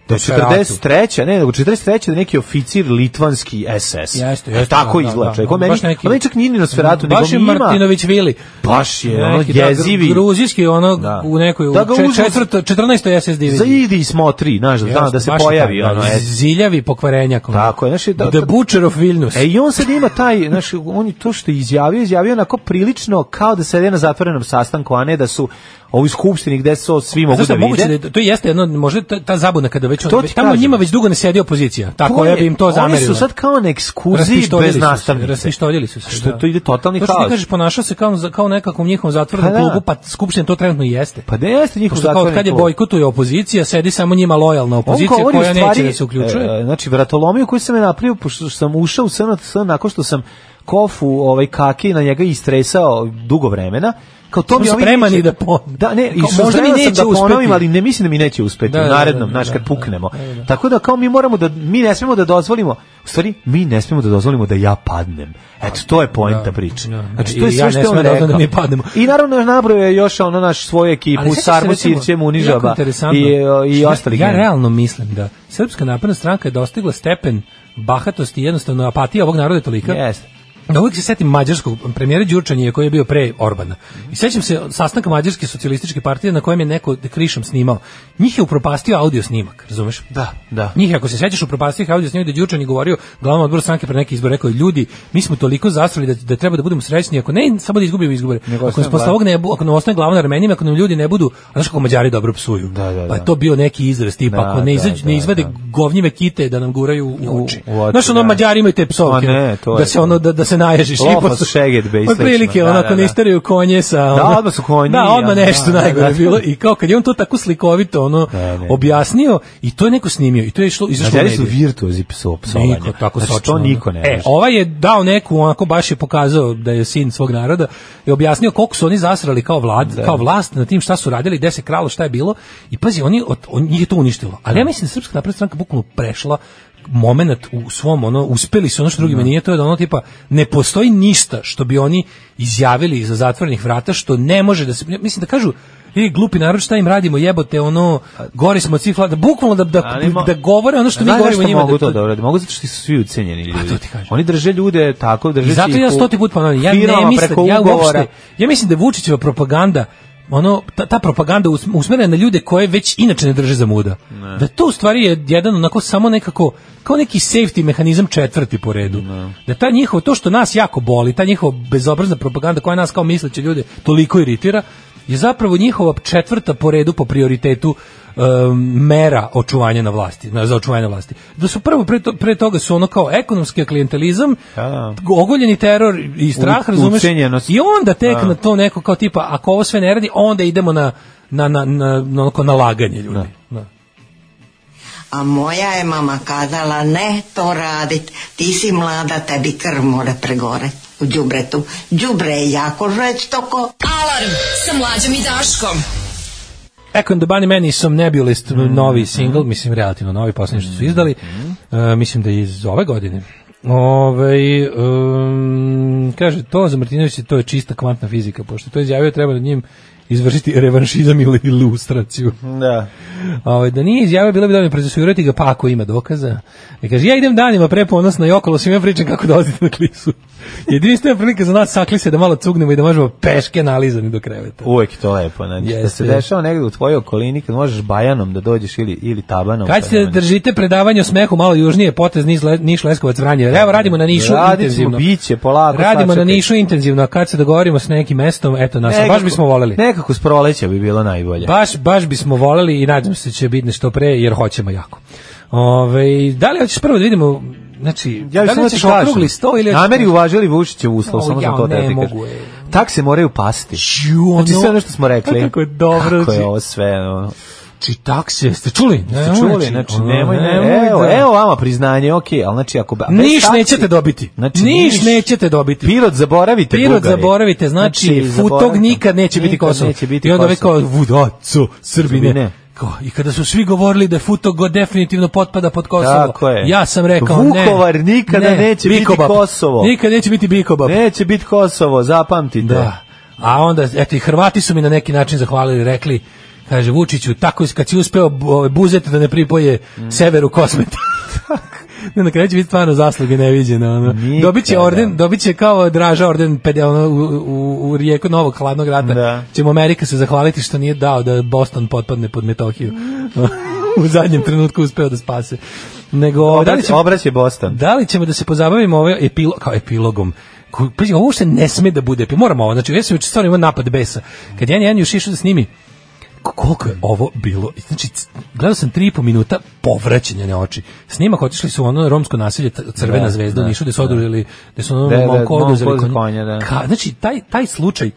S6: da je
S5: Desperatu.
S6: 43. Ne, nego 43. da je neki oficir litvanski SS.
S5: Jeste,
S6: E,
S5: jeste.
S6: Tako
S5: da, da,
S6: izgleda
S5: da,
S6: čovjek.
S5: da,
S6: On meni,
S5: baš neki-
S6: on meni čak nije ni na sferatu, nego
S5: Baš je
S6: mi ima...
S5: Martinović Vili.
S6: Baš je, ono,
S5: Neki, da, gru-
S6: jezivi.
S5: Gruzijski, ono,
S6: Da.
S5: u nekoj, u
S6: Da ga
S5: čet-
S6: uzmu-
S5: četvrto- 14. SS diviziji.
S6: Zaidi i smotri, znaš, da, da,
S5: Jasno,
S6: da se
S5: baš je
S6: pojavi,
S5: taj,
S6: ono,
S5: da,
S6: SS.
S5: e, Ziljavi pokvarenjak. ono.
S6: Tako je, znaš, da-
S5: The Butcher of Vilnius.
S6: E i on sad ima taj, znaš, on je to što je izjavio, izjavio onako prilično kao da sede na zatvorenom sastanku, a ne da su ovi skupštini gde su svi mogu
S5: Znaš
S6: da
S5: šta, moguće
S6: vide.
S5: da je- to jeste jedno, možda je ta, ta zabuna kada već
S6: To
S5: on,
S6: ti
S5: tamo
S6: kažem.
S5: njima već dugo ne sjedi opozicija. Tako
S6: To
S5: ja
S6: je-
S5: bi im to zamerila.
S6: Oni su sad kao na ekskurziji
S5: Raspištoljili
S6: bez
S5: su se,
S6: nastavnice.
S5: Raspištoljili su se.
S6: Što
S5: da.
S6: to ide totalni
S5: To što ti
S6: haos.
S5: kažeš, ponašao se kao, kao nekakvom njihovom zatvornom
S6: Pa da.
S5: klubu, pa skupština to trenutno i jeste.
S6: Pa da jeste njihov
S5: Pošto kao
S6: zatvoreni
S5: od kad je
S6: klub.
S5: bojkotuje opozicija, sedi samo njima lojalna
S6: On
S5: opozicija
S6: govori u
S5: koja neće
S6: stvari,
S5: da se uključuje.
S6: e, znači, vratolomiju koju sam je napravio, pošto sam ušao u SNS nakon što sam kofu ovaj kaki na njega istresao dugo vremena, kao to
S5: Smo
S6: mi ovi
S5: spremani
S6: neće-
S5: da pon-
S6: da ne i
S5: Kao,
S6: možda
S5: možda mi
S6: sam
S5: neće
S6: da ponovim
S5: uspeti.
S6: ali ne mislim da mi neće uspeti
S5: Da, da,
S6: u
S5: da,
S6: narednom
S5: da,
S6: znaš
S5: da,
S6: kad
S5: da,
S6: puknemo tako da kao mi moramo da mi ne smemo da dozvolimo u stvari mi ne smemo da dozvolimo da ja padnem eto to je poenta priče
S5: da.
S6: znači
S5: I
S6: to
S5: ja
S6: je sve
S5: ne
S6: što je on
S5: smem da
S6: rekao
S5: dozvolim da mi padnemo.
S6: i naravno nabrojao je još ono naš svoju ekipu
S5: Ali sećaš se,
S6: Sarmu
S5: recimo,
S6: Sirćem
S5: jako
S6: Unižaba
S5: interesantno.
S6: i i
S5: Ja-
S6: ostalih
S5: Ja
S6: ne.
S5: realno mislim da Srpska napredna stranka je dostigla stepen bahatosti i jednostavno apatija ovog naroda je tolika.
S6: Jeste.
S5: Da uvijek se setim mađarskog premijera Đurčanije koji je bio pre Orbana. I sećam se sastanka Mađarske socijalističke partije na kojem je neko krišom snimao. Njih je upropastio audio snimak, razumeš?
S6: Da, da.
S5: Njih, ako se sećaš, upropastio ih audio snimak da je Đurčan je govorio glavnom odboru stranke pre neki izbor, rekao je, ljudi, mi smo toliko zasrali da, da treba da budemo srećni, ako ne, samo da izgubimo izbore.
S6: Nego
S5: Ako nas
S6: ostane
S5: posle
S6: glavni.
S5: ovog ne, bu- ako nam ostane glavna Armenima, ako nam ljudi ne budu, a znaš kako Mađari dobro psuju.
S6: Da, da,
S5: Pa je
S6: da.
S5: to bio neki izraz, tipa,
S6: Da,
S5: ako ne,
S6: da,
S5: izađu,
S6: da,
S5: ne izvade
S6: da.
S5: govnjive kite da nam guraju u,
S6: u
S5: oči.
S6: oči,
S5: Znaš, ono,
S6: da.
S5: Mađari imaju te psovke,
S6: A ne, to
S5: da
S6: je
S5: se
S6: to.
S5: ono, da, da se se naježiš.
S6: Lofa
S5: posle-
S6: s šeget, be, i
S5: Otprilike,
S6: slično, da,
S5: ono,
S6: da,
S5: ako
S6: da.
S5: ne isteraju konje sa... ono-
S6: odmah su konji,
S5: Da, odmah
S6: ono,
S5: nešto
S6: da,
S5: najgore
S6: da.
S5: bilo. I kao kad je on to tako slikovito ono,
S6: Da, ne.
S5: objasnio i to je neko snimio i to je išlo, izašlo u
S6: Mađari su
S5: medije.
S6: virtuozi pso- psovanja.
S5: Niko tako
S6: znači,
S5: sočno,
S6: to
S5: ono.
S6: niko ne
S5: E,
S6: može.
S5: ovaj je dao neku, onako baš je pokazao da je sin svog naroda i objasnio koliko su oni zasrali kao vlad, kao vlast na tim šta su radili, gde se kralo, šta je bilo. I pazi, oni od, on, njih je to uništilo. Ali ja mislim da je Srpska napredna stranka bukvalno prešla moment u svom ono uspeli su ono što drugima nije to je da ono tipa ne postoji ništa što bi oni izjavili iza zatvorenih vrata što ne može da se mislim da kažu i glupi narod šta im radimo jebote ono gori smo od svih vlada bukvalno da da,
S6: Ali mo-
S5: da govore ono što mi
S6: Znaš
S5: govorimo
S6: zašto
S5: njima
S6: mogu
S5: da
S6: to
S5: to-
S6: da urade? Mogu zato što su svi ucenjeni ljudi.
S5: to ti kažem.
S6: Oni drže ljude tako, drže
S5: I zato
S6: ih
S5: ja
S6: u
S5: stoti put ponavljam, ja ne
S6: firmama preko
S5: mislim, ja
S6: ugovora.
S5: uopšte, ja mislim da je Vučićeva propaganda ono, ta, ta propaganda us- usmerena na ljude koje već inače ne drže za muda. Da to u stvari je jedan onako samo nekako, kao neki safety mehanizam četvrti po redu. Da ta njihova, to što nas jako boli, ta njihova bezobrazna propaganda koja nas kao misleće ljude toliko iritira, je zapravo njihova četvrta po redu po prioritetu em, mera očuvanja na vlasti, na, za očuvanje vlasti. Da su prvo pre, to- pre toga su ono kao ekonomski klientelizam,
S6: da.
S5: ogoljeni teror i strah,
S6: U-
S5: razumeš?
S6: ucenjenost.
S5: I onda tek na to neko kao tipa, ako ovo sve ne radi, onda idemo na, na, na, na, na onako nalaganje ljudi. Da.
S2: A moja je mama kazala ne to radit, ti si mlada, tebi krv mora pregore u đubretu. Đubre je jako žestoko.
S4: Alarm sa mlađom i Daškom.
S5: Echo and the Bunnymen i Some Nebulist, novi single, mislim relativno novi, posljednji što su izdali, E, mislim da je iz ove godine. Ove, kaže, to za Martinovića to je čista kvantna fizika, pošto je to izjavio treba nad njim izvršiti revanšizam ili ilustraciju.
S6: Da.
S5: Ovaj, da nije izjavio, bilo bi dobro procesuirati ga, pa ako ima dokaza. I kaže, ja idem danima preponosno i okolo svima pričam kako dolazite na klisu. Jedinstvena prilika za nas sakli se da malo cugnemo i da možemo peške nalizani do kreveta.
S6: Uvek je to lepo, znači, da
S5: Jeste.
S6: se dešava negde u tvojoj okolini, kad možeš bajanom da dođeš ili, ili tabanom.
S5: Kad
S6: pa
S5: ćete
S6: nema
S5: da držite predavanje o smehu malo južnije, potez Niš, Le- Niš Leskovac Vranje. Evo radimo na Nišu
S6: Radit ćemo,
S5: intenzivno.
S6: bit će, polako,
S5: Radimo na
S6: sačekaj.
S5: Nišu intenzivno, a kad se dogovorimo s nekim mestom, eto nas,
S6: Nekako-
S5: baš bismo voleli.
S6: Nekako s proleća bi bilo najbolje.
S5: Baš, baš bismo voleli i nadam se će biti nešto pre, jer hoćemo jako. Ove, da li hoćeš prvo da vidimo, znači,
S6: Ja bih
S5: da li
S6: samo
S5: hoćeš
S6: ti kažem.
S5: okrugli sto ili... hoćeš-
S6: Nameri uvažili Vučićev uslov,
S5: O,
S6: samo sam
S5: ja,
S6: to
S5: ne
S6: teo ti kažem.
S5: mogu, ej.
S6: Tak se moraju pasti.
S5: Ču,
S6: Znači
S5: ono-
S6: sve ono što smo rekli.
S5: Kako je dobro,
S6: Kako je
S5: znači.
S6: ovo sve, ono.
S5: Znači, tak se, ste čuli?
S6: Ste
S5: Evo,
S6: čuli, znači,
S5: ono,
S6: nemoj, ne,
S5: nemoj
S6: evo,
S5: da-
S6: evo vama priznanje, okej, ali znači ako... a bez
S5: Niš
S6: taksi-
S5: nećete dobiti.
S6: Znači,
S5: Niš nećete dobiti.
S6: Pirot zaboravite,
S5: Pirot
S6: Bugari.
S5: zaboravite, znači, futog
S6: zaboravite.
S5: nikad neće biti
S6: Nikad
S5: Kosovo.
S6: neće biti
S5: I onda ove
S6: Kosovo.
S5: kao, vudaco, Srbine.
S6: Srbine.
S5: Kao, I kada su svi govorili da Futog go definitivno potpada pod Kosovo,
S6: Tako je.
S5: ja sam rekao ne.
S6: Vukovar nikada neće biti
S5: Bikobab.
S6: Kosovo.
S5: Nikad neće biti Bikobab.
S6: Neće biti Kosovo, zapamtite.
S5: Da. A onda, eto, i Hrvati su mi na neki način zahvalili, rekli, kaže, Vučiću, tako je kad si uspeo bu- ovaj, buzet da ne pripoje
S6: Mm.
S5: severu kosmeta. ne, na kraju će biti stvarno zasluge neviđene. Ono.
S6: Nikada.
S5: Dobit će orden, dobit će kao draža orden pede, ono, u, u, u rijeku Novog hladnog rata.
S6: Da.
S5: Će mu Amerika se zahvaliti što nije dao da Boston potpadne pod Metohiju. u zadnjem trenutku uspeo da spase. Nego, da li
S6: Obrać,
S5: će-
S6: obrać je Boston.
S5: da li ćemo da se pozabavimo ovaj epilo, kao epilogom? Ko- Pazi, ovo uopšte ne sme da bude epilog. Moramo ovo. Znači, ja sam juče stvarno imao napad besa. Kad ja jedan još išao da snimi, k- koliko je ovo bilo? Znači, c- gledao sam tri i po minuta povraćanja na oči. Snimak otišli su u ono romsko nasilje t- Crvena
S6: Da,
S5: zvezda u
S6: da,
S5: Nišu, gde su oduzeli, gde su ono
S6: Da, da,
S5: momku oduzeli
S6: momku od
S5: konje.
S6: konja, da.
S5: Ka- znači, taj, taj slučaj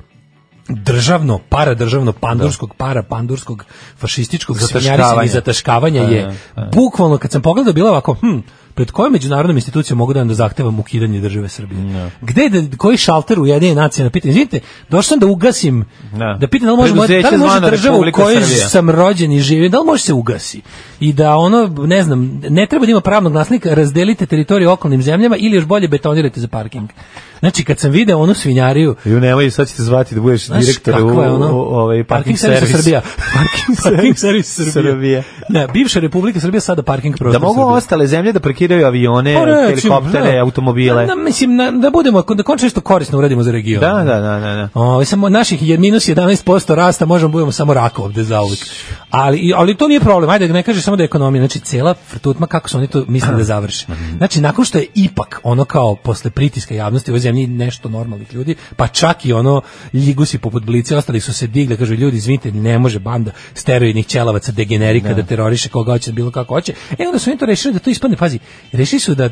S5: državno, paradržavno, pandurskog, parapandurskog, fašističkog svinjarisanja i
S6: Zataškavanja.
S5: zataškavanja
S6: Da,
S5: je
S6: da,
S5: bukvalno kad sam pogledao bilo ovako, hm, pred kojom međunarodnom institucijom mogu da vam da zahtevam ukidanje države Srbije? Gde da koji šalter u jedne nacije na pitanje? Izvinite, došao sam da ugasim.
S6: Da.
S5: Da pitam da li može moja- da
S6: Preduzeće
S5: li može
S6: zvano
S5: država u
S6: Republika
S5: kojoj
S6: Srbija.
S5: sam rođen i živim, da li može se ugasi? I da ono, ne znam, ne treba da ima pravnog nasnika, razdelite teritoriju okolnim zemljama ili još bolje betonirajte za parking. Znači, kad sam video onu svinjariju,
S6: Ju nemoj, sad će te zvati da budeš
S5: Znaš
S6: direktor u,
S5: kakva je
S6: u,
S5: ono?
S6: ovaj parking, servis.
S5: Srbija. parking, servis Srbija.
S6: Srbija.
S5: Ne, bivša Republika Srbija sada parking
S6: Da
S5: prostor
S6: mogu
S5: Srbije.
S6: ostale zemlje da parkiraju avione,
S5: Pa reći,
S6: helikoptere,
S5: da.
S6: automobile.
S5: Da, mislim, na- da budemo, da konačno nešto korisno uradimo za region.
S6: Da, da, da, da. da.
S5: Ovaj, samo naših je minus 11% rasta, možemo budemo samo raka ovde za Ali, i- ali to nije problem, ajde ne kažeš samo da je ekonomija, znači cela frtutma kako su oni to misle da završe. Znači nakon što je ipak ono kao posle pritiska javnosti u ovoj zemlji nešto normalnih ljudi, pa čak i ono ljigusi poput blice, ostali su se digli, kažu ljudi izvinite, ne može banda steroidnih ćelavaca, degenerika da teroriše koga hoće, bilo kako hoće. E onda su oni to rešili da to ispadne, pazi, rešili su da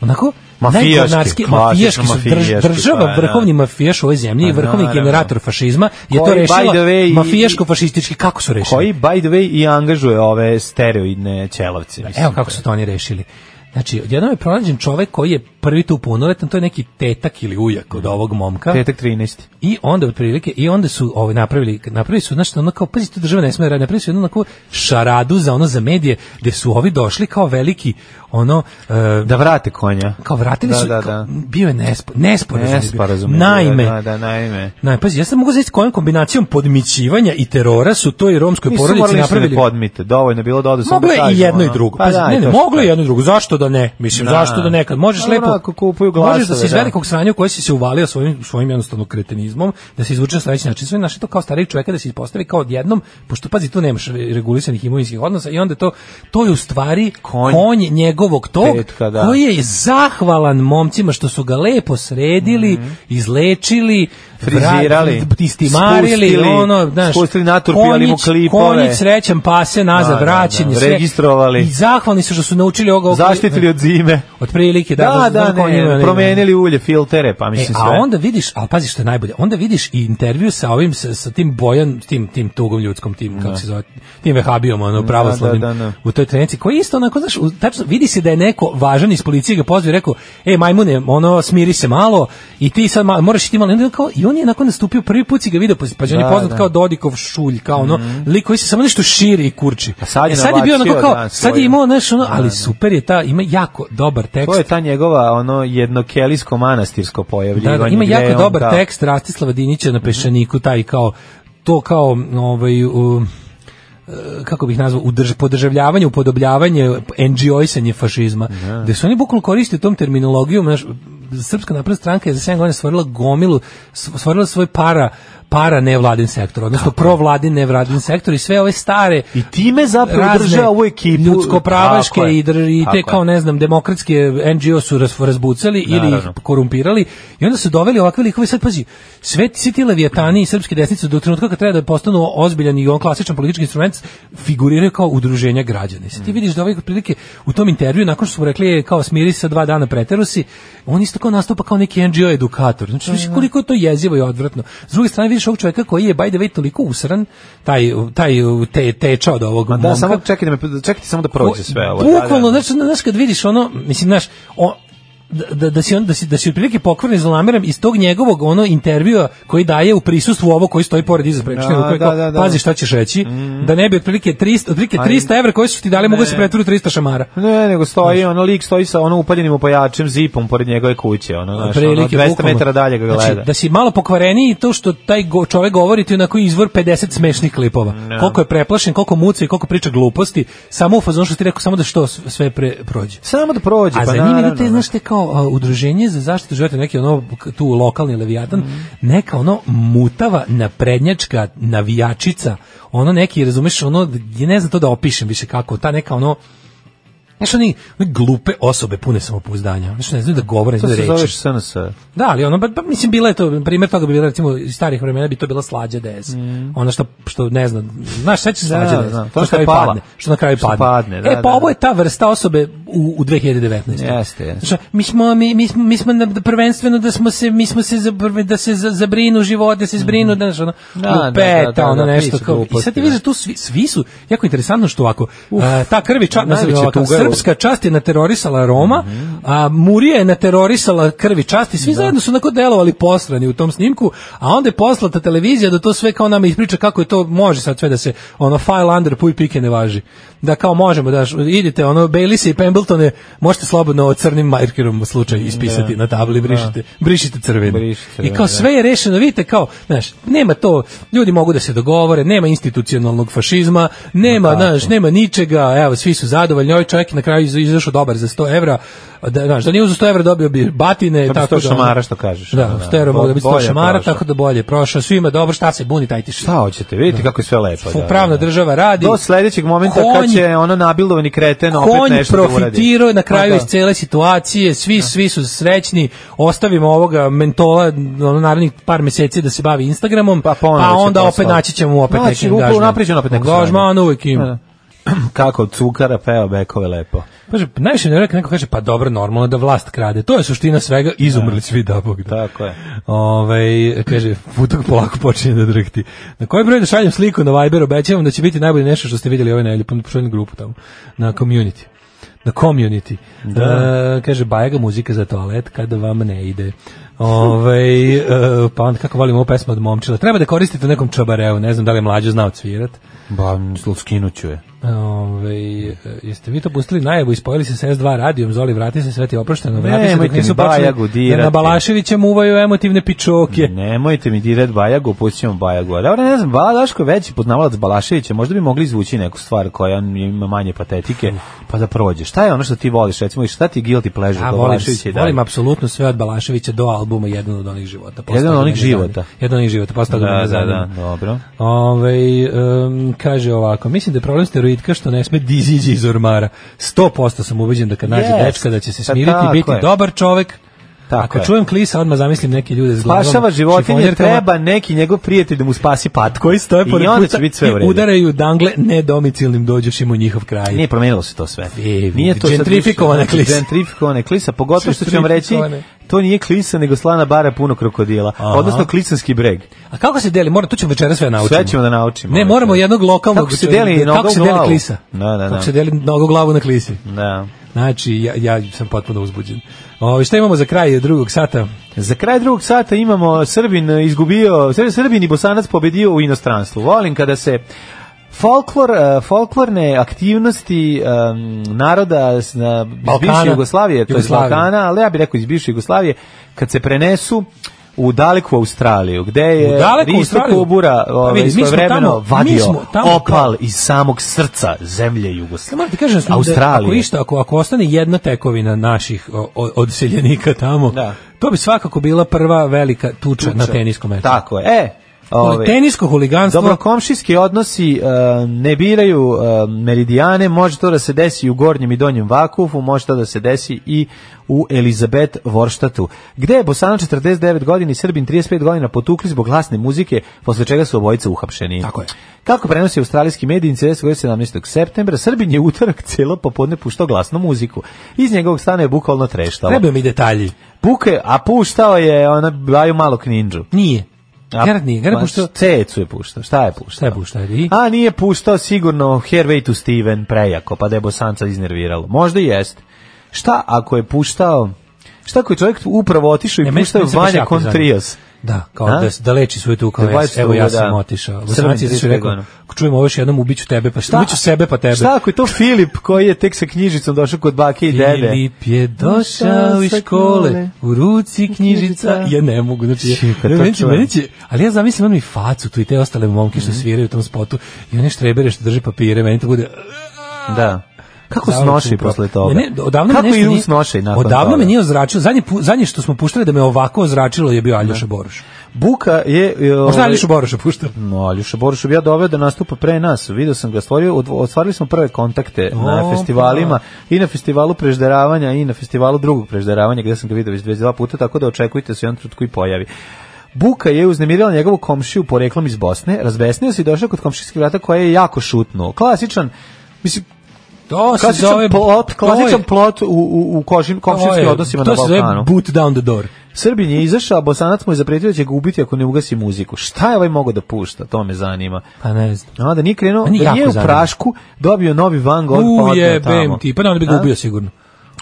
S5: onako
S6: Mafijaški,
S5: najgornarski-
S6: klasično
S5: mafijaški su drž-
S6: mafijaški,
S5: država,
S6: pa da.
S5: vrhovni mafijaš u ovoj zemlji i
S6: Pa
S5: vrhovni
S6: naravno.
S5: generator fašizma je to
S6: Koji, by
S5: rešila
S6: the way, i-
S5: mafijaško-fašistički. Kako su rešili?
S6: Koji, by the way, i angažuje ove stereoidne ćelovce. mislim.
S5: Evo kako su to oni rešili. Znači, odjednom je pronađen čovek koji je prvi tu punoletan, to je neki tetak ili ujak od ovog momka.
S6: Petak 13.
S5: I onda otprilike i onda su ovaj napravili napravili su znači ono kao pazi to država ne sme da radi napravili su jednu onako šaradu za ono za medije gde su ovi došli kao veliki ono e,
S6: Da vrate konja.
S5: kao vratili
S6: da,
S5: su
S6: da,
S5: kao-
S6: da.
S5: bio je nespo, nesporazum je bio.
S6: Nesporazum je bio,
S5: naime
S6: Da, da, naime.
S5: naime, pazi ja sam mogu znači kojom kombinacijom podmićivanja i terora su to i romskoj
S6: Nisu
S5: porodici
S6: morali ništa
S5: napravili
S6: da podmite, dovoljno je bilo da odu samo
S5: Moglo
S6: da
S5: je i
S6: kažemo,
S5: jedno i
S6: ono.
S5: drugo.
S6: Pa
S5: Pazi,
S6: da,
S5: ne, ne,
S6: to što
S5: moglo je
S6: je.
S5: jedno i drugo. Zašto da ne? Mislim,
S6: Da.
S5: zašto da ne? Kad možeš
S6: Pa
S5: lepo...
S6: onako, kupuju
S5: Možeš da
S6: glasove,
S5: se iz
S6: da.
S5: velikog sranja u koje si se uvalio svojim, svojim jednostavno kretenizmom, da se izvuče na sledeći način. Sve naši to kao starijeg čoveka da se ispostavi kao odjednom, pošto pazi, tu nemaš re- regulisanih imovinskih odnosa i onda je to, to je u stvari konj,
S6: Konj.
S5: njegovog tog,
S6: Petka, da.
S5: koji je zahvalan momcima što su ga lepo sredili, izlečili,
S6: Mhm. Frizirali,
S5: vrat- istimarili,
S6: spustili,
S5: ono, znaš,
S6: spustili naturpijali mu
S5: konjić-
S6: klipove.
S5: konjić srećan pase nazad,
S6: Da, da,
S5: vraćen je
S6: da,
S5: sve.
S6: registrovali.
S5: I zahvalni su što su naučili ovoga.
S6: Zaštitili od zime.
S5: Otprilike, da,
S6: Da,
S5: znam
S6: da,
S5: kao njima,
S6: ne, promenili ulje, filtere, pa
S5: E,
S6: mislim sve.
S5: a onda vidiš, ali pazi što je najbolje, onda vidiš i intervju sa ovim, sa, sa tim Bojan, tim, tim tugom ljudskom, tim, kako se zove, tim vehabijom, ono, pravoslavnim,
S6: da, da.
S5: u toj trenci, koji je isto onako, znaš, u- tačno, vidi se da je neko važan iz policije ga pozvao i rekao, e, majmune, ono, smiri se malo i ti sad ma- moraš i ti malo, i onda kao, i on je nakon nastupio prvi put si ga video, pa, pa je on je
S6: Da,
S5: poznat
S6: da.
S5: kao Dodikov šulj, kao ono, lik koji se samo nešto širi i kurči.
S6: A Pa sad je
S5: E, sad je bio onako
S6: nabacio,
S5: kao,
S6: da,
S5: sad je
S6: svojim.
S5: imao, znaš, ono,
S6: Da,
S5: ali
S6: da.
S5: super je ta, ima jako dobar tekst.
S6: To je ta njegova ono jednokelijsko manastirsko
S5: Da,
S6: pojavljivanje.
S5: da, ima
S6: gde je
S5: jako
S6: on,
S5: dobar
S6: da.
S5: tekst Rastislava Dinića na Pešaniku, taj kao, to kao, ovaj, u, e, kako bih nazvao, udrž, podržavljavanje, upodobljavanje, NGO-isanje fašizma, gde su oni bukvalno koristili tom terminologijom, znaš, Srpska napredna stranka je za 7 godina stvorila gomilu, sv- stvorila svoj para para nevladin sektor, odnosno provladin nevladin sektor i sve ove stare
S6: I time zapravo
S5: razne
S6: država ovu ekipu.
S5: ljudsko-pravaške
S6: Tako je,
S5: i, dr- i
S6: tako
S5: te
S6: je.
S5: kao ne znam demokratske NGO su raz- razbucali ili ih
S6: Naravno.
S5: korumpirali i onda su doveli ovakve likove sad pazi sve ti- svi ti levijatani i srpske desnice do trenutka kad treba da postanu ozbiljan i on klasičan politički instrument figuriraju kao udruženja građana I sad
S6: Mm.
S5: ti vidiš da ovaj otprilike u tom intervju nakon što su mu rekli e, kao smiri se sa dva dana preterusi on isto kao nastupa kao neki NGO edukator znači vidiš koliko je to jezivo i odvratno s druge strane vidiš ovog čovjeka koji je by the way toliko usran taj taj te, teča od ovog
S6: Ma da,
S5: momka.
S6: samo čekajte, me, čekajte samo da prođe sve ovo.
S5: Bukvalno, znači, znaš, kad vidiš ono, mislim, znaš, o, da, da si on da si da si otprilike pokvaren zlonameran iz tog njegovog ono intervjua koji daje u prisustvu ovo koji stoji pored iza prekršajnog
S6: Da,
S5: koji
S6: da,
S5: kao,
S6: da, Mhm. da.
S5: pazi šta ćeš reći da ne bi otprilike 300 otprilike 300 evra koji su ti dali mogu se pretvoriti u 300 šamara
S6: Ne, nego stoji, ono lik stoji sa ono upaljenim opajačem zipom pored njegove kuće, ono, znaš, ono,
S5: Otprilike,
S6: 200
S5: bukvalno.
S6: metara dalje ga gleda.
S5: Znači, da si malo pokvareniji to što taj go, čovjek govori ti je onako izvor 50 smešnih klipova. Koliko je preplašen, koliko muca i koliko priča gluposti, samo u fazonu što ti rekao, samo da što sve pre, prođe.
S6: Samo da prođe,
S5: A
S6: pa
S5: zanimljivo je da
S6: naravno.
S5: te, znaš, te kao a, udruženje za zaštitu života, neki ono, k- tu lokalni levijatan, neka ono mutava naprednjačka navijačica, ono neki, razumeš, ono, ja ne znam to da opišem više kako, ta neka ono, Znaš, oni, one glupe osobe pune samopouzdanja. Znaš, ne znaju da govore, ne
S6: To
S5: znaju
S6: se
S5: da reče.
S6: zoveš SNS.
S5: Da, ali ono, pa, pa, mislim, bila je to, primjer toga bi bila, recimo, iz starih vremena bi to bila slađa DS. Ono što, što ne znam, znaš, sećaš se slađa DS?
S6: Mm. znam. To
S5: na
S6: što
S5: kraju
S6: je pala.
S5: padne. Što na kraju
S6: Što
S5: padne.
S6: padne, da,
S5: e, pa
S6: da,
S5: ovo
S6: da.
S5: je ta vrsta osobe u, u 2019.
S6: Jeste, jeste.
S5: Znaš, mi smo, mi, mi, smo- mi smo na- prvenstveno da smo se, mi smo se za, prve- da se za, zabrinu život, da se zbrinu, znaš, ono,
S6: Mhm. da, da,
S5: lupeta,
S6: da, da,
S5: ono
S6: da,
S5: nešto
S6: pišu
S5: kao. I sad
S6: gluposti,
S5: ti
S6: da.
S5: vidiš, tu svi, svi su, jako interesantno što ako, a, ta krvi, ča,
S6: najveća
S5: ovako,
S6: tuga je ovo.
S5: srpska čast je naterorisala Roma, a Murija je naterorisala krvi časti, svi zajedno su onako delovali posrani u tom snimku, a onda je poslata televizija da to sve kao nama ispriča kako je to može sad sve da se ono file under puj pike ne važi. Da kao možemo da š- idite ono Bailey i Pembertone možete slobodno crnim markerom u slučaju ispisati na tabli brišite brišite crveno.
S6: Brišite
S5: I
S6: crveno,
S5: kao
S6: da.
S5: sve je rešeno, vidite kao, znaš, nema to, ljudi mogu da se dogovore, nema institucionalnog fašizma, nema, znaš, nema ničega, evo, svi su zadovoljni, ovaj čovjek je na kraju iz- izašao dobar za 100 evra, da, znaš, da nije uzao 100 evra dobio bi batine,
S6: bi
S5: tako
S6: 100
S5: da...
S6: šamara, što kažeš,
S5: Da,
S6: ono,
S5: 100 evra
S6: da.
S5: mogu da biti 100
S6: Bolje
S5: šamara,
S6: prošao.
S5: tako da bolje je prošao, svima je dobro, šta se buni, taj ti
S6: Šta hoćete, vidite kako je sve lepo. da, da, da.
S5: Pravna država radi.
S6: Do sledećeg momenta kad
S5: Konj-
S6: će ono nabildovani kreten opet
S5: konj
S6: nešto da uradi.
S5: profitirao je na kraju
S6: Pa
S5: iz
S6: da.
S5: cele situacije, svi svi su srećni, ostavimo ovoga mentola ono, narednih par meseci da se bavi Instagramom,
S6: Pa
S5: pa,
S6: ponovo će
S5: onda opet
S6: poslati.
S5: naći ćemo opet
S6: Naći,
S5: neki
S6: upravo
S5: angažman.
S6: napravit će on opet neko
S5: Angažman
S6: sranje.
S5: uvek ima.
S6: Da, da. kako od cukara peo bekove lepo.
S5: Kaže, najviše ne neko kaže, pa dobro, normalno da vlast krade. To je suština svega, izumrli svi da Bog da.
S6: Tako je.
S5: Ovaj kaže, putok polako počinje da drhti. Na koji broj da šaljem sliku na Viber, obećavam da će biti najbolje nešto što ste vidjeli ove nedelje, pa pošaljem grupu tamo, na community. Na community. E, kaže, bajega muzika za toalet kada vam ne ide. Ovaj e, pa onda kako volim ovu pesmu od momčila. Treba da koristite u nekom čobareu, ne znam da li je mlađo znao cvirat.
S6: Ba, skinuću je.
S5: Ove, e, jeste vi to pustili najavu i spojili se sa S2 radijom, Zoli, vrati se, sve ti je oprošteno, vrati se dok
S6: Nemojte
S5: nisu
S6: mi Bajagu
S5: počeli da
S6: dirati.
S5: na Balaševića muvaju emotivne pičoke.
S6: Nemojte mi dirat Bajagu, pućemo Bajagu. A Dobro, ne znam, Bala Daško je veći poznavalac Balaševića, možda bi mogli izvući neku stvar koja ima manje patetike, pa da prođe. Šta je ono što ti voliš, recimo, i šta ti je guilty pleasure
S5: Ja
S6: kod
S5: volim,
S6: Balaševića i dalje?
S5: Pa, volim apsolutno sve od Balaševića do albuma Jedan od onih života. Postalo
S6: Jedan od onih
S5: me ne zanima.
S6: života.
S5: Jedan od onih života, postao da, me ne
S6: Da, da,
S5: zanima.
S6: da, dobro.
S5: Ovaj, em, kaže ovako, mislim da je problem steroidka što ne sme da iziđe iz ormara. 100% sam ubeđen da kad nađe
S6: Yes.
S5: dečka da će se
S6: Pa
S5: smiriti i
S6: tako
S5: biti
S6: je.
S5: dobar čovek.
S6: Tako
S5: Ako
S6: je.
S5: čujem klisa, odmah zamislim neke ljude s glavom.
S6: Spašava životinje,
S5: šifonjerkama.
S6: treba neki njegov prijatelj da mu spasi patku.
S5: koji stoje
S6: I
S5: pored
S6: onda
S5: puta
S6: će biti sve u
S5: i
S6: redu.
S5: udaraju dangle nedomicilnim dođošim u njihov kraj.
S6: Nije promenilo se to
S5: E,
S6: sve.
S5: Evi,
S6: Nije to sad više-
S5: gentrifikovana klisa.
S6: Gentrifikovana klisa, pogotovo što ću vam reći,
S5: Gentrifikovane.
S6: to nije klisa nego slana bara puno krokodila, odnosno klisanski breg.
S5: A kako se deli? Moram, tu ćemo večeras sve naučiti.
S6: Sve ćemo da naučimo.
S5: Ne, moramo jednog lokalnog...
S6: Kako se deli
S5: kako
S6: nogom
S5: se deli
S6: glavu?
S5: klisa?
S6: Da, da, da.
S5: Kako se deli nogu glavu na klisi?
S6: Da.
S5: Znači, ja, ja sam potpuno uzbuđen. O, šta imamo za kraj drugog sata?
S6: Za kraj drugog sata imamo Srbin izgubio, Sr- Srbin i Bosanac pobedio u inostranstvu. Volim kada se folklor, eh, folklorne aktivnosti em, naroda s- na, iz
S5: Balkana.
S6: bivše Jugoslavije, to je
S5: Jugoslavije.
S6: Balkana, ali ja bih rekao iz bivše Jugoslavije, kad se prenesu u daleku Australiju, gde je
S5: daleku
S6: Risto
S5: Australiju?
S6: Kobura
S5: Pa
S6: ovaj,
S5: vidi, mi smo
S6: svojevremeno
S5: tamo- mi
S6: vadio
S5: smo tamo
S6: opal iz samog srca zemlje
S5: Ja
S6: Jugoslavije.
S5: moram ti kažem da smo- da, ako
S6: Australije.
S5: išta, ako, ako ostane jedna tekovina naših o- o- odseljenika tamo,
S6: Da.
S5: to bi svakako bila prva velika tuča, na teniskom meču.
S6: Tako je. E,
S5: Ono,
S6: ovaj,
S5: Tenisko huliganstvo,
S6: Dobro, komšijski odnosi e, ne biraju e, meridijane, može to da se desi i u Gornjem i Donjem Vakufu, može to da se desi i u Elizabet Vorštatu, gde je Bosana 49 godina i Srbin 35 godina potukli zbog glasne muzike, posle čega su obojica uhapšeni.
S5: Tako je.
S6: Kako prenosi australijski medij incident koji je 17. septembra, Srbin je u utorak cijelo popodne puštao glasnu muziku. Iz njegovog stana je bukvalno treštalo.
S5: trebaju mi detalji.
S6: Puke, a puštao je ona baju malo kninđu.
S5: Nije.
S6: A-
S5: Gerard nije. Gerard
S6: Ma,
S5: pošto...
S6: Cecu je puštao. Šta je puštao?
S5: Šta je pušta? I?
S6: A nije puštao sigurno Hervey to Steven prejako, pa da je Bosanca iznerviralo. Možda i jest. Šta ako je puštao... Šta ako je čovjek upravo otišao i
S5: E, meni-
S6: puštao
S5: meni se baš
S6: Vanja
S5: jako zanima.
S6: Kontrios?
S5: Da, kao
S6: A?
S5: da, da leči svoju tu kao
S6: Da
S5: ja,
S6: leči
S5: evo ja
S6: tugu,
S5: sam
S6: da.
S5: otišao.
S6: Srbin
S5: Bosanac je
S6: iz
S5: izašao i rekao,
S6: Irana.
S5: ako čujem ovo još jednom, ubiću tebe, pa šta? Ubiću sebe, pa tebe.
S6: Šta ako je to Filip koji je tek sa knjižicom došao kod bake i dede?
S5: Filip je došao iz škole, u ruci knjižica. Ja ne mogu, znači,
S6: Čekaj,
S5: ja,
S6: to
S5: meni će,
S6: čujem. Mhm.
S5: meni će, ali ja zamislim on mi facu tu i te ostale momke što sviraju u tom spotu i one štrebere što drže papire, meni to bude...
S6: Da. Kako
S5: Davno
S6: snoši
S5: sam pro- E,
S6: posle toga?
S5: Ne, ne, odavno
S6: Kako
S5: me nešto
S6: idu
S5: nije-
S6: snoši nakon
S5: Odavno
S6: toga?
S5: me nije ozračilo. Zadnje, pu- zadnje što smo puštali da me ovako ozračilo je bio Aljoša Boruš.
S6: Buka je... e,
S5: Možda
S6: Mhm. ovaj-
S5: Aljoša Boruša puštao.
S6: No, Aljuša Borušov ja doveo da nastupa pre nas. Video sam ga, stvorio, od- ostvarili smo prve kontakte na
S5: O,
S6: festivalima i na festivalu prežderavanja i na festivalu drugog prežderavanja gde sam ga video već 22 puta, tako da očekujte da se u jednom trenutku i pojavi. Buka je uznemirila njegovu komšiju poreklom iz Bosne, razbesnio se i došao kod komšijskih vrata koja je jako šutnuo. Klasičan, mislim,
S5: To se
S6: klasičan
S5: zove...
S6: plot,
S5: to je-
S6: klasičan plot u, u, u košin, komšijskim
S5: to je-
S6: odnosima na
S5: To se zove
S6: Balkanu.
S5: boot down the door.
S6: Srbin je izašao, a Bosanac mu je zapretio da će ga ubiti ako ne ugasi muziku. Šta je ovaj mogao da pušta? To me zanima.
S5: Pa ne znam.
S6: A da nije krenuo,
S5: Meni
S6: da
S5: Pa jako
S6: nije u
S5: zanima.
S6: Prašku dobio novi Van Gogh, pa odneo tamo.
S5: Ujebem ti, pa ne, onda bi ga
S6: A?
S5: ubio sigurno.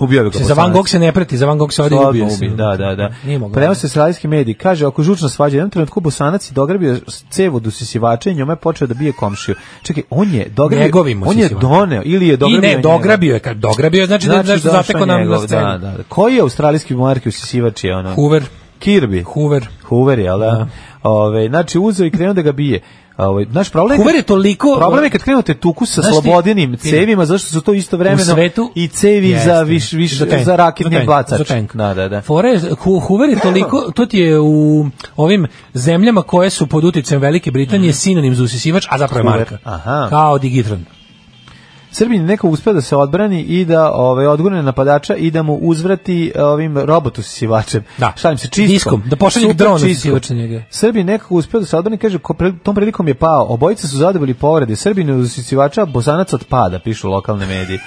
S6: Ubio bi ga
S5: Se za Van
S6: Bosanac.
S5: Gogh se ne preti, za Van Gogh se odi i
S6: Odmah
S5: ubio
S6: ubi,
S5: se.
S6: Da, da, da.
S5: Nije mogao.
S6: Prema se slavijski mediji. Kaže, ako žučna svađa, u jednom trenutku Bosanac je dograbio s- cev od usisivača i njome je počeo da bije komšiju. Čekaj, on je dograbio,
S5: Njegovim
S6: on je
S5: usisivačem.
S6: doneo ili je
S5: I
S6: dograbio
S5: ne,
S6: njega?
S5: dograbio je, kad dograbio je, znači, da je
S6: Znači,
S5: nešto
S6: došao
S5: zateko nam na
S6: njegov,
S5: scenu.
S6: Da, da, da. Koji je australijski monarki usisivač je ono?
S5: Hoover,
S6: Kirby.
S5: Hoover.
S6: Hoover, jel da? Ove, znači, uzeo i krenuo da ga bije. Ove, naš problem
S5: Hoover je toliko...
S6: Problem je kad krenuti tuku sa
S5: Znaš ti-
S6: slobodinim
S5: vidi.
S6: cevima, zašto su to isto vremeno
S5: u svetu
S6: i cevi
S5: Jeste.
S6: za viš, viš, za,
S5: tank,
S6: raketni
S5: tank,
S6: bacač.
S5: za tank.
S6: Da, da, da.
S5: Fora je, Hu- Hoover je toliko, to ti je u ovim zemljama koje su Mhm. pod uticajem Velike Britanije sinonim za usisivač, a zapravo je
S6: Hoover,
S5: marka.
S6: aha.
S5: Kao Digitron.
S6: Srbin neko uspeo da se odbrani i da ovaj odgurne napadača i da mu uzvrati eh, ovim robotu sisivačem.
S5: Da.
S6: Šalim se čistkom.
S5: Diskom, da pošalje
S6: Super
S5: dron
S6: čistkom.
S5: sisivač na njega.
S6: Srbin nekako uspeo da se odbrani, kaže, ko pre- tom prilikom je pao. Obojica su zadobili povrede. Srbin od sisivača, bosanac od pada, pišu lokalne medije.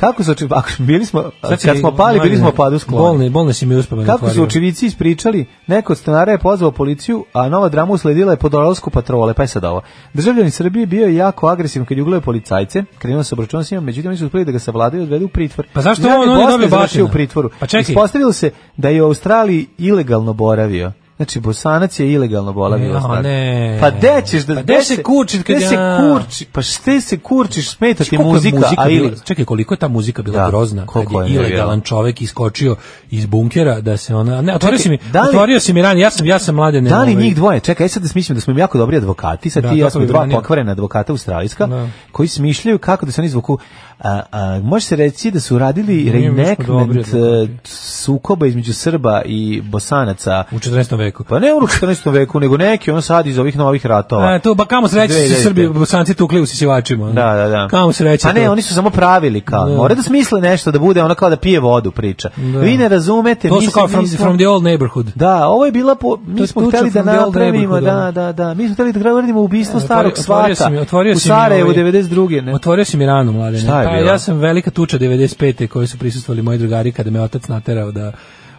S6: Kako su oči... Ako bili smo,
S5: Sad si-
S6: kad smo pali, bili smo o padu skloni.
S5: Bolne, bolne si mi uspomenu.
S6: Kako su očivici ispričali, neko od stanara je pozvao policiju, a nova drama usledila je po dolasku patrole, pa je sad ovo. Državljanin Srbije bio je jako agresivan kad je ugleo policajce, krenuo se obračun s njima, međutim oni su uspeli da ga savladaju i odvedu u pritvor.
S5: Pa zašto
S6: Dragi
S5: on- on je
S6: Bosna
S5: dobio
S6: završio
S5: batina?
S6: u pritvoru.
S5: Pa čekaj.
S6: Ispostavilo se da je u Australiji ilegalno boravio. Znači, Bosanac je ilegalno boravio. u
S5: Ja,
S6: Australiji.
S5: ne.
S6: Pa de ćeš da...
S5: Pa de se kučit kad
S6: de se
S5: ja- Znači,
S6: kurči, pa šte se kurčiš, smeta ti muzika, a
S5: bila-
S6: ili-
S5: čekaj, koliko je ta muzika bila
S6: Da,
S5: grozna kad
S6: koliko
S5: je,
S6: je,
S5: ilegalan čovjek iskočio iz bunkera da se ona... Ne, otvorio si mi,
S6: da li-
S5: otvorio si mi ranije, ja sam, ja sam mladen.
S6: Da li
S5: ovaj,
S6: njih dvoje? Čekaj, aj sad da smišljam da smo im jako dobri advokati, sad
S5: Da,
S6: ti i ja
S5: kako
S6: smo
S5: bi
S6: dva
S5: branio.
S6: pokvarena advokata australijska,
S5: Da.
S6: koji smišljaju kako da se oni zvuku... A, a, može se reći da su radili
S5: mi smo dobri
S6: reenactment e,
S5: advokati.
S6: sukoba između Srba i Bosanaca.
S5: U 14. veku.
S6: Pa ne u 14. veku, nego neki on sad iz ovih novih ratova.
S5: A, E, to, ba kamo sreće su
S6: 2000.
S5: se Srbi, bosanci tukli u sisivačima. ono.
S6: Pa. Da, da, da.
S5: Kamo sreće
S6: Pa ne,
S5: to.
S6: oni su samo pravili kao.
S5: Da.
S6: Mora da smisle nešto da bude ono kao da pije vodu priča. Vi ne razumete,
S5: To
S6: mi
S5: su
S6: se
S5: kao from,
S6: nismo-
S5: from the old neighborhood.
S6: Da, ovo je bila po,
S5: To
S6: mi
S5: je
S6: smo
S5: tuča
S6: hteli da
S5: from the old
S6: napravimo,
S5: neighborhood,
S6: da,
S5: ono. E,
S6: da, da. Mi smo hteli da radimo ubistvo
S5: Otvorio-
S6: starog
S5: otvorio
S6: svaka.
S5: si mi- otvorio
S6: u
S5: si mi
S6: Sarajevu
S5: ovaj-
S6: 92. ne.
S5: Otvorio si mi ranu, mladene.
S6: Šta je
S5: Pa,
S6: bilo?
S5: ja sam velika tuča 95. koju su prisustvovali moji drugari kada me otac naterao da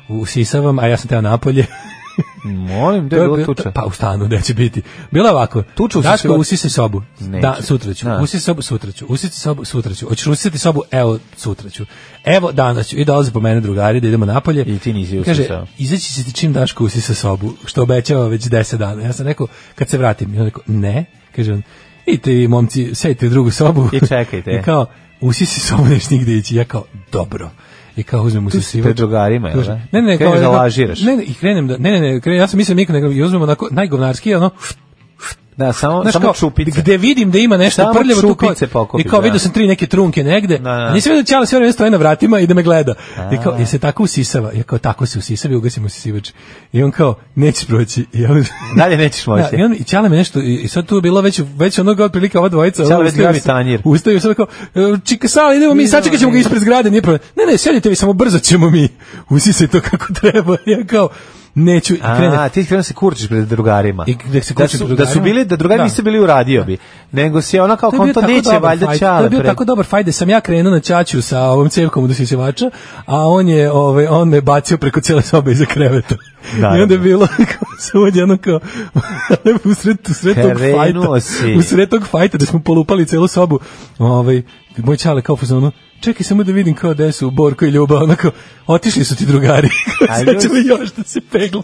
S5: usisavam, a ja sam teo napolje.
S6: Molim, da
S5: To
S6: je
S5: je
S6: bila
S5: bilo-
S6: tuča.
S5: Pa u stanu, gde će biti. Bilo je ovako.
S6: Tuča u
S5: Daško,
S6: sisivaču.
S5: usisaj sobu.
S6: Neću.
S5: Da, sutra ću.
S6: Da.
S5: Usisaj sobu, sutra ću. Usisaj sobu, sutra ću. Hoćeš usisati sobu? Evo, sutra ću. Evo, danas ću. I dolaze po mene drugari da idemo napolje.
S6: I ti nisi
S5: Kaže,
S6: usisao.
S5: izaći si ti čim Daško usisa sobu, što obećava već 10 dana. Ja sam rekao, kad se vratim. I on rekao, ne. Kaže on, idite vi momci, sedite u drugu sobu.
S6: I čekajte.
S5: I kao, usisi sobu, neš nigde ići. Ja kao, dobro. I kao uzmem usisivač.
S6: pred drugarima, jel da?
S5: Kaže, Ne, ne,
S6: Kreneš
S5: kao,
S6: da
S5: kao-
S6: lažiraš.
S5: Ne, ne, i krenem da, ne, ne, ne, krenem, ja sam mislim nikad nego i uzmem onako najgovnarski, ono,
S6: Da, samo,
S5: znaš
S6: samo
S5: kao,
S6: čupice.
S5: gde vidim da ima nešto
S6: Samo
S5: prljavo, tu kao,
S6: čupice pokupiš,
S5: i kao
S6: da.
S5: vidio sam tri neke trunke negde,
S6: Da, da.
S5: a nisam vidio ćala sve vreme stoje na vratima i da me gleda. I kao, je se tako usisava, ja kao, tako se usisava i ugasim usisivač. I on kao, nećeš proći. I ja,
S6: Dalje nećeš moći.
S5: Da, i on i Ćale me nešto i i sad tu je bilo već već onoga otprilike ova dvojica.
S6: Ćale
S5: ono,
S6: već
S5: ustaju
S6: gradi
S5: se-
S6: tanjir.
S5: Ustaju sad kao e, čika sala idemo mi sačekat ćemo ga ispred zgrade nije problem. Ne ne sedite vi samo brzo ćemo mi. Usisaj to kako treba. Ja kao neću i
S6: A,
S5: krene.
S6: ti krenuo se kurčiš pred drugarima.
S5: I gde se
S6: da
S5: kurčim
S6: su,
S5: pred
S6: da su
S5: drugarima?
S6: bili, da drugari
S5: Da.
S6: nisu bili uradio bi. Nego si ono kao,
S5: je bio
S6: on to
S5: tako
S6: neće
S5: dobar
S6: valjda
S5: fight, To
S6: čale.
S5: je bio
S6: pred-
S5: tako dobar fight da sam ja krenuo na ćaću sa ovom cevkom od usisivača, a on je ovaj on me bacio preko cele sobe iza kreveta.
S6: Da,
S5: I onda je
S6: da.
S5: bilo kao samo odjednom kao u sred, u sred tog
S6: Krenuo
S5: fajta,
S6: si.
S5: u sred tog fajta da smo polupali celu sobu. Ovaj moj čale kao u fazonu Čekaj samo da vidim kao gde su Borko i Ljuba, onako, otišli su ti drugari.
S6: A
S5: Sad ćemo
S6: ljudi-
S5: još da se peglam.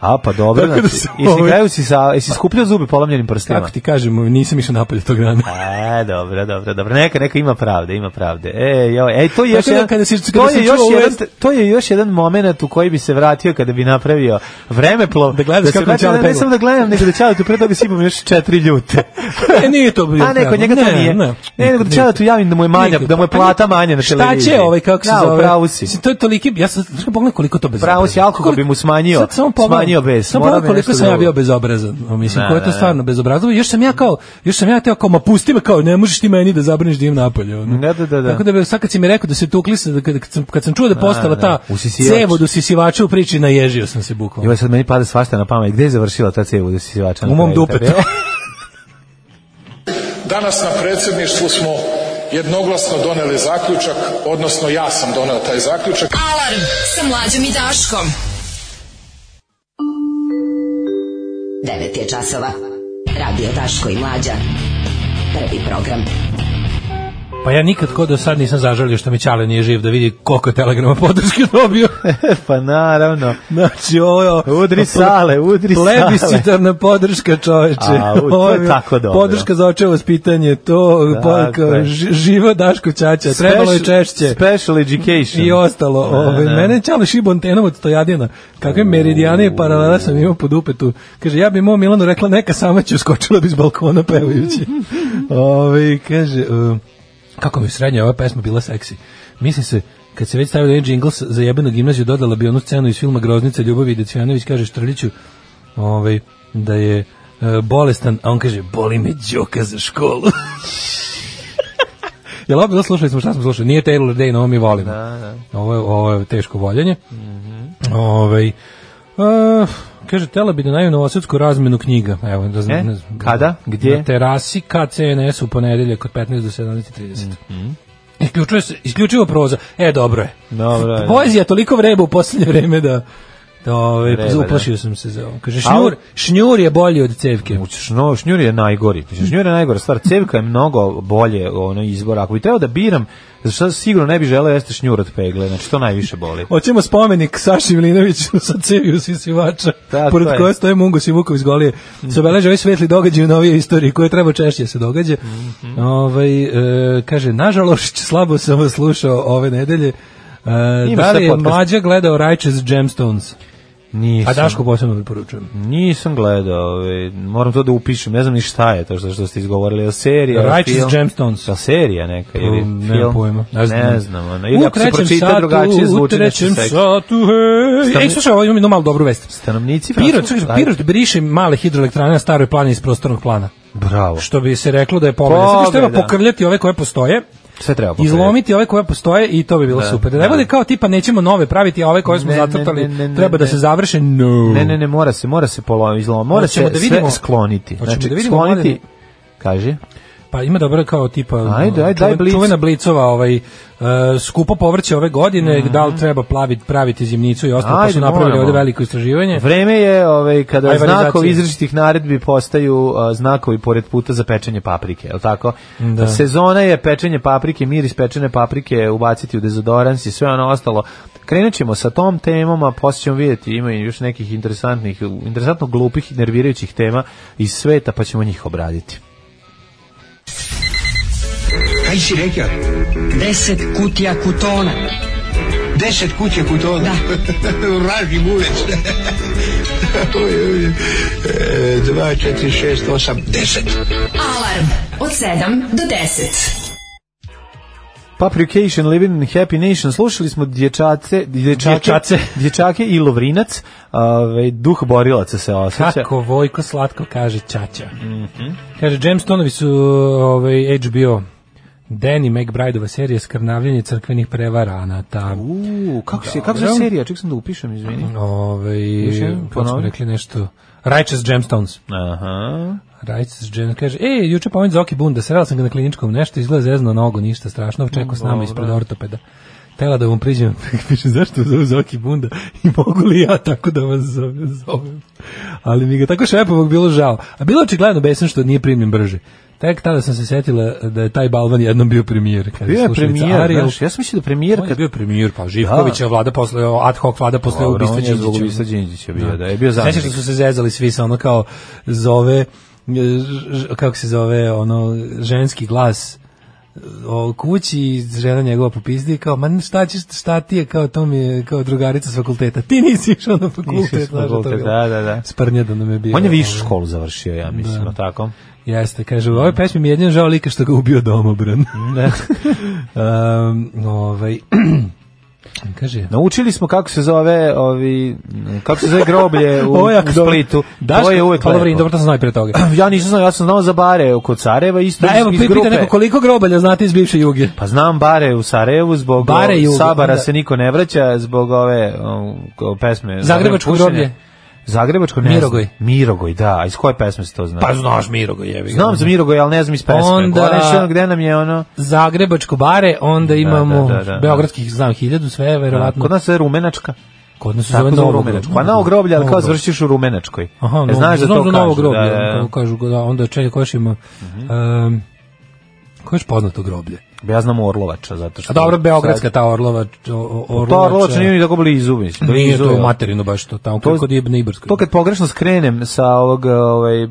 S6: A, pa dobro,
S5: Tako da
S6: znači.
S5: su
S6: I si
S5: ovaj-
S6: kraju si, sa, jesi skupljao zubi polomljenim prstima?
S5: Kako ti kažem, nisam išao napolje tog dana.
S6: E, dobro, dobro, dobro. Neka, neka ima pravde, ima pravde. E, joj, e, to je
S5: Tako
S6: još
S5: da
S6: jedan,
S5: kada si-
S6: to
S5: kada sam
S6: je još
S5: čuo ovo-
S6: jedan, to je još jedan momenat u koji bi se vratio kada bi napravio vremeplov.
S5: Da gledaš
S6: se
S5: kako
S6: vratim-
S5: Ćale
S6: ne, Ne
S5: pegla.
S6: samo da gledam, nego da Ćale tu pre toga si imam još četiri ljute.
S5: E, nije to bilo
S6: A ne, kod
S5: tako.
S6: njega to nije. Ne, nego da Ćale tu javim da mu je manja,
S5: Nikako.
S6: da mu je
S5: Pa
S6: plata
S5: ne-
S6: manja na televiziji.
S5: Šta će ovaj, kako se
S6: Da, u
S5: zove?
S6: pravu si.
S5: Mislim, To je toliki, ja sam, znaš kako pogledam koliko to bezobrazno.
S6: Pravo si, alkohol bi mu smanjio-
S5: Sad samo pogledam-
S6: smanjio bes,
S5: Samo
S6: morao
S5: pogledam
S6: bi nešto
S5: koliko sam ja
S6: drugo.
S5: bio bezobrazan. O, Mislim,
S6: Da,
S5: ko je
S6: da,
S5: to
S6: da.
S5: stvarno bezobrazno. Još sam ja kao, još sam ja teo kao, ma pusti me kao, ne možeš ti meni da zabraniš da idem napolje. ono.
S6: Da, da, da, da.
S5: Tako da bi, sad kad si mi rekao da se tukli, se, da kad, kad, sam, kad sam čuo da je postala
S6: da.
S5: ta
S6: Usisivač.
S5: cev od usisivača u priči, naježio sam se bukvalno.
S6: Joj, sad meni pada svašta na pamet. Gde je završila ta cevu da si sivača?
S5: U mom dupetu.
S10: Danas na predsjedništvu smo jednoglasno doneli zaključak, odnosno ja sam donio taj zaključak.
S4: Alarm sa mlađom i Daškom.
S8: 9 je časova. Radio Daško i Mlađa. Prvi program.
S5: Pa ja nikad ko do sad nisam zažalio što mi Ćale nije živ da vidi koliko je telegrama podrške dobio.
S6: pa naravno.
S5: Znači, ovo je...
S6: Udri sale, udri sale.
S5: Plebiscitarna podrška čoveče.
S6: A, u, to je
S5: Ovo
S6: tako dobro.
S5: Podrška za očevo pitanje, to
S6: Tako
S5: pa, kao,
S6: je.
S5: ži- živo Daško Ćaća, trebalo je
S6: Special-
S5: češće.
S6: Special education.
S5: I ostalo. Ove, mene je Ćale šibo antenom od Stojadina. Kakve meridijane i paralela sam imao pod upetu. Kaže, ja bi mom Milanu rekla neka sama će skočila bi iz balkona pevajući. Ove, kaže, e, kako mi je srednja ova pesma bila seksi. Mislim se, kad se već stavio jedan jingle s- za jebenu gimnaziju, dodala bi onu scenu iz filma Groznica Ljubavi i Decijanović, kaže Štrliću, ovaj, da je e, bolestan, a on kaže, boli me đoka za školu. Jel opet slušali smo šta smo slušali? Nije Taylor Day, no ovo mi volimo. Ovo, je, ovo je teško voljenje.
S6: Mhm.
S5: Ovaj, a, kaže, tela bi da naju novosadsku razmenu knjiga. Evo, da znam,
S6: E,
S5: ne znam.
S6: kada? Gdje?
S5: Na terasi KCNS u ponedeljak od 15 do 17.30.
S6: Mhm.
S5: Isključuje se, isključivo proza. E, dobro je.
S6: Dobro je, da.
S5: Poezija toliko vreba u posljednje vreme da... Da, ovaj,
S6: Vreba, da.
S5: uplašio sam se za ovo. Kaže, šnjur, šnjur je bolji od cevke.
S6: Šno, šnjur je najgori. Mislim, šnjur je najgora stvar. Cevka je mnogo bolje ono, izbor. Ako bi trebao da biram, za što sigurno ne bi želeo jeste šnjur od pegle. Znači, to najviše boli.
S5: Hoćemo spomenik Saši Milinoviću sa cevi usisivača,
S6: Tako
S5: pored
S6: je. Mhm.
S5: koje stoje Mungos i Vukov iz Golije. Se obeleže ovaj svetli događaj u novije istoriji, koje treba češće se događa.
S6: Mhm.
S5: ovaj, e, kaže, nažalost, slabo sam vas slušao ove nedelje. E, da
S6: sve
S5: li je
S6: podcast.
S5: mlađa gledao Righteous Gemstones?
S6: Nisam,
S5: A Daško posebno preporučujem.
S6: nisam gledao. ovaj, moram to da upišem. Ne znam ni šta je to što, što ste izgovorili. Je li serija? je li
S5: Righteous
S6: film?
S5: Gemstones.
S6: Jel serija neka ili
S5: Um,
S6: film?
S5: nemam pojma, ne
S6: Ne
S5: znam.
S6: znam. ono, Ili
S5: U
S6: ako se
S5: trećem
S6: pročita
S5: satu,
S6: drugačije zvuči
S5: U
S6: nešto
S5: trećem
S6: seksi.
S5: satu, hej. Ej,
S6: Stanovni-
S5: slušaj, ovo imam jednu malu dobru vest.
S6: Stanovnici
S5: Pirot,
S6: Francuske-
S5: slušaj, Pirot briše male hidroelektrane na staroj plani iz prostornog plana.
S6: Bravo.
S5: Što bi se reklo da je povreda. Zato što treba
S6: Povreda.
S5: pokrljati ove koje postoje,
S6: Sve treba pogledati.
S5: izlomiti ove koje postoje i to bi bilo super. Da ne
S6: da.
S5: bude kao tipa nećemo nove praviti, a ove koje smo
S6: Ne, ne,
S5: zatrtali
S6: ne, ne, ne,
S5: treba da
S6: ne.
S5: se završe. No.
S6: Ne, ne, ne, mora se, mora se polo izlom, mora
S5: Hoćemo
S6: se
S5: da
S6: da
S5: vidimo-
S6: sve skloniti.
S5: Hoćemo da
S6: Znači, da
S5: vidimo,
S6: skloniti,
S5: Mladene?
S6: kaže,
S5: Pa ima dobro kao tipa
S6: Ajde, ajde,
S5: čuven-
S6: daj blic.
S5: čuvena blicova ovaj e, skupo povrće ove godine, da li treba plaviti praviti zimnicu i ostalo, pa
S6: Mhm. Ajde,
S5: su napravili
S6: moramo.
S5: ovde veliko istraživanje.
S6: vreme je ovaj, kada
S5: Ajvarizacija.
S6: znakovi izrečitih naredbi postaju a, znakovi pored puta za pečenje paprike, je li tako?
S5: Da.
S6: Sezona je pečenje paprike, miris pečene paprike, ubaciti u dezodorans i sve ono ostalo. Krenut ćemo sa tom temom, a poslije ćemo vidjeti, ima i još nekih interesantnih, interesantno glupih i nervirajućih tema iz sveta, pa ćemo njih obraditi.
S7: Kaj si rekao?
S8: Deset kutija kutona.
S7: Deset kuće kut onda. Vraži bulec. Oj, oj. E, Dva, četiri, šest, osam, deset.
S4: Alarm od 7 do 10.
S6: Paprikation, Living in Happy Nation, slušali smo dječace, dječake,
S5: Dječace.
S6: dječake i lovrinac, ove, duh borilaca se osjeća.
S5: Kako Vojko slatko kaže Čača.
S6: Mhm.
S5: Kaže, Jamestonovi su ovaj, HBO Danny McBrideova serija Skrnavljenje crkvenih prevaranata.
S6: U, kako se, kako se
S5: Dobro.
S6: serija, ček sam da upišem, izvini.
S5: Ovaj,
S6: Još jednom
S5: kako smo
S6: ponovi.
S5: rekli nešto? Righteous Gemstones.
S6: Aha.
S5: Righteous Gemstones. Kaže, ej, juče pomen Zoki Bunda, srela sam ga na kliničkom, nešto izgleda zezno nogu, ništa strašno, čekao s nama ispred ortopeda. Tela da vam priđem, piše zašto vas zove Zoki Bunda i mogu li ja tako da vas zove- zovem. Ali mi ga tako šepovog bilo žao. A bilo je očigledno besan što nije primljen brže. Tek tada sam se setila da je taj Balvan jednom bio premijer. Kada
S6: Bio je
S5: slušalica
S6: premijer,
S5: Ariel.
S6: znaš, ja sam mislio da premijer
S5: On je
S6: kad...
S5: bio premijer, pa Živkovića vlada posle, ad hoc vlada posle
S6: Dobro,
S5: ubistva
S6: on je zbog
S5: Đinđića.
S6: ubistva Đinđića bio, da je bio
S5: Sećaš
S6: zamjenik.
S5: ono. da su se zezali svi sa ono kao zove e, ž- ž- kako se zove ono ženski glas e, o kući žena njegova popizdi kao ma šta ćeš šta ti je kao to mi je kao drugarica s fakulteta ti nisi išao na fakultet
S6: Nisi s
S5: znaš da to
S6: fakultet,
S5: bilo.
S6: da, da, da.
S5: Sprnja da nam je bio
S6: On je višu
S5: ono.
S6: školu završio, ja mislim, jel' tako?
S5: Jeste, kaže, u ovoj pesmi mi je jedin žao lika što ga ubio domobran.
S6: Ne.
S5: um, ovaj, kaže,
S6: Naučili smo kako se zove ovi kako se zove groblje u,
S5: Ovo je
S6: u
S5: jako dobro.
S6: Splitu.
S5: Daško,
S6: to je uvek
S5: hvala Vrin,
S6: lepo.
S5: dobro, to sam znao i pre toga.
S6: Ja nisam znao, ja sam znao za bare oko Careva isto
S5: Da,
S6: iz,
S5: evo,
S6: iz
S5: pi-
S6: grupe.
S5: pita neko koliko grobalja znate iz bivše juge.
S6: Pa znam bare u Sarajevu zbog
S5: Bare
S6: o,
S5: i Jugo,
S6: Sabara
S5: da.
S6: se niko ne vraća zbog ove o, ko- pesme
S5: Zagrebačko
S6: Pušenje.
S5: groblje.
S6: Zagrebačko ne znam.
S5: Mirogoj.
S6: Mirogoj, da. A Iz koje pesme se to zna?
S5: znaš Mirogo, jevi.
S6: znam za Mirogoj, ali ne znam iz pesme.
S5: Onda-
S6: Onda... ono gde nam je ono...
S5: Zagrebačko bare, onda imamo
S6: da, da, da.
S5: beogradskih, znam, hiljadu, sve, verovatno.
S6: Kod nas je Rumenačka.
S5: Kod nas se
S6: Tako
S5: zove
S6: zove
S5: Novo
S6: Rumenačka. Pa na groblje, ali kao završiš u Rumenačkoj.
S5: Aha,
S6: E,
S5: no,
S6: znaš da to
S5: znam
S6: kažu.
S5: za novo groblje, ono,
S6: da, da, Mhm.
S5: kako kažu, da, onda čekaj, ko još ima, em, ko je još poznato groblje?
S6: da. Ja znam Orlovača, zato što...
S5: A dobro, beogradska ta Orlova, o- o-
S6: To
S5: Orlovača.
S6: Orlovača Pa nije ni tako blizu, mislim.
S5: Nije
S6: blizu
S5: to
S6: je.
S5: materinu baš to, tamo
S6: To-
S5: kod Ibn Ibarskoj.
S6: To kad pogrešno skrenem sa ovog ovaj,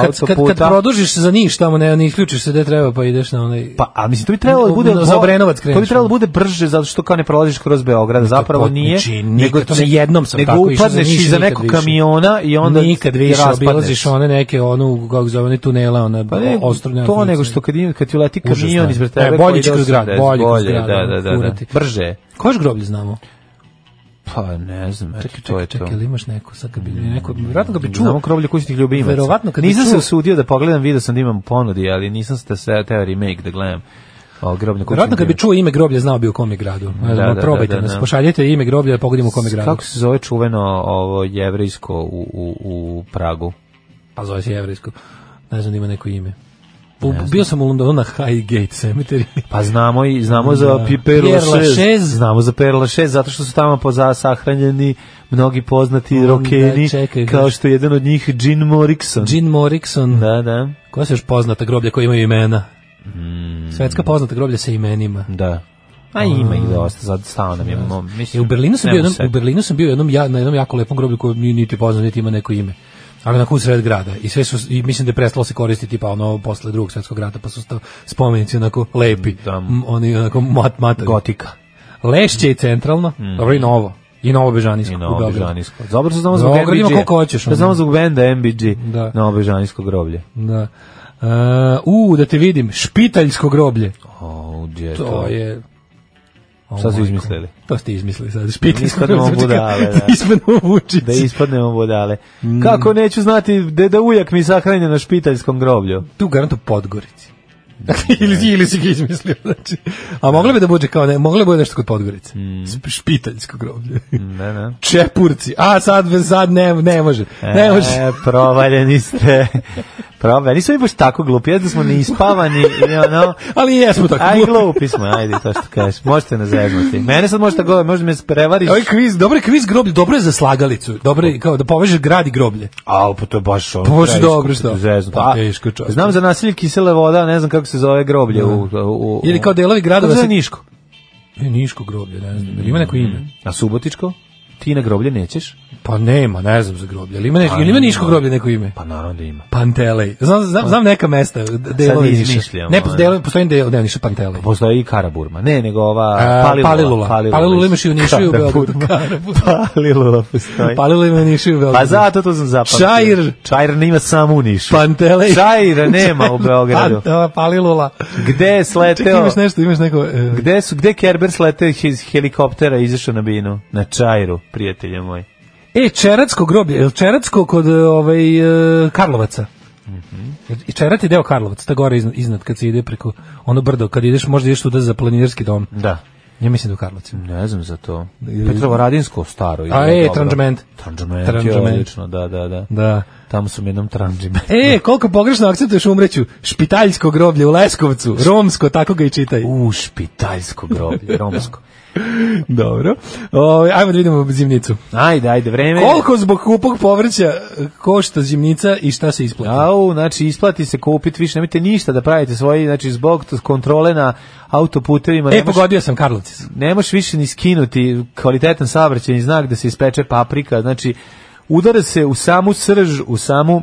S5: kad, kad, kad
S6: autoputa...
S5: produžiš za Niš tamo, ne, ne isključiš se gde treba pa ideš na onaj...
S6: Pa, a mislim, to bi trebalo da
S5: U-
S6: bude...
S5: za
S6: za-
S5: Obrenovac
S6: To
S5: kreneš. ono.
S6: bi trebalo da bude brže, zato što kao ne prolaziš kroz Beograd, zapravo nije.
S5: potniči, znači, nikad, to na jednom sam
S6: nego
S5: tako išao, za
S6: upadneš
S5: Niš
S6: iza
S5: nikad
S6: nekog
S5: više.
S6: kamiona i onda
S5: nikad
S6: ti
S5: više
S6: raspadneš.
S5: obilaziš ono, one neke onu kako se zove one tunele ona
S6: Pa ne,
S5: ostrovne
S6: to
S5: afinice.
S6: nego što kad, im- kad ti leti
S5: Užasno
S6: kamion
S5: je.
S6: ispred
S5: E,
S6: tebe...
S5: bolje
S6: koji
S5: ići kroz
S6: ide
S5: grad,
S6: 80,
S5: bolje kroz grad, ono,
S6: da, da, da,
S5: furati.
S6: da. Brže.
S5: Koje groblje znamo?
S6: Pa ne znam, eto,
S5: Čekaj,
S6: to
S5: čekaj,
S6: je to. Mm,
S5: čekaj, ili imaš neko sad kad bi neko verovatno ga bi
S6: Znamo
S5: čuo.
S6: groblje kućnih ljubimaca.
S5: Verovatno kad bi
S6: nisam se
S5: čuo-
S6: usudio da pogledam, video sam da imam u ponudi, ali nisam se teo remake da gledam. O, grobne kuće.
S5: Verovatno kad bi čuo ime groblja, znao bi u kom je gradu. Ne znam,
S6: Da, da,
S5: probajte
S6: da, da,
S5: nas,
S6: da.
S5: pošaljite ime groblja da pogodimo u kom je gradu.
S6: Kako se zove čuveno ovo jevrejsko u, u, u Pragu?
S5: Pa zove se jevrejsko. Ne znam da ima neko ime. U- bio sam u Londonu na Highgate Cemetery.
S6: Pa znamo i znamo za
S5: Da.
S6: Pi-
S5: Pierre
S6: Pierre Lachaise,
S5: Lachaise.
S6: znamo za Pierre Lachaise zato što su tamo poza sahranjeni mnogi poznati
S5: Onda,
S6: rokeni,
S5: čekaj,
S6: kao
S5: znaš-
S6: što je jedan od njih Jean Morrison.
S5: Jean Morrison.
S6: Da, da.
S5: Koja su još poznata groblja koja imaju imena?
S6: Mm.
S5: Svetska poznata groblja sa imenima.
S6: Da. A ima ih dosta, zato stao nam je. mo-
S5: E,
S6: Mislim,
S5: u Berlinu sam
S6: ne
S5: bio
S6: mogu
S5: jednom, u
S6: setiti.
S5: Berlinu sam bio jednom ja, na jednom jako lepom groblju koje ni- niti poznam niti ima neko ime. Ali onako u sred grada i sve su i mislim da je prestalo se koristiti pa ono posle drugog svetskog rata pa su sta- spomenici onako lepi.
S6: Da.
S5: M- oni onako mat matavi.
S6: Gotika. Mhm.
S5: Lešće je centralno, dobro i novo. I novo Bežanijsko
S6: I
S5: u
S6: Novo
S5: Beogradu.
S6: Bežanijsko. Dobro što znamo zbog
S5: Beograd ima
S6: MBG.
S5: koliko hoćeš,
S6: Da
S5: ono.
S6: znamo zbog benda MBG.
S5: Da.
S6: Novo Bežanijsko groblje.
S5: Da. E, u, da te vidim, špitaljsko groblje.
S6: O, gdje je
S5: To
S6: to?
S5: je... O,
S6: Šta su
S5: majko.
S6: izmislili?
S5: To ste izmislili sad. Špitaljsko
S6: Ispadnemo
S5: groblje. zvuči kao-
S6: budale, da.
S5: Ispadnemo vučici.
S6: Da ispadnemo budale.
S5: Mm.
S6: Kako neću znati, deda ujak mi sahranja na špitaljskom groblju.
S5: Tu garantu Podgorici. ili, ili si ga izmislio, znači. A moglo bi da bude kao ne, moglo bi da bude nešto kod
S6: Mm.
S5: Podgorice. Sp- Špitaljsko groblje.
S6: Ne, ne.
S5: Čepurci. A sad, sad ne, ne može. Ne može.
S6: E, provaljeni ste. Provaljeni. Nismo mi baš tako glupi, jedno smo neispavani, i ono...
S5: Ali jesmo tako.
S6: Aj,
S5: glupi.
S6: glupi smo, ajde, to što kažeš. Možete nas zeznuti. Mene sad možete govori, možda me prevariš.
S5: Ovaj kviz, dobar je kviz groblje, dobro je za slagalicu. Dobro je kao da povežeš grad i groblje.
S6: A, pa to je baš ono.
S5: Pa baš
S6: teško,
S5: dobro, šta?
S6: Zeznuto.
S5: Pa
S6: A,
S5: teško, čovječe.
S6: Znam za nasilje kisele voda, ne znam kako se zove groblje. U, u, u,
S5: Ili kao delovi
S6: Kako
S5: gradova
S6: se
S5: se
S6: zove Niško?
S5: E, Niško groblje, ne znam.
S6: Mm.
S5: Ili ima neko ime?
S6: Na Subotičko? Ti na groblje nećeš?
S5: Pa nema, ne znam za groblje. Ili ima, ne, ili ima Niško groblje neko ime?
S6: Pa naravno da ima.
S5: Pantelej. Znam, znam, znam neka mesta, d- delovi Niša.
S6: izmišljamo,
S5: Ne,
S6: ono.
S5: delovi, postoji del, ne, Niša Pantelej.
S6: Postoji i Karaburma. Ne, nego ova
S5: A,
S6: Palilula.
S5: Palilula. Palilula imaš i u Nišu i u Beogradu.
S6: Karaburma. Palilula postoji.
S5: Palilo ima Nišu i u Beogradu.
S6: Pa zato to sam zapamtio.
S5: Čair.
S6: Čair nema samo u Nišu.
S5: Pantelej.
S6: Čaira nema u Beogradu.
S5: Pa, da, Palilula.
S6: Gde
S5: Čekaj,
S6: je sleteo?
S5: imaš nešto, imaš neko... e,
S6: Gde su gde je Kerber sleteo iz helikoptera i izašao na binu? Na Čairu, prijatelje moj.
S5: E, Čeratsko groblje, je li Čeratsko kod e, ovaj, e, Karlovaca?
S6: Mhm.
S5: I Čerat je deo Karlovaca, ta gore iznad, iznad kad se ide preko ono brdo, kad ideš, možda ideš tuda za planinarski dom.
S6: Da.
S5: Ja mislim da u Karlovcima.
S6: Ne znam za to. Petrovo Radinsko staro.
S5: A, e, Tranđament.
S6: Tranđament, je
S5: Tranđament.
S6: odlično, da, da, da.
S5: Da.
S6: Tamo su mi jednom tranđiment.
S5: E, koliko pogrešno akcentuješ umreću. Špitaljsko groblje u Leskovcu, romsko, tako ga i čitaj.
S6: U, špitaljsko groblje, romsko.
S5: Dobro. O, ajmo da vidimo zimnicu.
S6: Ajde, ajde, vreme. je.
S5: Koliko zbog kupog povrća e, košta zimnica i šta se isplati?
S6: Au, znači isplati se kupiti, više nemojte ništa da pravite svoji, znači zbog t- kontrole na autoputevima.
S5: e,
S6: ne moš-
S5: pogodio sam Karlovci.
S6: ne možeš više ni skinuti kvalitetan saobraćajni znak da se ispeče paprika, znači udara se u samu srž, u samu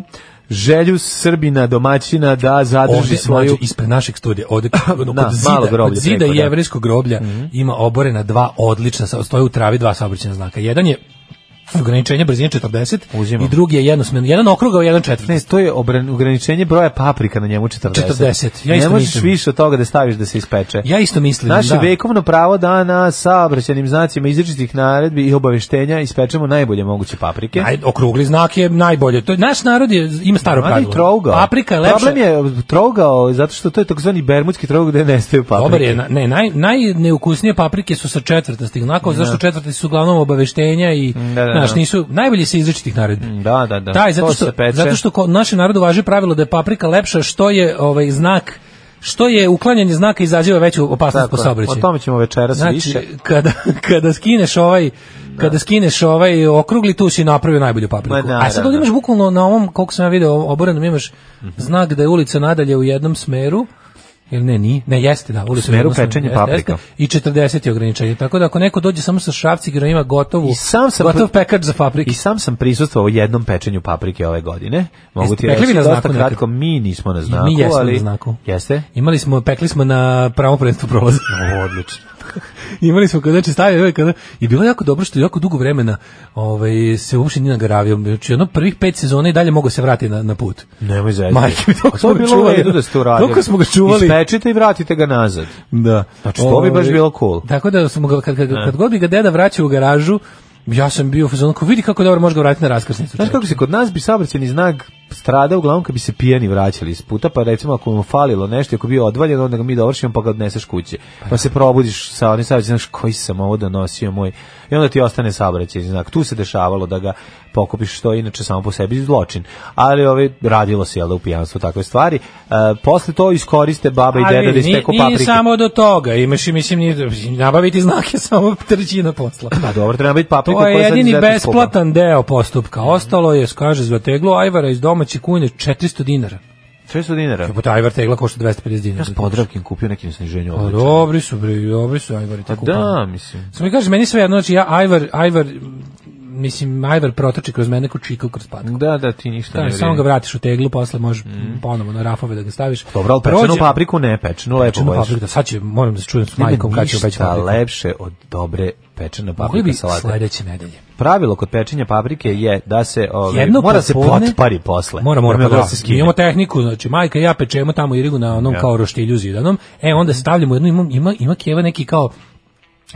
S6: želju Srbina domaćina da zadrži
S5: Ovdje,
S6: svoju...
S5: mlađe, ispred našeg studija, ovdje kod, kod
S6: Da,
S5: zida,
S6: malo groblje
S5: kod zida
S6: preko, da. Mhm.
S5: jevrejskog groblja ima oborena dva odlična, sa- stoje u travi dva saobraćena znaka. Jedan je ograničenje brzine 40
S6: Uzimam.
S5: i drugi je jednosmjerno, jedan okrugao, jedan četvrti.
S6: Ne, to je obran- ograničenje broja paprika na njemu 40.
S5: 40, ja
S6: ne
S5: isto
S6: možeš
S5: mislim.
S6: više od toga da staviš da se ispeče.
S5: Ja isto mislim,
S6: Naše
S5: da.
S6: vekovno pravo da na saobraćajnim znacima izričitih naredbi i obaveštenja ispečemo najbolje moguće paprike.
S5: Naj, okrugli znak je najbolje. To je, naš narod je, ima staro
S6: Ali
S5: pravilo.
S6: trougao.
S5: Paprika je lepša.
S6: Problem je trougao zato što to je takozvani bermudski trougao gde nestaju paprike.
S5: Dobar je, na- ne, naj, najneukusnije paprike su sa četvrtastih znakova, zašto četvrti su uglavnom obaveštenja i,
S6: Da, da,
S5: znaš,
S6: da.
S5: nisu, najbolje se izrečitih naredbi.
S6: Da, da, da.
S5: Taj, zato
S6: To
S5: što,
S6: se peče.
S5: zato što ko, našem narodu važi pravilo da je paprika lepša što je ovaj znak što je uklanjanje znaka izaziva veću opasnost
S6: Tako
S5: po
S6: je.
S5: saobraćaju.
S6: O tome ćemo večeras
S5: znači,
S6: više.
S5: Kada, kada skineš ovaj kada skineš ovaj okrugli tu si napravio najbolju papriku.
S6: Ma, naravno. Mhm.
S5: A sad ovdje imaš bukvalno na ovom koliko sam ja video oborenom imaš znak da je ulica nadalje u jednom smeru ili ne, ni, ne, jeste, da, ulica u
S6: smeru
S5: jednom smeru,
S6: pečenja
S5: jeste,
S6: paprika.
S5: jeste, I 40 je ograničenje. Tako da ako neko dođe samo sa šrafcigerom ima gotovu,
S6: I sam sam
S5: gotov
S6: pri-
S5: pekač za paprike.
S6: I sam sam prisustvovao jednom pečenju paprike ove godine. Mogu
S5: Jeste
S6: ti
S5: pekli
S6: reći
S5: vi na
S6: dosta
S5: znaku nekad?
S6: kratko, mi nismo na znaku,
S5: Mi jesmo
S6: ali...
S5: na znaku.
S6: Jeste?
S5: Imali smo, pekli smo na pravom prvenstvu prolaza.
S6: O, odlično.
S5: Imali smo kada znači stavio ovaj kada i bilo je jako dobro što je jako dugo vremena ovaj se uopšte nije nagaravio. Znači ono prvih pet sezona i dalje mogu se vratiti na, na put.
S6: Nemoj zajedno.
S5: Majke mi, toliko
S6: A
S5: smo
S6: to bi
S5: ga
S6: bilo u
S5: čuvali.
S6: redu da ste uradili.
S5: Toliko smo ga čuvali.
S6: Ispečite i vratite ga nazad.
S5: Da.
S6: Znači, to bi baš
S5: Ovaj,
S6: bilo cool.
S5: Tako da smo ga, kad, kad, kad god bi ga deda vraćao u garažu, ja sam bio u fazonu, kao vidi kako dobro može ga vratiti na raskrsnicu.
S6: Znaš kako se kod nas bi saobraćeni znak strada uglavnom kad bi se pijani vraćali iz puta, pa recimo ako mu falilo nešto, ako bi bio odvaljen, onda ga mi dovršimo pa ga odneseš kući. Pa se probudiš sa onim saobraćajem, znaš koji sam ovo donosio moj. I onda ti ostane saobraćaj znak. Tu se dešavalo da ga pokupiš što je inače samo po sebi zločin. Ali ove radilo se jel da u pijanstvu takve stvari. E, posle to iskoriste baba i deda da
S5: vidi,
S6: isteku
S5: nije, nije
S6: paprike.
S5: samo do toga, imaš i mislim nije, nabaviti znake samo trećina posla.
S6: Pa dobro, treba biti paprika
S5: To je
S6: koja sad
S5: jedini
S6: izuzetno skupa.
S5: besplatan deo postupka. Ostalo je, kaže, zvateglo ajvara iz domaće kunje 400 dinara.
S6: 600 dinara.
S5: Jebote, ajvar pa tegla košta 250 dinara.
S6: Ja sam Podravkin kupio nekim sniženju.
S5: Pa
S6: odlično.
S5: dobri su, bre, dobri su ajvari.
S6: Pa
S5: tako
S6: da, mislim.
S5: Samo mi kaže, meni sve jedno, znači ja ajvar, ajvar, mislim, ajvar protoči kroz mene ko čika kroz patku.
S6: Da, da, ti ništa ne
S5: Da,
S6: vrijedi.
S5: samo ga vratiš u teglu, posle možeš ponovo na rafove da ga staviš.
S6: Dobro, ali pečenu papriku ne, pečenu lepo
S5: Pečenu
S6: bojiš.
S5: papriku, da sad će, moram da se čujem s
S6: Nema
S5: majkom kada će
S6: ništa
S5: peći papriku.
S6: lepše od dobre pečena
S5: Mogli
S6: paprika
S5: bi
S6: salata.
S5: sledeće nedelje.
S6: Pravilo kod pečenja paprike je da se ovaj,
S5: Jedno
S6: mora se
S5: popodne-
S6: potpari posle.
S5: Mora, mora,
S6: Ne
S5: pa
S6: mora
S5: da.
S6: se skine.
S5: Mi imamo tehniku, znači majka i ja pečemo tamo irigu na onom
S6: Ja. Mhm.
S5: kao roštilju zidanom. E onda stavljamo jednu ima ima ima keva neki kao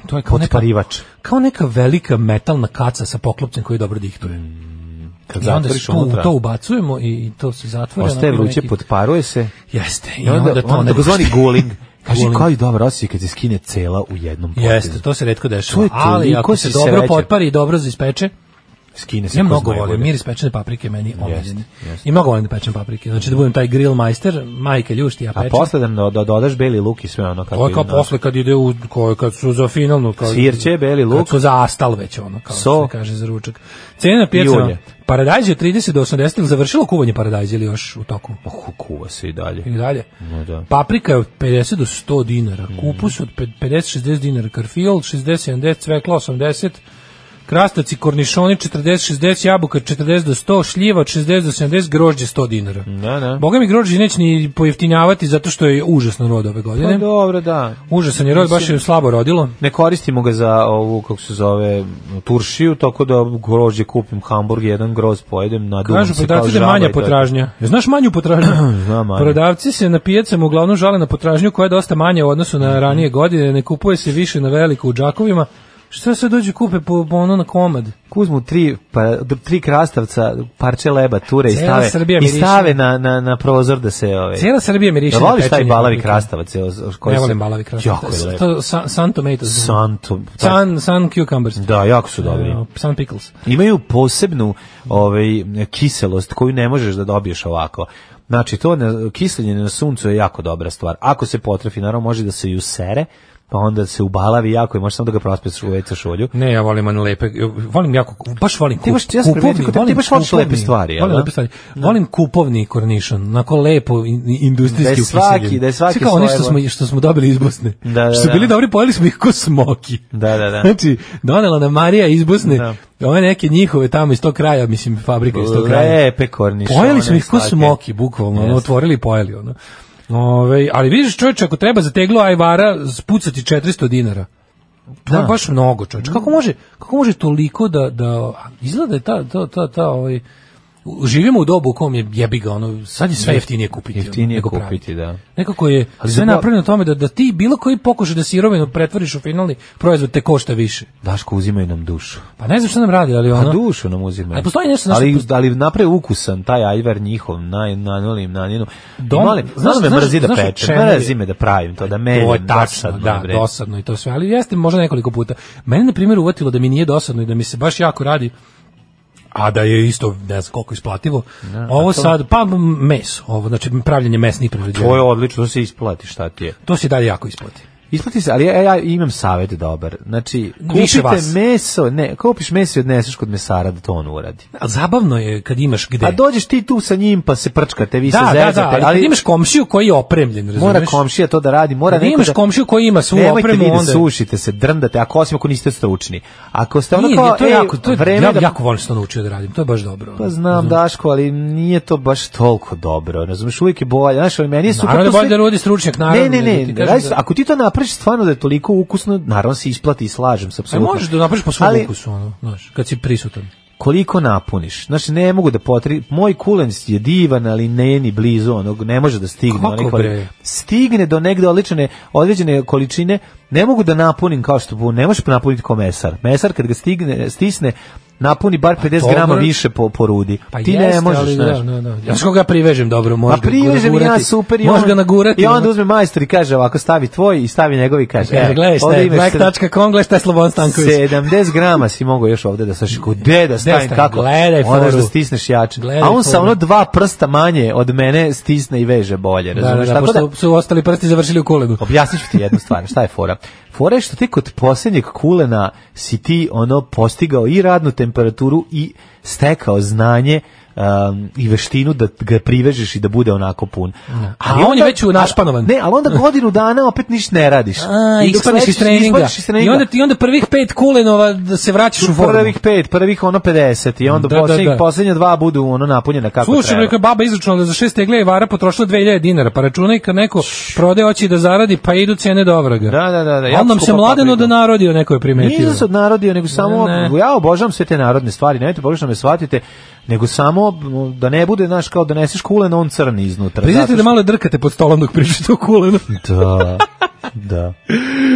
S5: to je kao neka,
S6: Potparivač.
S5: kao neka velika metalna kaca sa poklopcem koji dobro dihtuje.
S6: Kad
S5: I onda se
S6: Mm, zatvoriš
S5: tu,
S6: unutra,
S5: to ubacujemo i, i to se zatvori.
S6: ostaje
S5: onako ima
S6: vruće,
S5: neki-
S6: potparuje se.
S5: Jeste,
S6: I onda, onda,
S5: to ne
S6: takozvani
S5: dište.
S6: guling. Kaži,
S5: Guling.
S6: koji dobar osjećaj kad se skine cela u jednom potezu.
S5: Jeste, to se retko
S6: To
S5: dešava.
S6: je
S5: Ali
S6: toliko
S5: ako se
S6: si
S5: dobro
S6: srećan.
S5: potpari i dobro ispeče,
S6: Skine se
S5: Ja
S6: ko
S5: mnogo
S6: zna
S5: volim,
S6: najbolje.
S5: miris pečene paprike je meni omiljen.
S6: jeste.
S5: I mnogo volim da pečem paprike. Znači da budem taj grill majster, majke ljušti, ja
S6: A
S5: pečem.
S6: posle da, da dodaš beli luk i sve ono kako
S5: To je kao
S6: na-
S5: posle kad ide u ko- kad su za finalnu kao
S6: Sirće, beli luk.
S5: Kad su za astal već ono kao
S6: So.
S5: se kaže za ručak. Cena pijaca
S6: ulje.
S5: paradajz je 30 do 80 ili završilo kuvanje paradajza ili još u toku
S6: Pa ku- kuva se i dalje.
S5: i Pa- dalje.
S6: No da.
S5: Paprika je od 50 do 100 dinara,
S6: Mm.
S5: kupus od pe- 50-60 dinara, karfiol 60-70, cvekla 80, krastavci, kornišoni 40-60, jabuka 40 do 100, šljiva od 60 do 70, grožđe 100 dinara.
S6: Da, da.
S5: Boga mi grožđe neće ni pojeftinjavati zato što je užasno rod ove godine.
S6: Pa dobro, da.
S5: Užasan je rod, baš je slabo rodilo.
S6: Ne koristimo ga za ovu, kako se zove, turšiju, tako da grožđe kupim hamburg, jedan groz pojedem, nadumam
S5: Kažu
S6: se kao
S5: prodavci da je
S6: žaba.
S5: manja
S6: i to je to.
S5: potražnja. Ja, znaš manju potražnju?
S6: Znam manje.
S5: Prodavci se na pijacama uglavnom žale na potražnju koja je dosta manja u odnosu na ranije godine, ne kupuje se više na veliko u džakovima. Šta se dođe kupe po, po ono na komad?
S6: Kuzmu tri, pa, d- tri krastavca, parče leba, ture i
S5: Cela
S6: stave,
S5: Srbija
S6: i
S5: miriše.
S6: stave na, na, na prozor da se... Ove,
S5: Cijela Srbija miriše
S6: Da
S5: na
S6: voliš taj
S5: pečenje
S6: balavi
S5: paprike.
S6: krastavac? evo, s- koji
S5: Ne
S6: se-
S5: volim balavi krastavac.
S6: Jako je lepo.
S5: To sun, sun tomatoes.
S6: Santo.
S5: Sun, sun cucumbers.
S6: Da, jako su dobri.
S5: E, Sun pickles.
S6: Imaju posebnu ovaj, kiselost koju ne možeš da dobiješ ovako. Znači, to na, kiseljenje na suncu je jako dobra stvar. Ako se potrefi, naravno može da se i usere, pa onda se ubalavi jako i može samo da ga prospeš u WC šolju.
S5: Ne, ja volim one lepe, volim jako, baš volim
S6: Ti baš- ja sam
S5: kupovni,
S6: primetio kod tebe, ti baš voliš lepe stvari, jel
S5: volim
S6: da?
S5: lepe stvari. Volim kupovni kornišon, onako lepo in- industrijski
S6: Da je svaki- da je svaki
S5: Sve kao one što
S6: slojevo.
S5: smo, što smo dobili iz Bosne.
S6: Da, da,
S5: što su
S6: da.
S5: bili dobri, pojeli smo ih ko smoki.
S6: Da, da, da.
S5: Znači, donela nam Marija iz Bosne,
S6: Da.
S5: ove neke njihove tamo iz tog kraja, mislim, fabrika iz tog kraja.
S6: Lepe kornišone,
S5: Pojeli smo ih ko
S6: slatke.
S5: smoki, bukvalno, ono,
S6: Jeste.
S5: otvorili i pojeli, ono. Ove, ali vidiš čovječe, ako treba za teglu ajvara spucati 400 dinara. To je baš mnogo, čovječe.
S6: Mm.
S5: Kako može, kako može toliko da, da izgleda da je ta, ta, ta, ta, ovaj, u- živimo u dobu u kom je jebi ga, ono, sad je sve jeftinije kupiti. ono,
S6: Jeftinije
S5: nego
S6: kupiti,
S5: praviti.
S6: da.
S5: Nekako je
S6: Ali
S5: sve
S6: za-
S5: napravljeno tome da, da ti bilo koji pokušaj da sirovinu pretvoriš u finalni proizvod te košta više.
S6: Daško, uzimaju nam dušu.
S5: Pa ne znam što nam radi, ali ono...
S6: Pa dušu nam uzimaju.
S5: Ali postoji nešto na što-
S6: ali, ali napravi ukusan taj ajvar njihov, naj, nanolim, nanjenu.
S5: Dom-
S6: Mali,
S5: znaš-
S6: znaš, me
S5: znaš-
S6: mrzi da
S5: znaš o
S6: pečem,
S5: čemu je-
S6: mrzi me da pravim to, E, da ono menjam,
S5: To je tačno,
S6: dosadno
S5: da,
S6: je, bre.
S5: dosadno i to sve, ali jeste možda nekoliko puta. Mene, na primjer, uvatilo da mi nije dosadno i da mi se baš jako radi, a da je isto, ne znam koliko isplativo, ovo sad, pa m, meso, ovo, znači pravljanje mesnih prerađevina.
S6: To je
S5: To,
S6: odlično, to se isplati, šta ti je?
S5: se i dalje jako isplati.
S6: Isplati se, ali ja, ja imam savjet dobar. Znači,
S5: Više
S6: kupite
S5: vas.
S6: meso, ne, kupiš meso i odneseš kod mesara da to on uradi.
S5: A zabavno je kad imaš gde.
S6: A dođeš ti tu sa njim pa se prčkate, vi
S5: E. da,
S6: se
S5: da,
S6: zezate,
S5: da, ali, kad imaš komšiju koji je opremljen, razumeš?
S6: mora komšija to da radi, mora
S5: Kad
S6: neko
S5: imaš
S6: da-
S5: komšiju koji ima svu
S6: Nemojte
S5: opremu,
S6: vi da
S5: onda-
S6: sušite se, drndate, ako osim ako niste stručni. Ako ste ono
S5: Nije,
S6: kao,
S5: nije, to je
S6: ej,
S5: jako, to je,
S6: vreme
S5: ja,
S6: da
S5: jako volim što to naučio da radim, to je baš dobro. ono.
S6: Pa znam, Daško, ali nije to baš toliko dobro. Razumeš, uvijek je bolje. Znaš, ali meni je super...
S5: Naravno
S6: to
S5: da bolje da
S6: sve-
S5: rodi stručnjak, naravno,
S6: Ne, ne,
S5: nego
S6: ne.
S5: ti kažem
S6: radi se-
S5: da-
S6: Ako ti to napraviš stvarno da je toliko ukusno, naravno se isplati i slažem se,
S5: E,
S6: apsolutno.
S5: možeš da napraviš po svom
S6: Ali-
S5: ukusu, ono, znaš, kad si prisutan.
S6: koliko napuniš. Znači, ne mogu da potri... Moj kulen je divan, ali ne ni blizu onog, ne može da stigne.
S5: Kako
S6: onaj
S5: bre?
S6: Stigne do negde odlične, određene količine, ne mogu da napunim kao što bu, ne možeš napuniti ko mesar. Mesar kad ga stigne, stisne, napuni bar 50 grama
S5: Pa dobro.
S6: više po, po rudi.
S5: Pa
S6: Ti
S5: jeste,
S6: ne možeš,
S5: ali da,
S6: znaš.
S5: da, da. Ja što ga privežem dobro,
S6: Pa
S5: možeš ga
S6: privežem ja
S5: nagurati.
S6: super i
S5: Možeš
S6: on-
S5: ga nagurati.
S6: I onda
S5: ono.
S6: uzme majstor i kaže ovako stavi tvoj i stavi njegov i kaže. "E,
S5: Kaže,
S6: evo,
S5: gledaj šta
S6: ovde
S5: je,
S6: imaš sedam-
S5: black.com, gledaj šta je Slobodan Stanković.
S6: 70 grama si mogao još ovde da saši kod gde da stavim
S5: stavim?
S6: kako
S5: Gledaj
S6: moraš
S5: foru.
S6: da stisneš jače
S5: Gledaj
S6: a on sa
S5: foru.
S6: ono dva prsta manje od mene stisne i veže bolje
S5: Da, da,
S6: razumeš
S5: da,
S6: tako da Pa,
S5: pošto su ostali prsti završili u kolebu.
S6: objasnit ću ti jednu stvar šta je fora fora je što ti kod posljednjeg kulena si ti ono postigao i radnu temperaturu i stekao znanje um, i veštinu da ga privežeš i da bude onako pun. A
S5: Ali on je već u- našpanovan.
S6: Ne, ali onda godinu dana opet ništa ne radiš.
S5: A,
S6: dok
S5: ispadiš iz
S6: sledeći-
S5: treninga.
S6: ispadneš iz
S5: I
S6: treninga.
S5: onda, ti onda prvih pet kulenova da se vraćaš u formu.
S6: prvih pet, prvih ono 50 i onda
S5: Da, da,
S6: poslednjih,
S5: da.
S6: poslednja dva budu ono napunjena kako
S5: Slušaj,
S6: treba.
S5: rekao je baba izračunala da za šest tegle i vara potrošila 2000 dinara, pa računaj kad neko prode hoće da zaradi, pa idu cene do vraga.
S6: Da, da, da, da,
S5: Ali nam
S6: jako
S5: se
S6: skupa
S5: mladeno
S6: paprika.
S5: da narodio, neko je
S6: Nije
S5: primetio.
S6: da se odnarodio, nego samo,
S5: Ne, ne.
S6: ja obožavam sve te narodne stvari, nemojte pogrešno me shvatite, nego samo m, da ne bude, znaš, kao doneseš kulen, on crni iznutra.
S5: Priznajte
S6: Zato
S5: da Pa malo drkate pod stolom dok pričate o kulenu.
S6: što- Da, da.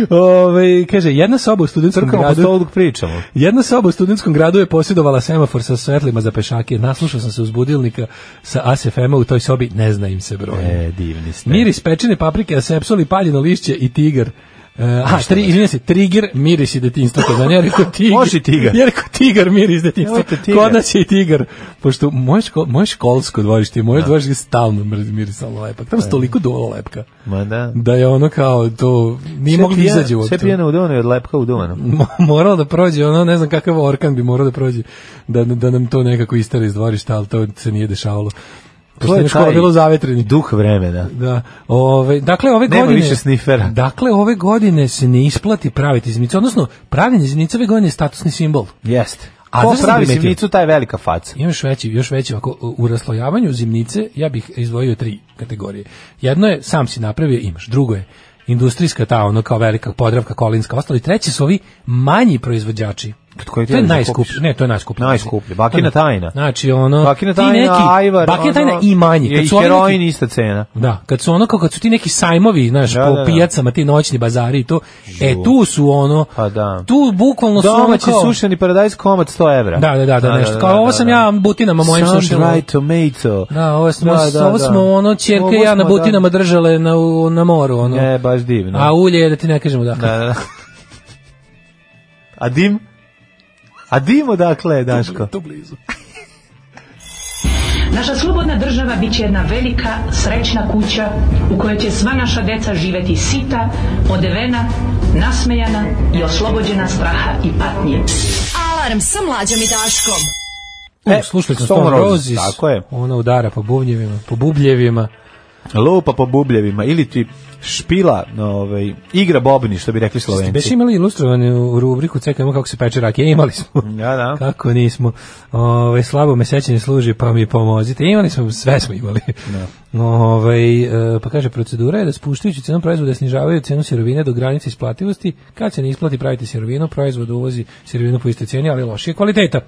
S5: Ove, kaže, jedna soba u studentskom
S6: Crkamo po
S5: gradu...
S6: stolu dok pričamo.
S5: Jedna soba u studentskom gradu je posjedovala semafor sa svetlima za pešake. Naslušao sam se uz budilnika sa ASFM-a u toj sobi, ne zna im se broj.
S6: E, divni ste.
S5: Miris pečene paprike, asepsol i paljeno lišće i tigar. Uh, a, tri, izvinjam se, trigger miris i detinstvo. Kod mene, ja rekao tigar.
S6: znači? Može i tigar.
S5: Ja rekao tigar miris detinstvo.
S6: Nemojte tigar.
S5: Kod nas je i tigar. Pošto moje, ško, moje školsko dvorište, i moje dvorište stalno mrz- mirisalo lepak.
S6: E.
S5: Tamo se toliko duvala lepka.
S6: Ma da.
S5: Da je ono kao to, nije
S6: Sve
S5: moglo da
S6: pija-
S5: izađe
S6: Sve
S5: uopšte.
S6: pijeno u duvanu i od lepka u duvanu.
S5: Mo- moralo da prođe, ono ne znam kakav orkan bi morao da prođe da, da nam to nekako istara iz dvorišta, ali to se nije dešavalo. Pošto je škola
S6: taj
S5: bilo zavetreni.
S6: Duh vremena.
S5: Da, ove, dakle ove
S6: Nema
S5: godine
S6: više snifera.
S5: Dakle ove godine se ne isplati praviti zimnicu, odnosno pravljenje zimnice ove godine je statusni simbol.
S6: Jeste.
S5: A
S6: A Ko
S5: znaš šta sam
S6: pravi
S5: primetio?
S6: sivnicu, taj je velika faca.
S5: Ima još veći, još veći ovako, u- u raslojavanju zimnice ja bih izdvojio tri kategorije. Jedno je sam si napravio, imaš. Drugo je industrijska ta ono kao velika podravka, kolinska, ostalo i treći su ovi manji proizvođači.
S6: Kad koji
S5: To je
S6: ti da kupiš?
S5: najskuplje, ne, to je najskuplje.
S6: Najskuplje, bakina tajna.
S5: Znači ono,
S6: Bakina
S5: ti
S6: tajna,
S5: neki,
S6: ajvar,
S5: bakina
S6: ono,
S5: tajna i manji.
S6: I
S5: Kad su ovi neki-
S6: heroin ista cena.
S5: Da, kad su ono kao kad su ti neki sajmovi, znaš,
S6: Da,
S5: po
S6: da, da.
S5: pijacama, ti noćni bazari i to, e tu su ono,
S6: Pa da.
S5: tu bukvalno su ono
S6: Domaći
S5: kao,
S6: sušeni paradajz komad 100 evra.
S5: Da, da, da, da, nešto. Kao ovo sam ja butinama mojim sušila.
S6: Sun dried tomato.
S5: Da, ovo smo,
S6: Da, da,
S5: ovo
S6: da.
S5: smo ono čerke
S6: Ovo
S5: i ja na
S6: smo, da.
S5: butinama držale na, u- na moru, ono.
S6: E, baš divno.
S5: A ulje je da ti ne kažemo dakle.
S6: Da, da, da. A dim? A dim odakle je, Daško?
S5: Tu blizu.
S11: Naša slobodna država bit će jedna velika, srećna kuća u kojoj će sva naša deca živeti sita, odevena, nasmejana i oslobođena straha i patnje.
S4: Alarm sa mlađom i Daškom.
S5: E, slušali smo
S6: Stone
S5: Stone
S6: Roses,
S5: Roses.
S6: tako je.
S5: Ona udara po bubnjevima, po bubljevima.
S6: Lupa po bubljevima ili ti špila, ovaj, igra bobni, što bi rekli
S5: Beš
S6: slovenci.
S5: imali ilustrovane u rubriku CKM kako se peče rakija? Imali smo.
S6: Da, da.
S5: Kako nismo. Ove, slabo me sećanje služi, pa mi pomozite. Imali smo, sve smo imali. Ovaj, e, pa kaže, procedura je da spuštajući cenu proizvoda snižavaju cenu sirovine do granice isplativosti. Kad se ne isplati praviti sirovinu, proizvod uvozi sirovinu po istoj cijeni, ali lošije kvaliteta.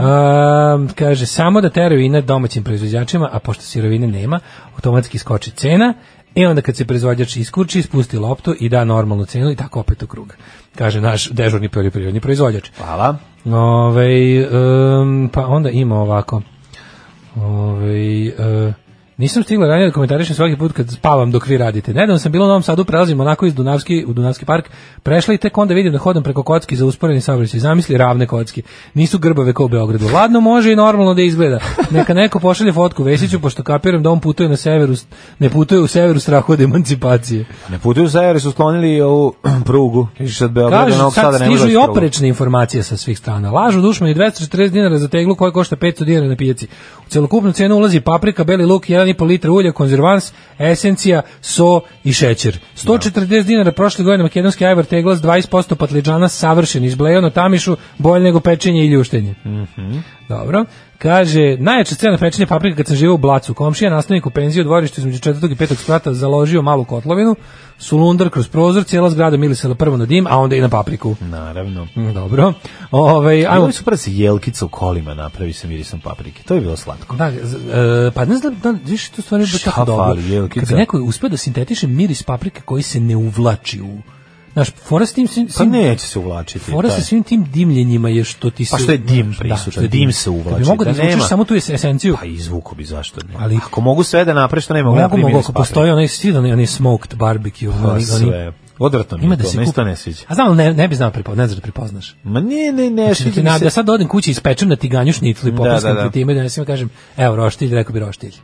S5: A, kaže, samo da teraju i nad domaćim proizvođačima, a pošto sirovine nema, automatski skoči cena. E onda kad se proizvođač iskuči, spusti loptu i da normalnu cenu i tako opet u krug. Kaže naš dežurni poljoprivredni proizvođač.
S6: Hvala.
S5: Ove, pa onda ima ovako. Ove, e, nisam stigla ranije da komentarišem svaki put kad spavam dok vi radite. Nedavno sam bila u Novom Sadu, prelazim onako iz Dunavski, u Dunavski park, prešla i tek onda vidim da hodam preko kocki za usporeni saobraćaj. Zamisli ravne kocki. Nisu grbave kao u Beogradu. Ladno može i normalno da izgleda. Neka neko pošalje fotku Vesiću, pošto kapiram da on putuje na severu, ne putuje u severu strahu od emancipacije.
S6: Ne putuju za jer su sklonili ovu prugu. Kažeš sad Beograd,
S5: Kažu,
S6: Novog
S5: sad
S6: Sada ne može
S5: stižu i
S6: doći prugu.
S5: oprečne informacije sa svih strana. Lažu dušmani 240 dinara za teglu koja košta 500 dinara na pijaci. U celokupnu cenu ulazi paprika, beli luk, 1,5 litra ulja, konzervans, esencija, so i šećer. 140 dinara prošle godine makedonski ajvar tegla s 20% patliđana savršen, izblejano tamišu, bolje nego pečenje i ljuštenje. Dobro. Kaže, najjača scena pečenja paprika kad sam živio u Blacu. Komšija nastavnik u penziji u dvorištu između četvrtog i petog sprata založio malu kotlovinu, sulundar kroz prozor, cijela zgrada milisala prvo na dim, a onda i na papriku.
S6: Naravno.
S5: Mm, Dobro. Ovaj ajmo
S6: Ajmo super da se jelkica u kolima napravi sa mirisom paprike. To je bilo slatko.
S5: Da, z- e, pa ne znam, da, više to stvari je baš
S6: Šta
S5: tako dobro.
S6: fali, jelkica?
S5: Kad bi neko uspeo da sintetiše miris paprike koji se ne uvlači u Znaš, fora s tim... svim-
S6: Pa neće se uvlačiti.
S5: Fora sa
S6: taj.
S5: svim tim dimljenjima je što ti se...
S6: Pa što je dim
S5: znaš, da, što
S6: prisutan,
S5: je
S6: dim se uvlači.
S5: Da bi mogo da, izvučeš
S6: nema-
S5: samo tu es- esenciju.
S6: Pa izvuko bi, zašto ne?
S5: Ali-
S6: ako mogu sve da napre, što ne mogu, na
S5: mogu,
S6: primjer,
S5: mogu,
S6: iz
S5: ako
S6: paprike.
S5: postoji onaj stil, onaj, onaj smoked barbecue,
S6: Pa
S5: oni, oni,
S6: sve. Odvratno mi
S5: ima
S6: je
S5: da
S6: to,
S5: se
S6: meni se
S5: kupi.
S6: to ne sviđa.
S5: A znam, ali ne, ne bi znao prepoznat, ne znaš da prepoznaš.
S6: Ma ne, ne, ne,
S5: Znači, da, ti
S6: sviđa
S5: na,
S6: mi
S5: da
S6: se.
S5: sad odem kući i ispečem na tiganju šnitlu i
S6: Da,
S5: popaskam
S6: da, da.
S5: ti time i da nesima kažem, evo roštilj, rekao bi roštilj.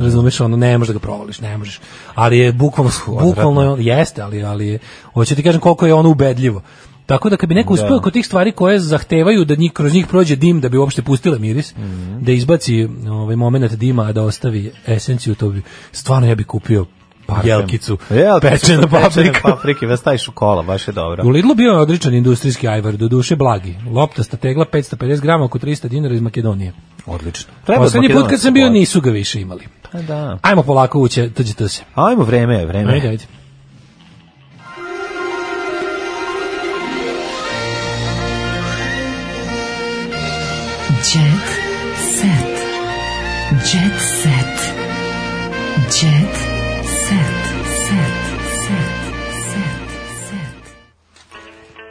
S5: Razumeš, ono, ne možeš da ga provališ, ne možeš. Ali je bukvalno, bukvalno je, on- jeste, ali, ali je, hoću ti kažem koliko je ono ubedljivo. Tako da kad bi neko uspeo kod tih stvari koje zahtevaju da njih, kroz njih prođe dim da bi uopšte pustila miris, da izbaci ovaj moment dima, a da ostavi esenciju, to bi, stvarno ja bi kupio jelkicu,
S6: Jelkicu
S5: pečena
S6: sa
S5: paprika.
S6: paprike, da staviš u kola, baš je dobro.
S5: U Lidlu bio je odričan industrijski ajvar, do duše blagi. Loptasta tegla 550 grama, oko 300 dinara iz Makedonije.
S6: Odlično. Treba od
S5: Poslednji put
S6: Makedonaca
S5: kad sam bio
S6: kupovati.
S5: nisu ga više imali.
S6: Pa da.
S5: Ajmo polako uće, tuđe to se.
S6: Ajmo, vreme je, vreme
S5: Ajde,
S6: je.
S5: ajde.
S4: Jet set. Jet set. Jet set. Set. Set. Set. Set.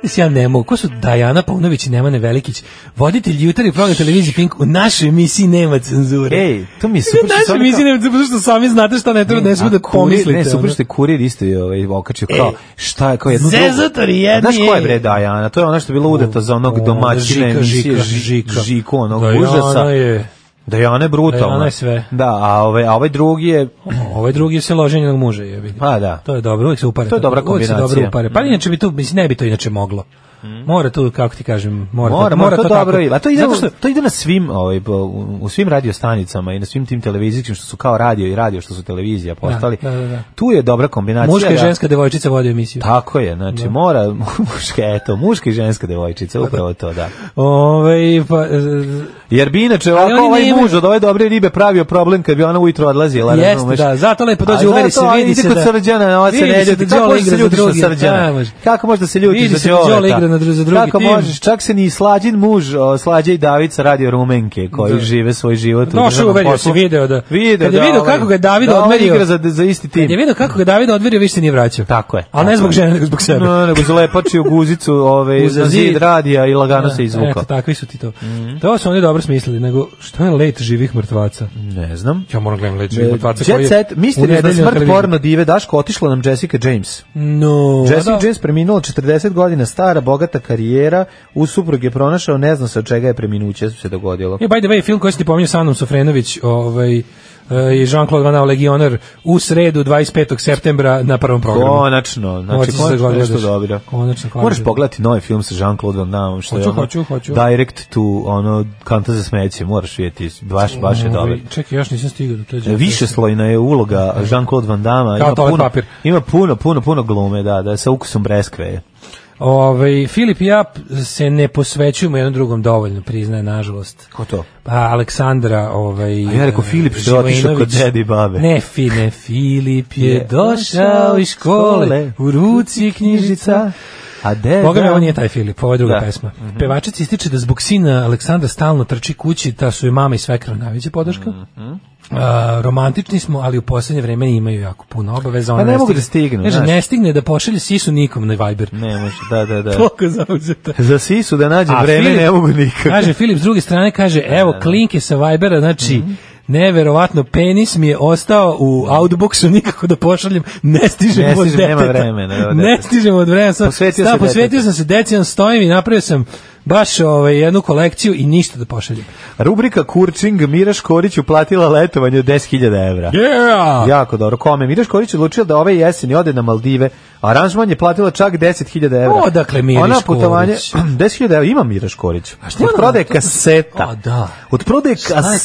S5: Mislim, ja ne mogu. Ko su Dajana Paunović i Nemane Velikić? Voditelj jutarnjeg programa televizije Pink. U našoj emisiji nema cenzure.
S6: Ej, to mi je super
S5: u
S6: što
S5: našoj
S6: sam rekao-
S5: emisiji nema cenzure, što sami znate šta ne treba, ne smije
S6: A
S5: da
S6: kurir-
S5: pomislite.
S6: Ne, super
S5: ono.
S6: što je kurir isto je ovaj, okačio kao, šta je, kao jednu
S5: Zezatori jedni,
S6: Znaš ko je
S5: ej.
S6: bre Dajana? To je ona što je bila udata za onog
S5: Ona,
S6: domaćina
S5: Ono, Žika,
S6: emisije
S5: Žika,
S6: Ži-
S5: Žika.
S6: Žiku, onog
S5: Dajana
S6: užasa.
S5: je-
S6: Dajana je brutalna.
S5: Dajana je sve.
S6: Da, a ovaj, a ovaj drugi je,
S5: Ovaj drugi se loženje na muža je vidim.
S6: Pa da.
S5: To je dobro, uvijek se upare.
S6: To je dobra
S5: Uvijek se dobro
S6: kombinacija. Mm.
S5: upare. Pa inače bi to mislim ne bi to inače moglo. Mora tu kako ti kažem, mora
S6: Mora, mora, to, dobro
S5: tako.
S6: ide. A to ide,
S5: Zato što
S6: to ide na svim, ovaj, po- u- u svim radiostanicama i na svim tim televizijskim što su kao radio i radio što su televizija postali.
S5: da, da, da.
S6: Tu je dobra kombinacija.
S5: muška i
S6: da-
S5: ženska devojčica vodi emisiju.
S6: Tako je, znači mora muška, eto, muška i ženska devojčica, upravo to, da.
S5: Ovaj pa e,
S6: Jer bi inače
S5: oni
S6: ovako ovaj
S5: nemaju-
S6: muž od ove dobre ribe pravio problem kad bi ona ujutro odlazila.
S5: Jeste,
S6: razumeš?
S5: da, zato lepo
S6: A
S5: dođe, uveri
S6: zato,
S5: se,
S6: ali
S5: vidi
S6: ide
S5: se
S6: kod
S5: da-
S6: Srđana, ona se
S5: vidi
S6: ne
S5: se
S6: ljuti.
S5: da
S6: Kako
S5: Đole
S6: možeš da se
S5: igra za
S6: ljutiš na
S5: drugi, da,
S6: Srđana?
S5: može.
S6: Kako možeš da se ljutiš
S5: Vidi
S6: za
S5: se da Đole
S6: Đoleta?
S5: igra na dru- za drugi
S6: Kako
S5: tim.
S6: možeš? Čak se ni slađin muž, o, slađe i Davica radio rumenke koji žive svoj život. u
S5: došao
S6: državnom
S5: uverio se
S6: poslu.
S5: video da.
S6: Video
S5: kad je
S6: da
S5: video
S6: ovaj-
S5: kako ga je David
S6: da ovaj
S5: odmerio.
S6: igra za, za isti tim.
S5: Kad je video kako ga je David odmerio, više se nije vraćao.
S6: Tako je.
S5: Ali ne
S6: Tako
S5: zbog
S6: je.
S5: žene, nego zbog sebe.
S6: No, nego zalepačio guzicu ove,
S5: Uza
S6: za zid
S5: zid.
S6: radija i lagano
S5: Da,
S6: se izvukao.
S5: E,
S6: Mm.
S5: Eto, takvi su ti to. To su oni dobro smislili, nego što je let živih mrtvaca?
S6: Ne znam.
S5: Ja moram gledam let živih mrtvaca koji
S6: E, Jet
S5: je
S6: set,
S5: u
S6: misteriozna
S5: nedelju na
S6: smrt
S5: televiziji.
S6: porno dive Daško, otišla nam Jessica James.
S5: No,
S6: Jessica
S5: da.
S6: James preminula 40 godina stara, bogata karijera, u suprug je pronašao, ne zna se od čega je preminuće se dogodilo.
S5: E, by the way, film koji si ti pominjao sa Anom Sofrenović ovaj, e, i Jean-Claude Van Damme, Legioner, u sredu 25. septembra na prvom programu.
S6: Konačno, znači
S5: Hoće se
S6: konačno
S5: gledaš.
S6: nešto dobro.
S5: Konačno, konačno.
S6: Moraš pogledati novi film sa Jean-Claude Van Damme, što je
S5: Hoću,
S6: ono,
S5: hoću, hoću.
S6: direct to ono, kanta za smeće, moraš vidjeti, baš, baš je
S5: Ovaj,
S6: dobro.
S5: Čekaj, još nisam stigao do tođe.
S6: Više slojna je uloga Jean-Claude Van Damme,
S5: Kao
S6: ima
S5: toalet
S6: puno,
S5: papir.
S6: ima puno, puno, puno glume, da, da, sa ukusom breskve. je.
S5: Ovaj, Filip i ja p- se ne posvećujemo jednom drugom dovoljno, priznaje, nažalost.
S6: Ko to?
S5: Pa Aleksandra, ovaj...
S6: A ja rekao,
S5: eh,
S6: Filip što je otišao
S5: Živojinović.
S6: kod dede i babe.
S5: Ne, fi, ne, Filip je
S6: Je
S5: došao iz škole, u ruci knjižica.
S6: A de,
S5: Boga mi,
S6: E, da.
S5: ovo nije taj Filip, ovo je druga
S6: Da. Mhm.
S5: pesma. Pevačica ističe da zbog sina Aleksandra stalno trči kući, ta su je mama i svekra najveća podrška.
S6: Mhm.
S5: A, romantični smo, ali u posljednje vreme imaju jako puno obaveza. ona
S6: Pa ne mogu
S5: stigne-
S6: da stignu,
S5: Kaže,
S6: znaš.
S5: ne stigne da pošalje sisu nikom na Viber.
S6: Ne može, da, da, da.
S5: Toliko zauzeta.
S6: Za sisu da nađe
S5: A
S6: vreme
S5: Filip-
S6: ne mogu nikako.
S5: Kaže, Filip s druge strane kaže, evo, klinke sa Vibera, znači,
S6: Mhm.
S5: neverovatno, penis mi je ostao u outboxu, nikako da pošaljem, ne stižem,
S6: Ne
S5: od
S6: stižem, nema
S5: deteta.
S6: vremena, nema
S5: ne
S6: deteta.
S5: stižem od vremena. Sam,
S6: Posvetio
S5: da,
S6: se
S5: posvetio
S6: detetu.
S5: sam se deci, on stojim i napravio sam baš ovaj, jednu kolekciju i ništa da pošaljem.
S6: Rubrika Kurčing, Mira Škorić uplatila letovanje od 10.000 evra.
S5: Yeah!
S6: Jako dobro. Kome? Mira Škorić odlučila da ove jeseni ode na Maldive. Aranžman je platila čak 10.000 evra.
S5: Odakle Miri
S6: Ona
S5: Škorić?
S6: putovanje... 10.000 evra ima Mira Škorić. A
S5: šta
S6: Od
S5: ona-
S6: prodaje kaseta.
S5: A, da.
S6: Od prodaje
S5: je,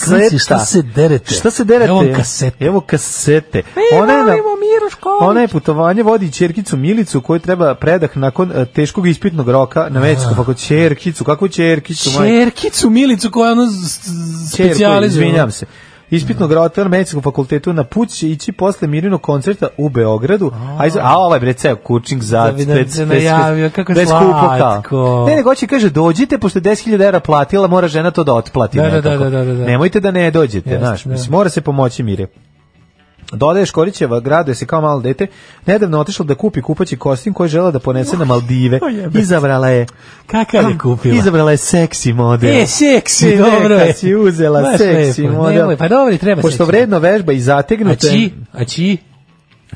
S5: klinci,
S6: kaseta.
S5: šta se derete?
S6: Šta se derete?
S5: Evo vam kasete.
S6: Evo kasete.
S5: Mi
S6: Pa je na-
S5: volimo Miru Škorić.
S6: Ona je putovanje vodi i ćerkicu Milicu koju treba predah nakon e, teškog ispitnog roka na medicinskom fakultetu. Ćerkicu, kakvu ćerkicu? majko?
S5: Čerkicu Milicu koja ono
S6: Ćerku,
S5: specijalizuje.
S6: izvinjavam se. Ispitnog rota na medicinskom fakultetu na put će ići posle Mirinog koncerta u Beogradu. A, iz- a ovaj bre ceo kučing za
S5: Da bi nam
S6: bez-
S5: se
S6: bez-
S5: najavio, kako je
S6: bez kupa kao.
S5: slatko.
S6: Ne, nego će kaže dođite pošto je 10.000 evra platila, mora žena to da otplati
S5: Da, da,
S6: nekako.
S5: da, da, da, da.
S6: Nemojte da ne dođete,
S5: Jeste,
S6: znaš,
S5: da.
S6: mislim, mora se pomoći Mire. Dodaje Škorićeva grada se kao malo dete nedavno otišla da kupi kupaći kostim koji žela da ponese na Maldive. Izabrala je
S5: Kakav je kupila?
S6: Izabrala je seksi model.
S5: E, seksi,
S6: Neka
S5: dobro je.
S6: si uzela
S5: Baš
S6: seksi
S5: lepo,
S6: model.
S5: nemoj, pa dobro i treba
S6: Pošto
S5: seksi.
S6: vredno vežba i zategnuta.
S5: A čiji? A čiji?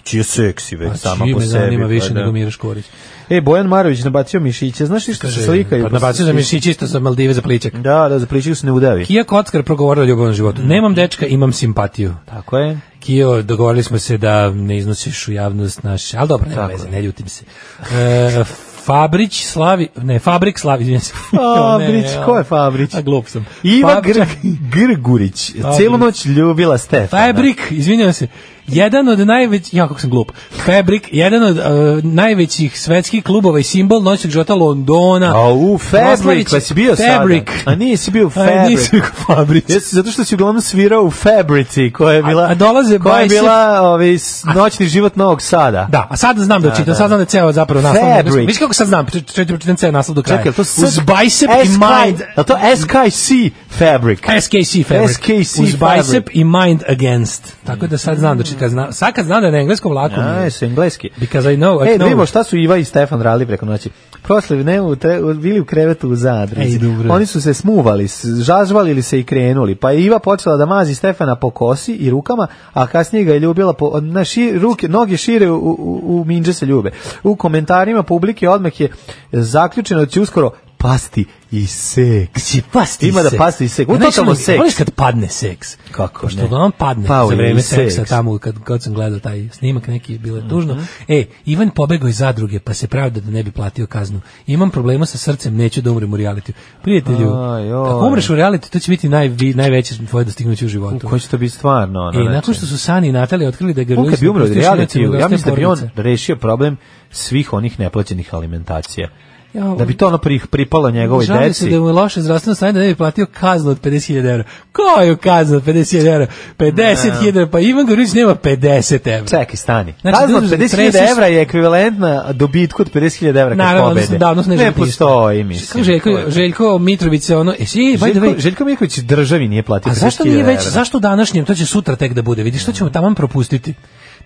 S6: Čiji je seksi već
S5: A
S6: sama
S5: čiji
S6: Pa po
S5: Znači, me
S6: sebi.
S5: zanima
S6: pa
S5: više
S6: da.
S5: nego Mira Škorić.
S6: E, Bojan Marović nabacio mišiće. Znaš ti što se slikaju?
S5: Pa nabacio sam mišiće isto za Maldive za pličak.
S6: Da, da, zapličaju se ne udavi.
S5: Kija Kockar progovorila o ljubavnom životu. Nemam dečka, imam simpatiju.
S6: Tako je.
S5: Kio, dogovorili smo se da ne iznosiš u javnost naš, ali dobro, nema veze, ne ljutim se. E, Fabrić slavi, ne, Fabrik slavi, izvinjam se.
S6: Fabrić,
S5: Pa Ne, ono.
S6: ko je Fabrić?
S5: A glup sam.
S6: Iva
S5: Fabrik-
S6: Gr Grgurić. Celu noć ljubila Stefana.
S5: Fabrik, izvinjam se. Jedan od najvećih, ja kako sam glup. Fabrik, jedan od e, najvećih svetskih klubova i simbol noćnog života Londona.
S6: A u Fabric,
S5: Proslavić-
S6: pa si bio
S5: Fabrik.
S6: sada. A nisi bio u
S5: A
S6: Fabric.
S5: Pa nisi bio u Fabric.
S6: Jesi, zato što si uglavnom svirao u Fabrici, koja je bila,
S5: A- a dolaze
S6: koja je
S5: bajsep-
S6: bila ovaj, s- noćni život Novog Sada.
S5: Da, a sad znam da čitam, sad znam da je ceo zapravo naslov.
S6: Fabric.
S5: Viš kako sad znam, čitam či, či, čitam ceo naslov do kraja.
S6: Čekaj, je li to
S5: Uz bicep i mind.
S6: Je to SKC Fabric?
S5: SKC Fabric.
S6: SKC
S5: Uz
S6: Fabric.
S5: bicep i mind against. Tako da sad znam da čitam, zna, sad kad znam da je na engleskom lako mi
S6: A,
S5: je.
S6: su engleski.
S5: Because I know, I
S6: E,
S5: know.
S6: da vidimo šta su Iva i Stefan radili preko noći. Proslavi ne, u tre- u- bili u krevetu u zadruzi.
S5: Ej, dobro.
S6: Oni su se smuvali, s- žažvalili se i krenuli. Pa je Iva počela da mazi Stefana po kosi i rukama, a kasnije ga je ljubila po, na ši, ruke, noge šire u, u, u minđe se ljube. U komentarima publike odmah je zaključeno da će uskoro pasti i seks.
S5: Si Znači, pasti
S6: Ima da
S5: seks.
S6: pasti i seks. U
S5: Znaš,
S6: totalno
S5: ono-
S6: seks.
S5: Voliš kad padne seks.
S6: Kako
S5: Pošto
S6: ne?
S5: uglavnom padne
S6: Pao
S5: za
S6: je
S5: vreme
S6: i
S5: seksa
S6: seks. Mhm.
S5: tamo kad, kad sam gledao taj snimak neki bilo je tužno. E, Ivan pobegao iz zadruge pa se pravda da ne bi platio kaznu. Imam problema sa srcem, neću da umrem u realitiju. Prijatelju,
S6: Aj, oj.
S5: ako umreš u realitiju, to će biti najvi, najveće tvoje dostignuće u životu.
S6: Ko će to biti stvarno? ono,
S5: E,
S6: znači?
S5: nakon što su Sani i Natalija otkrili da je
S6: On kad
S5: Grlić
S6: bi umro od
S5: napustio
S6: realitiju,
S5: Švedsku,
S6: ja mislim da bi on
S5: porodica.
S6: rešio problem svih onih neplaćenih alimentacija.
S5: Ja,
S6: Da bi to ono pri- pripalo njegovoj
S5: Žali se
S6: deci.
S5: da mu je loše zdravstveno stanje da ne bi platio kaznu od 50.000 evra. Koju kaznu od 50.000 evra? 50.000 evra, pa Ivan Gorić nema 50 evra.
S6: Čekaj, stani.
S5: Znači,
S6: Kazna od
S5: da-
S6: 50.000
S5: tresiš-
S6: evra je ekvivalentna dobitku od 50.000 evra kad
S5: Naravno,
S6: pobede.
S5: odnosno davno su
S6: ne
S5: neželjni.
S6: postoji, mislim.
S5: Kako Željko,
S6: To je-
S5: Željko Mitrović se ono... E, si, by the
S6: Željko,
S5: way,
S6: Željko Miković državi nije platio
S5: a
S6: 50.000
S5: zašto nije već,
S6: evra.
S5: zašto današnjem, to će sutra tek da bude, vidiš, to ćemo taman propustiti.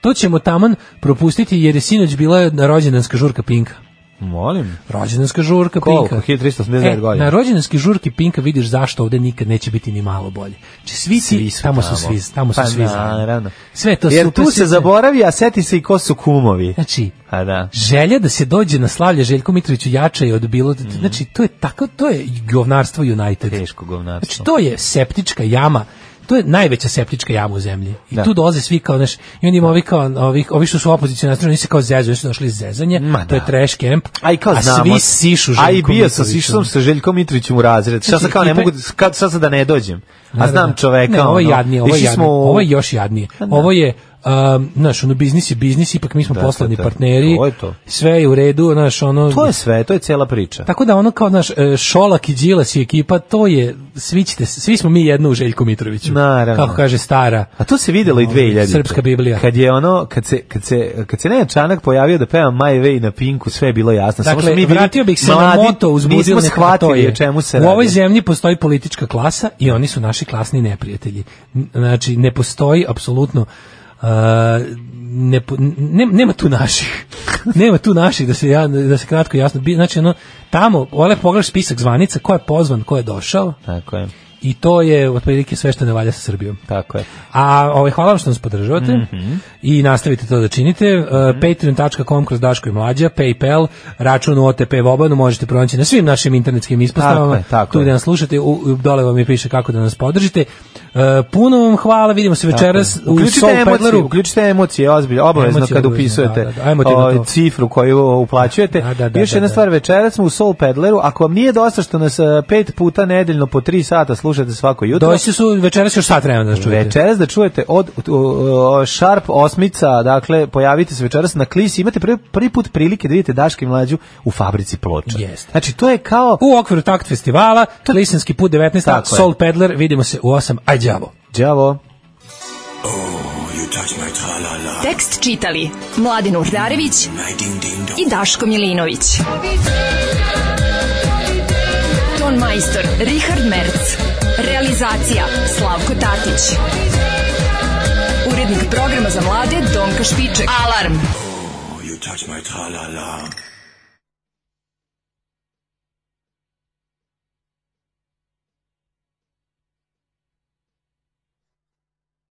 S5: To ćemo taman propustiti jer je sinoć bila rođendanska žurka Pinka.
S6: Molim.
S5: Rođendanska žurka
S6: Koliko?
S5: Pinka.
S6: 1389
S5: E,
S6: godina.
S5: Na rođendanski žurki Pinka vidiš zašto ovde nikad neće biti ni malo bolje. Či svi, ti,
S6: su
S5: tamo, su svi, tamo su
S6: Pa
S5: svi. zajedno.
S6: naravno.
S5: Sve je to
S6: Jer
S5: super,
S6: tu
S5: sve
S6: se
S5: je-
S6: zaboravi, a seti se i ko su kumovi.
S5: Znači,
S6: A da.
S5: želja da se dođe na slavlje Željko Mitroviću jača je od bilo, znači to je tako, to je govnarstvo United.
S6: Mhm. Teško govnarstvo.
S5: Znači to je septička jama, to je najveća septička jama u zemlji. I
S6: Da.
S5: tu dolaze svi kao, znaš, i onda ima ovi kao, ovi, ovi što su opozicijni nastrojeni, oni se kao zezuju, oni su došli iz zezanja,
S6: Ma
S5: to je
S6: da.
S5: trash camp,
S6: A i kao znamo.
S5: svi sišu Željko
S6: A i bio sam,
S5: Mitroviću.
S6: sišao sam sa Željkom Mitrovićem u razred. Šta sam
S5: Znači,
S6: kao, ne
S5: ekipe-
S6: mogu, kad, sad sam da ne dođem. A
S5: Da, da,
S6: znam
S5: da.
S6: čoveka.
S5: Ne, ovo je
S6: ono,
S5: jadnije, ovo je
S6: išli
S5: jadnije.
S6: smo u- Pa
S5: Ovo je još jadnije. Ovo je Um, znaš, ono, biznis je biznis, ipak mi smo
S6: Da,
S5: poslovni
S6: da, da.
S5: partneri,
S6: To je to.
S5: sve je u redu, znaš, ono...
S6: To je sve, to je cela priča.
S5: Tako da ono kao, znaš, e, Šolak i Đilas i ekipa, to je, svi, ćete, svi smo mi jedno u Željku Mitroviću.
S6: Naravno.
S5: Kako kaže stara.
S6: A to se videlo i
S5: Ovaj,
S6: 2000.
S5: Srpska Biblija.
S6: Kad je ono, kad se, kad se, kad se Nenad Čanak pojavio da peva My Way na Pinku, sve je bilo jasno. Samo
S5: Dakle,
S6: smo mi bili
S5: vratio bih se
S6: mladi,
S5: na moto uz
S6: Nismo
S5: budilne
S6: shvatili
S5: platoje.
S6: o čemu se
S5: U
S6: radi.
S5: ovoj zemlji postoji politička klasa i oni su naši klasni neprijatelji. N- Znači, ne postoji apsolutno uh, ne, po- ne- nema tu naših. nema tu naših da se ja da se kratko i jasno bi znači ono tamo ole pogledaš spisak zvanica ko je pozvan, ko je došao
S6: Tako je,
S5: i to je otprilike sve što ne valja sa Srbijom.
S6: tako je.
S5: A ovaj, hvala vam što nas podržavate
S6: Mhm.
S5: i nastavite to da činite. E, Patreon.com kroz Daško i Mlađa, Paypal, račun u OTP Vobanu možete pronaći na svim našim internetskim ispostavama.
S6: Tako je, tako
S5: tu
S6: je.
S5: gde nas slušate, u- u, dole vam je piše kako da nas podržite. E, puno vam hvala, vidimo se večeras u
S6: Uključite
S5: Soul
S6: emocije,
S5: Pedleru.
S6: uključite emocije, ozbiljno, obavezno
S5: Emocije
S6: kad
S5: obavezno,
S6: upisujete
S5: da, da, da, emotivno
S6: ovaj,
S5: to.
S6: cifru koju uplaćujete.
S5: Da, da, da,
S6: Još
S5: da,
S6: jedna
S5: da.
S6: stvar, večeras smo u Soul Pedleru, ako vam nije dosta što nas eh, pet puta nedeljno po tri sata slušate svako jutro,
S5: Doći su večeras još sat vremena da nas čujete.
S6: Večeras da čujete od u- u- Sharp osmica, dakle pojavite se večeras na klisi, imate prvi, prvi put prilike da vidite Daške mlađu u fabrici ploča.
S5: Jeste.
S6: Znači to je kao
S5: U okviru Takt festivala, Lisenski put 19,
S6: Tako je.
S5: Soul Pedler, vidimo se u 8, aj đavo.
S6: đavo.
S4: Tekst čitali Mladin Urdarević i Daško Milinović. Ton majstor Richard Merc. Realizacija Slavko Tatić. Urednik urednik programa za mlade Donka Špiček. Alarm.
S3: You touch my tra-la-la.